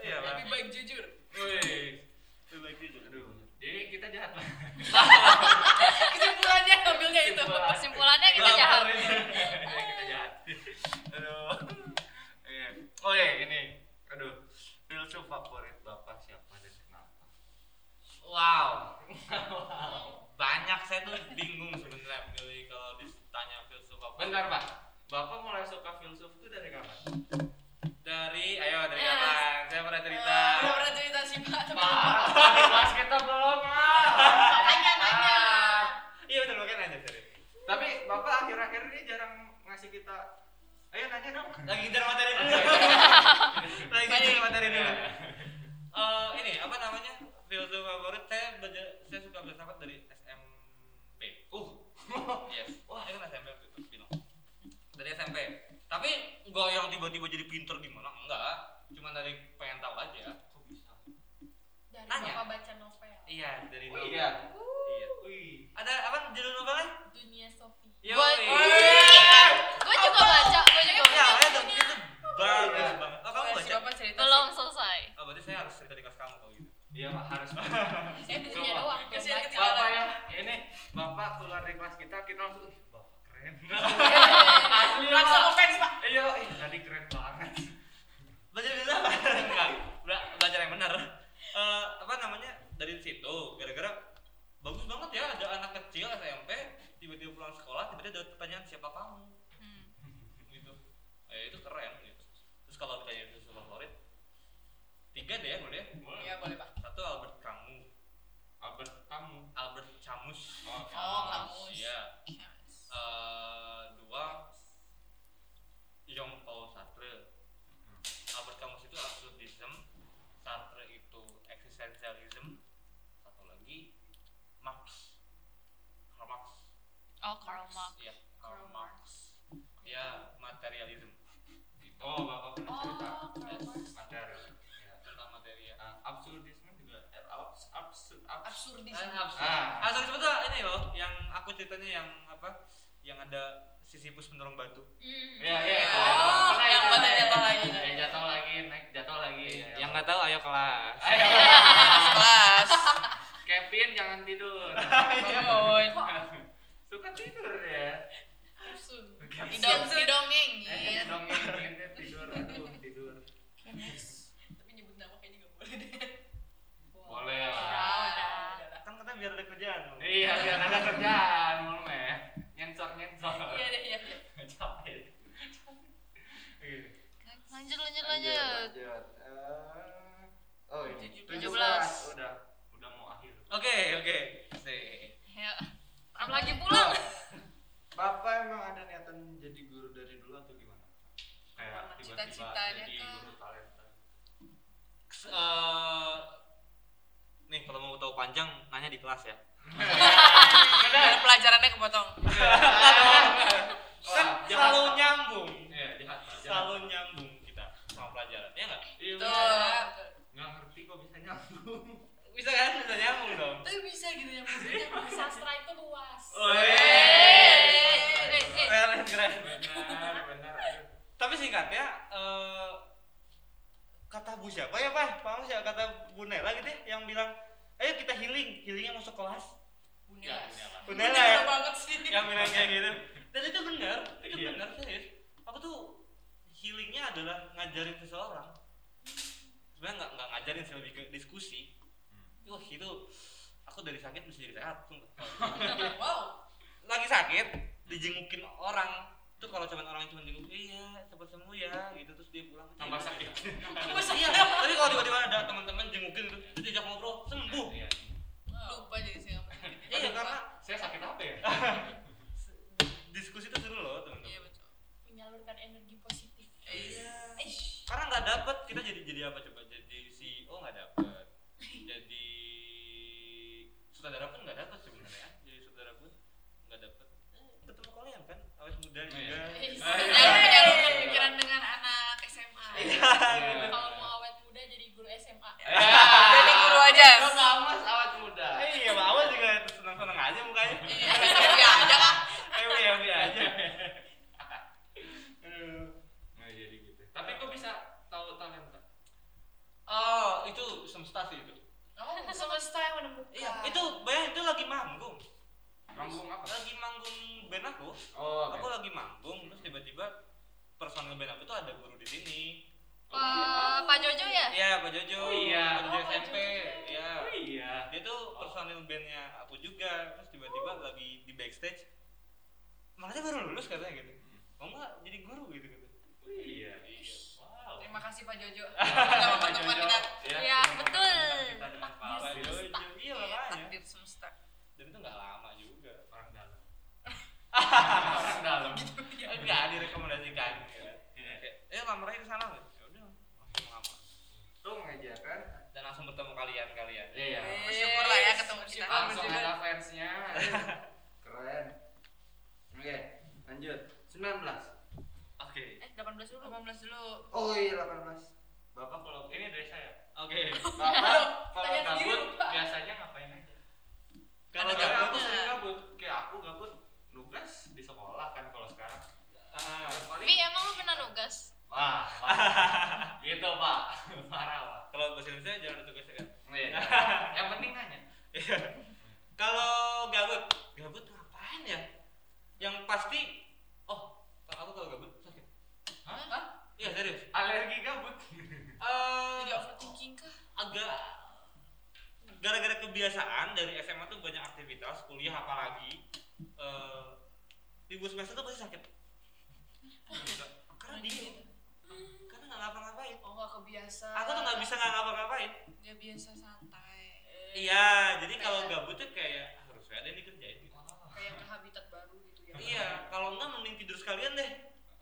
[SPEAKER 4] iya lah
[SPEAKER 5] Lebih baik jujur.
[SPEAKER 10] Wih.
[SPEAKER 4] itu baik juga
[SPEAKER 10] Aduh. Jadi kita jahat
[SPEAKER 5] (laughs)
[SPEAKER 10] banget.
[SPEAKER 5] Kesimpulannya ambilnya itu.
[SPEAKER 2] Kesimpulannya gitu kita jahat.
[SPEAKER 10] Iya, kita jahat. Aduh. Iya. Oh iya, ini. Aduh. Filsuf favorit Bapak siapa dan kenapa?
[SPEAKER 4] saya tuh bingung sebenarnya milih kalau ditanya filsuf apa.
[SPEAKER 1] Bentar pak, bapak mulai suka filsuf itu dari kapan?
[SPEAKER 4] Dari ayo dari
[SPEAKER 2] Yes.
[SPEAKER 4] kapan? Saya pernah cerita.
[SPEAKER 5] Iya,
[SPEAKER 2] Udah pernah cerita sih Pak, tapi
[SPEAKER 1] Pak, kelas kita belum Pak.
[SPEAKER 2] tanya nanya.
[SPEAKER 4] Iya betul makanya nanya tadi.
[SPEAKER 1] Tapi bapak akhir-akhir ini jarang ngasih kita. Ayo nanya dong.
[SPEAKER 4] Lagi ngejar materi dulu. (laughs) Lagi ngejar materi dulu. Eh, ini apa namanya? Filsuf favorit saya belajar saya suka filsafat dari SMP. Uh. (laughs) yes. Wah, itu kan SMP waktu itu bilang. Dari SMP. Tapi nggak yang tiba-tiba jadi pinter gimana? Enggak. Cuma dari pengen tahu aja. Kok bisa?
[SPEAKER 2] Dari
[SPEAKER 4] Nanya.
[SPEAKER 2] Bapak baca novel
[SPEAKER 4] Iya, dari
[SPEAKER 1] Oh
[SPEAKER 4] novel.
[SPEAKER 1] iya.
[SPEAKER 4] Iya.
[SPEAKER 1] Wih.
[SPEAKER 4] Ada apa judul novelnya? Iya,
[SPEAKER 2] Dunia Sophie.
[SPEAKER 4] Yo.
[SPEAKER 10] Gua- Gue juga baca, gue juga
[SPEAKER 4] Ya,
[SPEAKER 10] baca.
[SPEAKER 4] itu itu bagus banget. Oh, kamu
[SPEAKER 5] Boleh
[SPEAKER 4] baca?
[SPEAKER 5] sih bapak cerita
[SPEAKER 10] Belum
[SPEAKER 5] sih.
[SPEAKER 10] selesai.
[SPEAKER 4] Oh, berarti saya harus cerita di kelas kamu kalau gitu.
[SPEAKER 1] Iya pak harus.
[SPEAKER 2] Saya dunia
[SPEAKER 1] Coba.
[SPEAKER 2] doang. belum
[SPEAKER 5] Kasihan
[SPEAKER 2] baca.
[SPEAKER 1] Bapak yang ini bapak keluar dari kelas kita kita langsung "Ih, bapak keren. Asli
[SPEAKER 5] Langsung
[SPEAKER 1] Pak.
[SPEAKER 5] offense pak.
[SPEAKER 1] Iya, ih, tadi keren banget.
[SPEAKER 4] Belajar dari apa? (laughs) Enggak. Bela- belajar yang benar. Eh, apa namanya? Dari situ gara-gara bagus banget ya ada anak kecil SMP tiba-tiba pulang sekolah tiba-tiba ada pertanyaan siapa kamu
[SPEAKER 10] Hmm.
[SPEAKER 4] (laughs) gitu eh itu keren gitu terus kalau ditanya filsuf favorit tiga deh ya boleh
[SPEAKER 5] Iya boleh pak.
[SPEAKER 4] satu Albert Camus
[SPEAKER 1] Albert kamu.
[SPEAKER 4] Albert Camus
[SPEAKER 5] Oh kamu.
[SPEAKER 4] Iya. Eh, dua Jean Paul Sartre. Albert Camus itu absolutism, Sartre itu eksistensialism, satu lagi Marx. Karl Marx.
[SPEAKER 10] Oh, Karl Marx.
[SPEAKER 4] Iya, Karl Marx. Ya, materialism. Gitu.
[SPEAKER 1] Oh bapak pernah
[SPEAKER 2] Oh,
[SPEAKER 1] cerita.
[SPEAKER 2] Karl Marx.
[SPEAKER 1] Material.
[SPEAKER 4] tentang ya. material.
[SPEAKER 1] Nah, absurdisme juga eh, abs absurd absurd.
[SPEAKER 5] Absurdis.
[SPEAKER 4] Ah,
[SPEAKER 1] Ah,
[SPEAKER 4] ah sorry sebetulnya ini loh yang aku ceritanya yang apa? Yang ada Sisyphus mendorong batu.
[SPEAKER 2] Hmm.
[SPEAKER 1] iya iya. itu.
[SPEAKER 5] Oh,
[SPEAKER 1] Pernah
[SPEAKER 5] yang
[SPEAKER 1] itu.
[SPEAKER 5] pada jatuh lagi.
[SPEAKER 6] Yang Eh, jatuh lagi, naik jatuh lagi.
[SPEAKER 1] Iya,
[SPEAKER 4] (laughs) Yang nggak tahu ayo kelas.
[SPEAKER 1] Ayo.
[SPEAKER 5] Kelas. Iya.
[SPEAKER 1] Kevin jangan tidur.
[SPEAKER 5] Bangun.
[SPEAKER 1] Suka tidur ya.
[SPEAKER 2] Absurd.
[SPEAKER 1] Iya.
[SPEAKER 5] Didong, didongeng. Iya.
[SPEAKER 1] Eh, dong inginnya tidur, aduh tidur.
[SPEAKER 5] Tapi nyebut nama kayaknya nggak boleh deh. Iya,
[SPEAKER 1] Boleh lah.
[SPEAKER 2] Udah,
[SPEAKER 5] Udah,
[SPEAKER 2] udah.
[SPEAKER 5] udah lah.
[SPEAKER 4] Kan kata biar ada kerjaan. loh.
[SPEAKER 1] Iya, biar ada kerjaan, mau ya. Nyensor nyensor.
[SPEAKER 5] Iya Iya. deh, iya. iya.
[SPEAKER 1] Capek. Gitu.
[SPEAKER 10] Lanjut, lanjut, lanjut.
[SPEAKER 1] Lanjut. Eh, Oh, ini
[SPEAKER 10] 17.
[SPEAKER 1] Udah, udah mau akhir.
[SPEAKER 4] Oke, oke.
[SPEAKER 10] Ya. Kamu lagi pulang.
[SPEAKER 1] Bapak emang ada niatan jadi guru dari dulu atau gimana? Kayak
[SPEAKER 5] Emang
[SPEAKER 1] tiba-tiba
[SPEAKER 5] cita-citanya
[SPEAKER 1] jadi
[SPEAKER 5] kah?
[SPEAKER 1] guru talenta.
[SPEAKER 4] S- eh, nih kalau mau tahu panjang nanya di kelas ya.
[SPEAKER 5] Biar pelajarannya kepotong.
[SPEAKER 4] Kan
[SPEAKER 1] Wah, jahat,
[SPEAKER 4] selalu
[SPEAKER 1] Pak.
[SPEAKER 4] nyambung,
[SPEAKER 1] Oh, Iya, jahat. Pak, jahat.
[SPEAKER 4] selalu nyambung kita sama pelajaran ya nggak?
[SPEAKER 1] Iya,
[SPEAKER 5] Tuh.
[SPEAKER 1] Nggak ngerti kok bisa nyambung.
[SPEAKER 4] Bisa kan? Bisa nyambung dong.
[SPEAKER 5] Tapi bisa gitu ya maksudnya.
[SPEAKER 2] Sastra itu luas.
[SPEAKER 4] Oh, Wih.
[SPEAKER 2] eh, eh.
[SPEAKER 4] Keren, keren.
[SPEAKER 1] Benar, benar. aduh.
[SPEAKER 4] Tapi singkatnya eh kata Bu siapa ya Pak? Paham sih kata Bu Nela gitu ya yang bilang ayo kita healing, healingnya masuk kelas.
[SPEAKER 5] Bunya.
[SPEAKER 4] Bu
[SPEAKER 5] Bener
[SPEAKER 4] Nela ya?
[SPEAKER 5] banget sih.
[SPEAKER 4] yang bilang kayak gitu dan itu benar itu
[SPEAKER 1] Iya.
[SPEAKER 4] benar serius aku tuh healingnya adalah ngajarin seseorang sebenarnya nggak nggak ngajarin sih lebih ke diskusi wah itu aku dari sakit bisa jadi sehat sumpah.
[SPEAKER 5] Wow.
[SPEAKER 4] lagi sakit dijengukin orang itu kalau cuman orang yang cuma jenguk iya cepat sembuh ya gitu terus dia pulang
[SPEAKER 1] Tambah sakit.
[SPEAKER 4] tambah sakit iya tapi kalau tiba-tiba ada teman-teman jengukin gitu terus diajak ngobrol sembuh
[SPEAKER 1] Iya.
[SPEAKER 5] Lupa jadi sih nggak penting.
[SPEAKER 4] iya karena
[SPEAKER 1] Saya sakit apa ya?
[SPEAKER 4] diskusi itu seru loh teman-teman
[SPEAKER 5] Iya betul.
[SPEAKER 2] Menyalurkan energi
[SPEAKER 5] (laughs)
[SPEAKER 2] positif.
[SPEAKER 4] iya
[SPEAKER 5] Eish.
[SPEAKER 4] karena nggak dapet kita jadi jadi apa coba jadi CEO nggak dapet jadi sutradara pun nggak dapet sebenarnya jadi sutradara pun nggak dapet Eh, ketemu kalian kan awet muda juga
[SPEAKER 1] iya.
[SPEAKER 5] Eh, Jangan menyalurkan pikiran dengan anak SMA.
[SPEAKER 1] Iya.
[SPEAKER 2] Kalau mau awet muda jadi guru SMA.
[SPEAKER 5] Iya. Jadi guru aja.
[SPEAKER 1] Gua nggak awas awet muda.
[SPEAKER 4] Eh, iya bawa juga senang senang aja mukanya
[SPEAKER 5] Iya, (laughs) iya ada Kak.
[SPEAKER 4] ewe ewe aja
[SPEAKER 1] Nah, jadi gitu. Tapi kok bisa tahu talenta?
[SPEAKER 4] oh itu semesta sih itu
[SPEAKER 5] Oh,
[SPEAKER 2] Semesta yang menemukan.
[SPEAKER 4] iya itu bayangin itu lagi manggung
[SPEAKER 1] Manggung apa?
[SPEAKER 4] lagi manggung band aku
[SPEAKER 1] Oh,
[SPEAKER 4] aku lagi manggung terus tiba-tiba personal band aku tuh ada guru di sini
[SPEAKER 10] Pak, Pak Jojo ya?
[SPEAKER 4] Iya, Pak
[SPEAKER 1] Oh
[SPEAKER 4] Jojo.
[SPEAKER 1] iya.
[SPEAKER 4] Pak Jojo
[SPEAKER 2] Oh, Pak
[SPEAKER 4] SMP.
[SPEAKER 2] Jojo.
[SPEAKER 4] Iya.
[SPEAKER 1] iya.
[SPEAKER 4] Dia tuh
[SPEAKER 1] Oh,
[SPEAKER 4] personil bandnya aku juga terus tiba-tiba lagi di backstage makanya baru lulus katanya gitu mama jadi guru gitu gitu
[SPEAKER 1] Iya.
[SPEAKER 6] Wow.
[SPEAKER 5] Terima kasih Pak Jojo.
[SPEAKER 1] Sama
[SPEAKER 5] Sudah
[SPEAKER 1] Pak
[SPEAKER 5] membantu
[SPEAKER 1] Jojo.
[SPEAKER 5] kita.
[SPEAKER 2] Iya, betul.
[SPEAKER 1] Kita dengan Pak
[SPEAKER 4] Pak
[SPEAKER 1] Aldi.
[SPEAKER 4] Jojo iya
[SPEAKER 5] Iya,
[SPEAKER 4] makanya
[SPEAKER 5] Takdir semesta.
[SPEAKER 4] dan itu nggak lama juga
[SPEAKER 1] Orang dalam.
[SPEAKER 4] orang dalam Iya, nggak direkomendasikan
[SPEAKER 1] Iya.
[SPEAKER 4] Kayak, eh lamarannya ke sana nggak? ya udah langsung lamar
[SPEAKER 1] Itu mengajarkan.
[SPEAKER 4] dan langsung bertemu kalian kalian
[SPEAKER 1] Iya.
[SPEAKER 5] Bersyukurlah ya ketemu kita.
[SPEAKER 1] Langsung ada fansnya. Keren. Oke, lanjut. 19.
[SPEAKER 6] Oke.
[SPEAKER 5] Eh, 18 dulu. 18 dulu.
[SPEAKER 1] Oh iya 18.
[SPEAKER 6] Bapak kalau ini dari saya.
[SPEAKER 4] oke
[SPEAKER 1] Bapak
[SPEAKER 5] Tanya
[SPEAKER 1] kalau
[SPEAKER 5] sendiri,
[SPEAKER 1] gabut
[SPEAKER 5] Pak.
[SPEAKER 1] biasanya ngapain aja?
[SPEAKER 4] kalau
[SPEAKER 5] Ada
[SPEAKER 4] gabut
[SPEAKER 1] aku
[SPEAKER 5] gabutnya.
[SPEAKER 1] sering gabut. Kayak aku gabut nugas di sekolah kan kalau sekarang.
[SPEAKER 4] ah,
[SPEAKER 2] Tapi emang lu pernah nugas?
[SPEAKER 1] Wah, gitu pak, parah pak.
[SPEAKER 4] kalau bahasa Indonesia jangan ada tugasnya kan (laughs) Iya.
[SPEAKER 1] Iya. Yang penting nanya.
[SPEAKER 4] kalau gabut gabut ngapain ya yang pasti oh kalau aku kalau gabut sakit
[SPEAKER 1] Hah?
[SPEAKER 4] iya serius
[SPEAKER 1] Alergi gabut.
[SPEAKER 4] Eh,
[SPEAKER 5] Jadi overthinking kah?
[SPEAKER 4] agak gara-gara kebiasaan dari SMA tuh banyak aktivitas kuliah apalagi eh libur semester tuh pasti sakit karena dingin karena nggak ngapa-ngapain
[SPEAKER 5] Oh, nggak kebiasa.
[SPEAKER 4] aku tuh nggak bisa nggak ngapa-ngapain
[SPEAKER 5] Dia biasa santai.
[SPEAKER 4] iya jadi kalau gabut tuh kayak harus ada yang dikerjain gitu.
[SPEAKER 5] Kayak ke habitat baru gitu ya.
[SPEAKER 4] iya kalau enggak mending tidur sekalian deh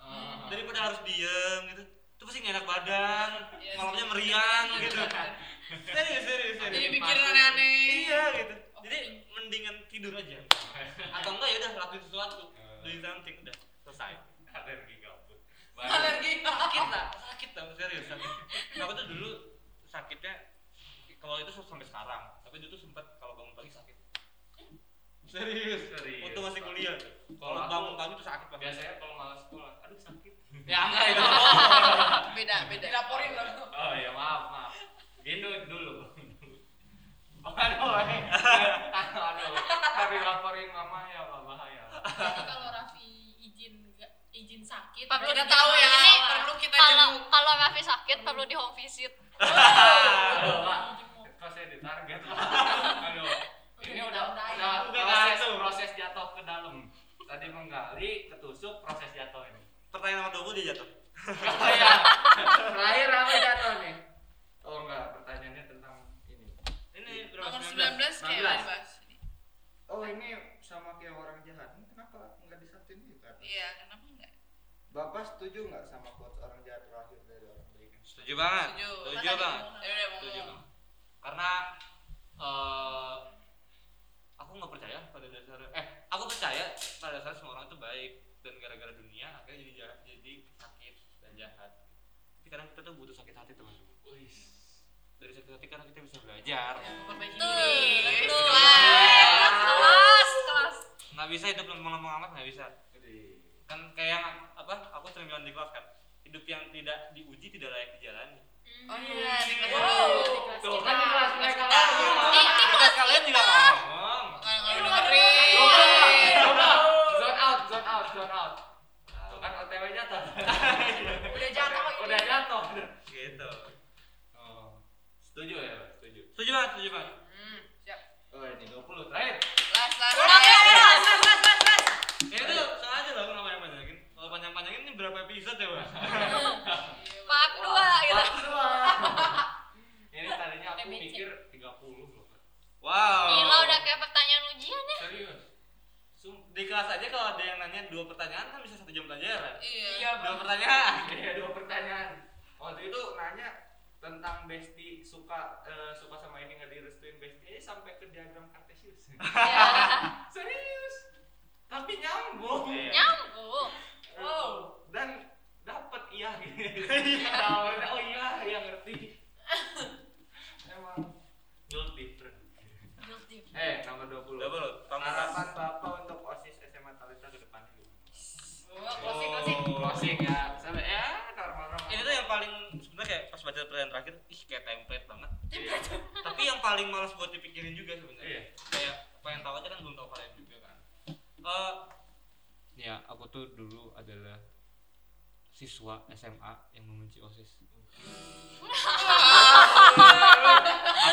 [SPEAKER 1] Ah.
[SPEAKER 4] daripada harus diem gitu itu pasti nggak enak badan
[SPEAKER 5] Iya sih.
[SPEAKER 4] malamnya meriang
[SPEAKER 5] (laughs)
[SPEAKER 4] gitu serius serius
[SPEAKER 5] Jadi
[SPEAKER 4] serius
[SPEAKER 5] pikiran aneh.
[SPEAKER 4] iya gitu jadi mendingan tidur aja atau enggak ya udah lakuin sesuatu doing something udah Iya. selesai
[SPEAKER 1] (laughs) Alergi gabut.
[SPEAKER 5] Alergi.
[SPEAKER 4] sakit lah sakit tau serius sakit aku tuh dulu sakitnya kalau itu sampai sekarang tapi dulu tuh sempet kalau bangun pagi sakit serius
[SPEAKER 1] Serius.
[SPEAKER 4] waktu masih kuliah
[SPEAKER 1] Kalau
[SPEAKER 4] Iya, kalau
[SPEAKER 1] aku-
[SPEAKER 4] bangun pagi tuh sakit banget
[SPEAKER 1] Biasanya kalau malas sekolah, aduh sakit.
[SPEAKER 4] ya enggak itu
[SPEAKER 5] Beda, beda. Dilaporin loh.
[SPEAKER 1] Oh ya maaf maaf. Gitu
[SPEAKER 4] (laughs)
[SPEAKER 1] dulu. Aduh, eh. aduh, aduh, tapi laporin mama ya, Pak, bahaya.
[SPEAKER 11] Jadi kalau Raffi izin nggak- izin sakit.
[SPEAKER 5] Pak
[SPEAKER 11] berarti
[SPEAKER 5] udah
[SPEAKER 11] dia
[SPEAKER 5] tahu ya,
[SPEAKER 11] malah.
[SPEAKER 5] perlu kita jenguk.
[SPEAKER 2] Kalau kalau Raffi sakit perlu di home visit.
[SPEAKER 1] Aduh, Pak, kok saya ditarget, Pak? Aduh, ini udah, udah,
[SPEAKER 4] Udah
[SPEAKER 1] proses,
[SPEAKER 4] jatuh.
[SPEAKER 1] proses jatuh ke dalam. Tadi menggali, ketusuk, proses jatuh ini.
[SPEAKER 4] pertanyaan nomor 20 dia jatuh
[SPEAKER 1] Oh iya. Terakhir apa jatuh nih? Oh enggak, pertanyaannya tentang ini.
[SPEAKER 4] ini berapa
[SPEAKER 5] Nomor 19
[SPEAKER 1] 19.
[SPEAKER 5] kayak bebas.
[SPEAKER 1] Oh ini sama kayak orang jahat. Ini kenapa nggak disatuin gitu?
[SPEAKER 5] Iya, kenapa enggak?
[SPEAKER 1] Bapak setuju nggak sama quotes orang jahat terakhir dari orang baik?
[SPEAKER 4] setuju banget
[SPEAKER 5] Setuju.
[SPEAKER 4] setuju banget
[SPEAKER 5] Ya udah mau.
[SPEAKER 4] setuju Bang. karena eh, aku nggak percaya pada dasarnya eh aku percaya pada dasarnya semua orang itu baik dan gara-gara dunia akhirnya jadi jahat, jadi sakit dan jahat tapi kadang kita tuh butuh sakit hati teman-teman dari sakit hati karena kita bisa belajar
[SPEAKER 5] Perbaiki
[SPEAKER 2] Tuh,
[SPEAKER 5] diri.
[SPEAKER 2] betul.
[SPEAKER 5] Kelas.
[SPEAKER 2] Kelas, kelas.
[SPEAKER 4] nggak bisa hidup lempeng-lempeng amat nggak bisa kan kayak apa aku sering bilang di kelas kan hidup yang tidak diuji tidak layak dijalani
[SPEAKER 5] Oh iya, dikasih
[SPEAKER 11] Wow.
[SPEAKER 1] Tuh
[SPEAKER 5] kan
[SPEAKER 1] kan
[SPEAKER 5] di kelas
[SPEAKER 1] kelas mereka
[SPEAKER 5] mereka lagi.
[SPEAKER 4] kita kalian juga ngomong
[SPEAKER 5] dengerin.
[SPEAKER 1] Zone out, zone out, zone out. Tuh kan OTW jatuh.
[SPEAKER 5] Udah jatuh lagi.
[SPEAKER 1] Udah jatuh.
[SPEAKER 4] gitu
[SPEAKER 1] Oh. Setuju ya, Pak? setuju.
[SPEAKER 4] setuju banget setuju banget
[SPEAKER 5] Hmm, siap.
[SPEAKER 1] Oh ini 20 terakhir.
[SPEAKER 5] Last, last,
[SPEAKER 2] Udah, udah,
[SPEAKER 5] last,
[SPEAKER 2] udah.
[SPEAKER 5] last, last, last, last.
[SPEAKER 4] Ini tuh sengaja loh aku nggak panjang-panjangin. Kalau panjang-panjangin ini berapa episode ya, Bang?
[SPEAKER 2] Part 2 gitu.
[SPEAKER 1] Part dua. Ini tadinya aku
[SPEAKER 11] TBC.
[SPEAKER 1] pikir 30 loh. Pak.
[SPEAKER 4] Wow.
[SPEAKER 2] Gila udah kayak pertanyaan ujian
[SPEAKER 5] (laughs)
[SPEAKER 2] ya.
[SPEAKER 1] Serius. Sum-
[SPEAKER 4] Di kelas aja kalau ada yang nanya dua pertanyaan kan bisa satu jam pelajaran.
[SPEAKER 5] Iya.
[SPEAKER 1] Iya,
[SPEAKER 4] Dua
[SPEAKER 1] Pak.
[SPEAKER 4] pertanyaan.
[SPEAKER 1] Iya, dua pertanyaan. Waktu itu nanya tentang Besti suka eh, suka sama ini nggak direstuin Besti eh, sampai ke diagram Cartesius. (laughs)
[SPEAKER 2] Ya.
[SPEAKER 1] Serius. Tapi nyambung.
[SPEAKER 2] Nyambung.
[SPEAKER 1] Wow. Dan dapat (laughs) iya gitu. Awalnya, oh iya, iya ngerti. (laughs) Emang build different. Eh, nomor 20.
[SPEAKER 4] Double loh, kamu
[SPEAKER 1] Harapan Bapak untuk OSIS SMA Talita ke depannya gimana?
[SPEAKER 5] Oh, closing, closing.
[SPEAKER 1] Closing ya. Sampai ya normal-normal.
[SPEAKER 4] Ini tuh yang paling sebenarnya kayak pas baca pertanyaan terakhir, ih kayak template banget. Tapi yang paling males buat dipikirin juga
[SPEAKER 1] Iya.
[SPEAKER 4] sebenarnya. Kayak pengen tahu aja kan belum tahu kalian juga kan. Eh ya, aku tuh dulu adalah siswa SMA yang membenci OSIS.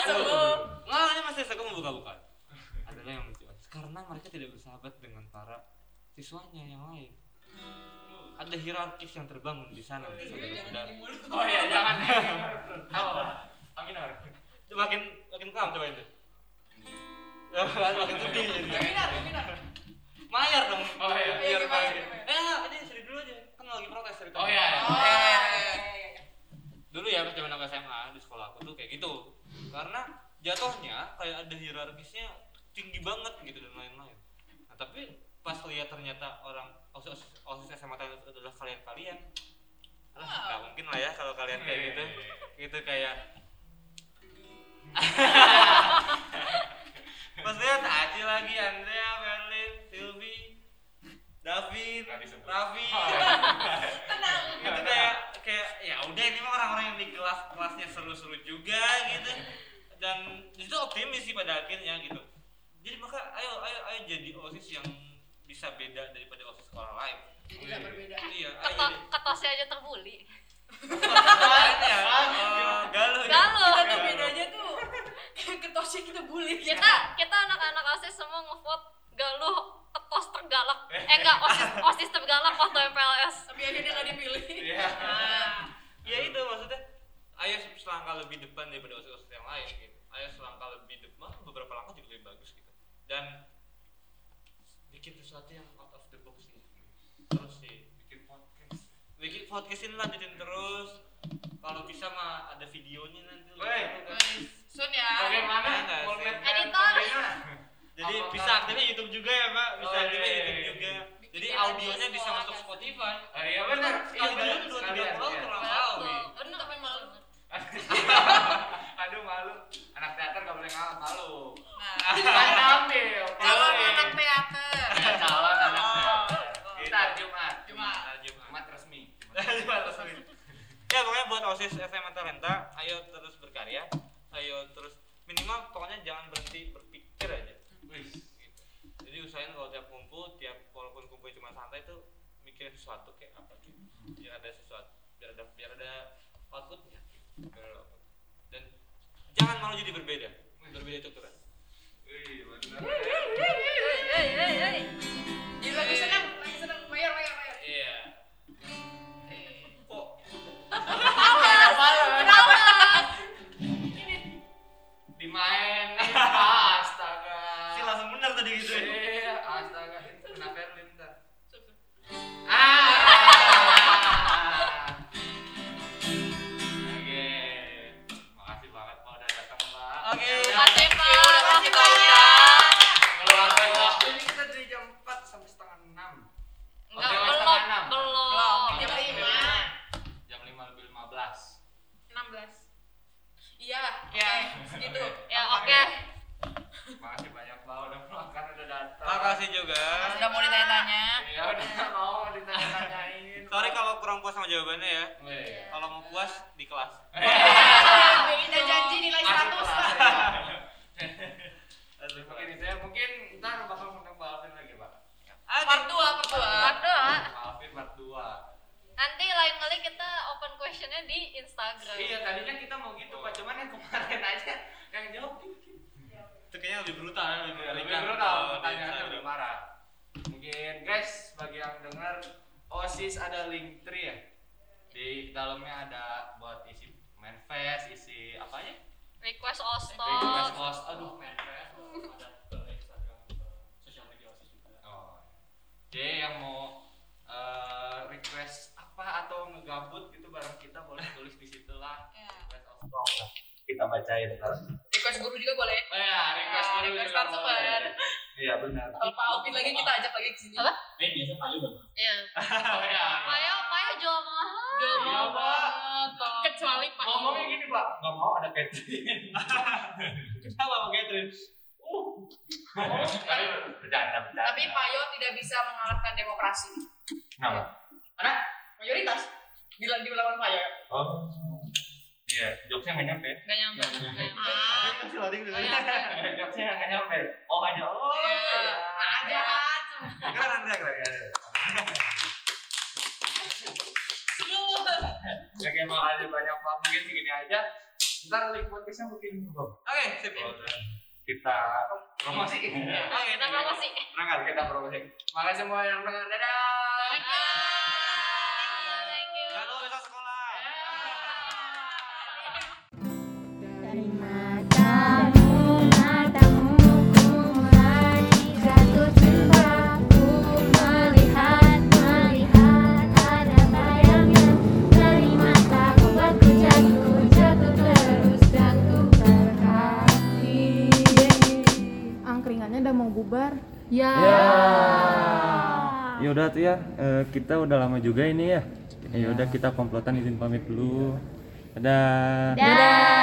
[SPEAKER 4] aku nggak ini masih aku mau buka-buka karena mereka tidak bersahabat dengan para siswanya yang lain ada hierarkis yang terbangun di sana Dan
[SPEAKER 1] Oh (laughs) iya, jangan. Apa? Amin Har.
[SPEAKER 4] makin makin kelam coba itu makin sedih jadi
[SPEAKER 6] Webinar, webinar.
[SPEAKER 4] mayar dong
[SPEAKER 1] Oh iya.
[SPEAKER 6] Iya,
[SPEAKER 4] biar
[SPEAKER 6] gimana,
[SPEAKER 4] mayar
[SPEAKER 6] gimana?
[SPEAKER 4] eh ini seri dulu aja kan lagi protes dari
[SPEAKER 1] Oh
[SPEAKER 4] tadi.
[SPEAKER 1] iya.
[SPEAKER 6] Oh, iya, iya, iya, iya.
[SPEAKER 4] dulu ya pas zaman aku SMA di sekolah aku tuh kayak gitu karena jatuhnya kayak ada hierarkisnya tinggi banget gitu dan lain-lain nah tapi pas lihat ternyata orang osis osis SMA tadi adalah kalian kalian alah nggak mungkin lah ya kalau kalian kayak gitu gitu kayak pas lihat Aci lagi Andrea Merlin Silvi David
[SPEAKER 1] Nggak disebut.
[SPEAKER 4] Raffi
[SPEAKER 6] Tenang.
[SPEAKER 1] Iya,
[SPEAKER 4] itu kayak kayak ya udah ini mah orang-orang yang di kelas kelasnya seru-seru juga gitu dan itu optimis sih pada akhirnya gitu jadi maka ayo ayo ayo jadi osis yang bisa beda daripada osis sekolah lain
[SPEAKER 5] Jadi nggak berbeda.
[SPEAKER 4] iya
[SPEAKER 2] (laughs)
[SPEAKER 4] ayo
[SPEAKER 2] Kata kata saya aja terbuli.
[SPEAKER 4] jadi ya galuh ya
[SPEAKER 2] Galuh.
[SPEAKER 6] Tapi bedanya
[SPEAKER 5] (laughs)
[SPEAKER 6] tuh ketosnya kita bully.
[SPEAKER 2] Kita kita anak-anak OSIS semua ngevote Galuh ketos tergalak. Eh enggak, OSIS OSIS tergalak waktu MPLS.
[SPEAKER 6] Tapi akhirnya nggak dipilih.
[SPEAKER 1] Iya.
[SPEAKER 6] Nah,
[SPEAKER 4] ya itu maksudnya ayo selangkah lebih depan daripada osis-osis yang lain gitu ayo selangkah lebih depan malah beberapa langkah juga lebih bagus gitu dan bikin sesuatu yang out of the box sih terus sih
[SPEAKER 1] Bikin podcast.
[SPEAKER 4] bikin podcast ini lanjutin terus kalau bisa mah ada videonya nanti
[SPEAKER 1] Woi.
[SPEAKER 5] Nah, Sun ya.
[SPEAKER 1] Bagaimana?
[SPEAKER 4] Iya nggak sih?
[SPEAKER 1] formatnya
[SPEAKER 2] Editor.
[SPEAKER 1] kontennya?
[SPEAKER 4] jadi
[SPEAKER 1] Apakah-
[SPEAKER 4] bisa aktifnya YouTube juga ya pak
[SPEAKER 1] Oh,
[SPEAKER 4] bisa
[SPEAKER 1] iya,
[SPEAKER 4] aktifnya
[SPEAKER 1] iya,
[SPEAKER 4] YouTube
[SPEAKER 1] iya.
[SPEAKER 4] juga
[SPEAKER 5] Bikin
[SPEAKER 4] jadi
[SPEAKER 5] playlist
[SPEAKER 4] audionya bisa
[SPEAKER 5] sekolah
[SPEAKER 4] masuk
[SPEAKER 5] kan.
[SPEAKER 4] Spotify
[SPEAKER 1] Oh, iya benar. Iya
[SPEAKER 4] sekali
[SPEAKER 1] benar.
[SPEAKER 4] dulu dua tiga
[SPEAKER 1] Sekalian,
[SPEAKER 4] pulau
[SPEAKER 1] iya.
[SPEAKER 4] kurang tahu
[SPEAKER 2] Betul.
[SPEAKER 4] nih.
[SPEAKER 2] Bener tapi malu.
[SPEAKER 1] Aduh malu. Anak teater gak boleh ngalah malu.
[SPEAKER 5] Nah,
[SPEAKER 1] Saya ambil.
[SPEAKER 5] calon
[SPEAKER 1] Boleh.
[SPEAKER 5] anak teater.
[SPEAKER 1] Ya, calon anak teater.
[SPEAKER 5] Oh.
[SPEAKER 1] Kita Jumat.
[SPEAKER 5] Jumat.
[SPEAKER 4] (laughs)
[SPEAKER 1] Jumat resmi.
[SPEAKER 4] Jumat resmi. Ah, ya pokoknya buat osis SMA Talenta ayo terus berkarya ayo terus minimal pokoknya jangan berhenti berpikir aja
[SPEAKER 1] Wih.
[SPEAKER 4] gitu. jadi usahain kalau tiap kumpul tiap walaupun kumpul cuma santai tuh mikirin sesuatu kayak apa gitu biar ada sesuatu biar ada biar ada outputnya gitu. Biar ada output. dan jangan malu jadi berbeda berbeda itu keren
[SPEAKER 1] Wih, benar.
[SPEAKER 2] Hei, hei, hei.
[SPEAKER 5] Jadi lagi senang, lagi senang. Mayor, mayor, mayor.
[SPEAKER 4] iya kok
[SPEAKER 1] Dimainin Pak. astaga.
[SPEAKER 4] sih langsung benar tadi gitu ya
[SPEAKER 1] Eh, astaga. Ini Kena Berlin ntar.
[SPEAKER 4] ah
[SPEAKER 1] Oke. Makasih banget Pak udah datang, Pak.
[SPEAKER 4] oke
[SPEAKER 2] Makasih Pak, makasih banyak.
[SPEAKER 4] banyak.
[SPEAKER 1] Meluangkan waktu ini kita dari jam 4 sampai setengah 6.
[SPEAKER 2] Enggak
[SPEAKER 1] Oke,
[SPEAKER 2] belum,
[SPEAKER 1] setengah enam.
[SPEAKER 2] belum.
[SPEAKER 5] Jam lima.
[SPEAKER 1] Jam 5 lebih 15.
[SPEAKER 5] 16. Iya,
[SPEAKER 2] Ya.
[SPEAKER 5] oke, Gitu. segitu.
[SPEAKER 2] Ya oke.
[SPEAKER 1] Makasih banyak, Pak udah meluangkan udah datang.
[SPEAKER 4] makasih juga
[SPEAKER 5] Sudah mau ditanya-tanya.
[SPEAKER 1] Ya udah mau ditanya-tanyain.
[SPEAKER 4] sorry kalau kurang puas sama jawabannya ya
[SPEAKER 1] Weh.
[SPEAKER 4] kalau mau puas di kelas
[SPEAKER 5] Iya, Kita janji nilai
[SPEAKER 1] Masuk
[SPEAKER 5] 100.
[SPEAKER 1] kelas, (laughs) ya. Mungkin itu ya, mungkin ntar bakal ngundang Pak Alvin lagi, Pak.
[SPEAKER 5] Part 2, part 2.
[SPEAKER 2] Berdoa.
[SPEAKER 1] Pak Alvin part 2.
[SPEAKER 2] Nanti lain kali kita open questionnya di Instagram.
[SPEAKER 1] Iya tadinya kita mau gitu pak, cuman yang kemarin aja yang jawab gitu.
[SPEAKER 4] itu kayaknya lebih brutal ya, lebih
[SPEAKER 1] Lebih
[SPEAKER 4] mengerikan. Oh,
[SPEAKER 1] brutal,
[SPEAKER 4] di
[SPEAKER 1] pertanyaannya
[SPEAKER 4] Instagram.
[SPEAKER 1] lebih marah. Mungkin guys bagi yang dengar osis ada link tree ya. Di dalamnya ada buat isi manifest, isi apa ya?
[SPEAKER 2] Request Osto.
[SPEAKER 1] Request host, aduh. Oh. iya. Jadi yang mau eh, request apa atau ngegabut gitu bareng kita boleh tulis di situ lah.
[SPEAKER 5] Iya.
[SPEAKER 1] Request host. Kita bacain ntar.
[SPEAKER 5] Request guru juga boleh.
[SPEAKER 1] Oh ya, request
[SPEAKER 5] Ya,
[SPEAKER 1] dulu
[SPEAKER 5] request
[SPEAKER 1] juga
[SPEAKER 5] langsung,
[SPEAKER 1] boleh.
[SPEAKER 5] Bar.
[SPEAKER 1] Iya benar.
[SPEAKER 5] Kalau Pak Alvin lagi kita ajak lagi ke sini.
[SPEAKER 2] Apa?
[SPEAKER 12] Eh, biasa paling bagus.
[SPEAKER 2] Iya.
[SPEAKER 1] (laughs) Oh ya.
[SPEAKER 2] Payo, payo jual mahal.
[SPEAKER 5] Jual
[SPEAKER 1] Iya,
[SPEAKER 5] mahal
[SPEAKER 1] Pak.
[SPEAKER 5] banget, Pak. Kecuali Pak.
[SPEAKER 1] Ngomongnya gini pak, nggak mau ada Catherine.
[SPEAKER 4] Kenapa sama Catherine?
[SPEAKER 1] Uh. Tapi bercanda bercanda.
[SPEAKER 5] Tapi Pak Yo tidak bisa mengalahkan demokrasi.
[SPEAKER 1] Kenapa?
[SPEAKER 5] Mayoritas. Bilang diulang Pak Yo.
[SPEAKER 1] Oh. Iya, jokesnya nggak nyampe.
[SPEAKER 2] Gak nyampe. nggak nyampe.
[SPEAKER 1] Iya.
[SPEAKER 5] Ah,
[SPEAKER 1] Jokesnya nggak nyampe. Oh aja. Oh.
[SPEAKER 5] Iya.
[SPEAKER 1] Aja.
[SPEAKER 5] aja kan.
[SPEAKER 1] Keren keren keren.
[SPEAKER 5] Seluruh.
[SPEAKER 1] Oke, makasih banyak pak. Mungkin segini aja. Ntar link podcastnya mungkin.
[SPEAKER 4] Oke, sip.
[SPEAKER 1] Oh, kita promosi.
[SPEAKER 5] Iya.
[SPEAKER 2] Oke, kita promosi.
[SPEAKER 1] Berangkat kita promosi. Makasih semua yang dengar. Dadah.
[SPEAKER 2] Thank you. Thank you.
[SPEAKER 4] Jangan lupa besok sekolah.
[SPEAKER 13] Dari matamu, matamu ku mulai jatuh cinta Ku melihat, melihat ada bayangnya Dari mataku aku jatuh, jatuh terus, jatuh berkali
[SPEAKER 14] angkringannya udah mau bubar.
[SPEAKER 13] Ya
[SPEAKER 15] Ya udah tuh ya, eh, kita udah lama juga ini ya. Ya udah kita komplotan izin pamit dulu. Dadah.
[SPEAKER 13] Dadah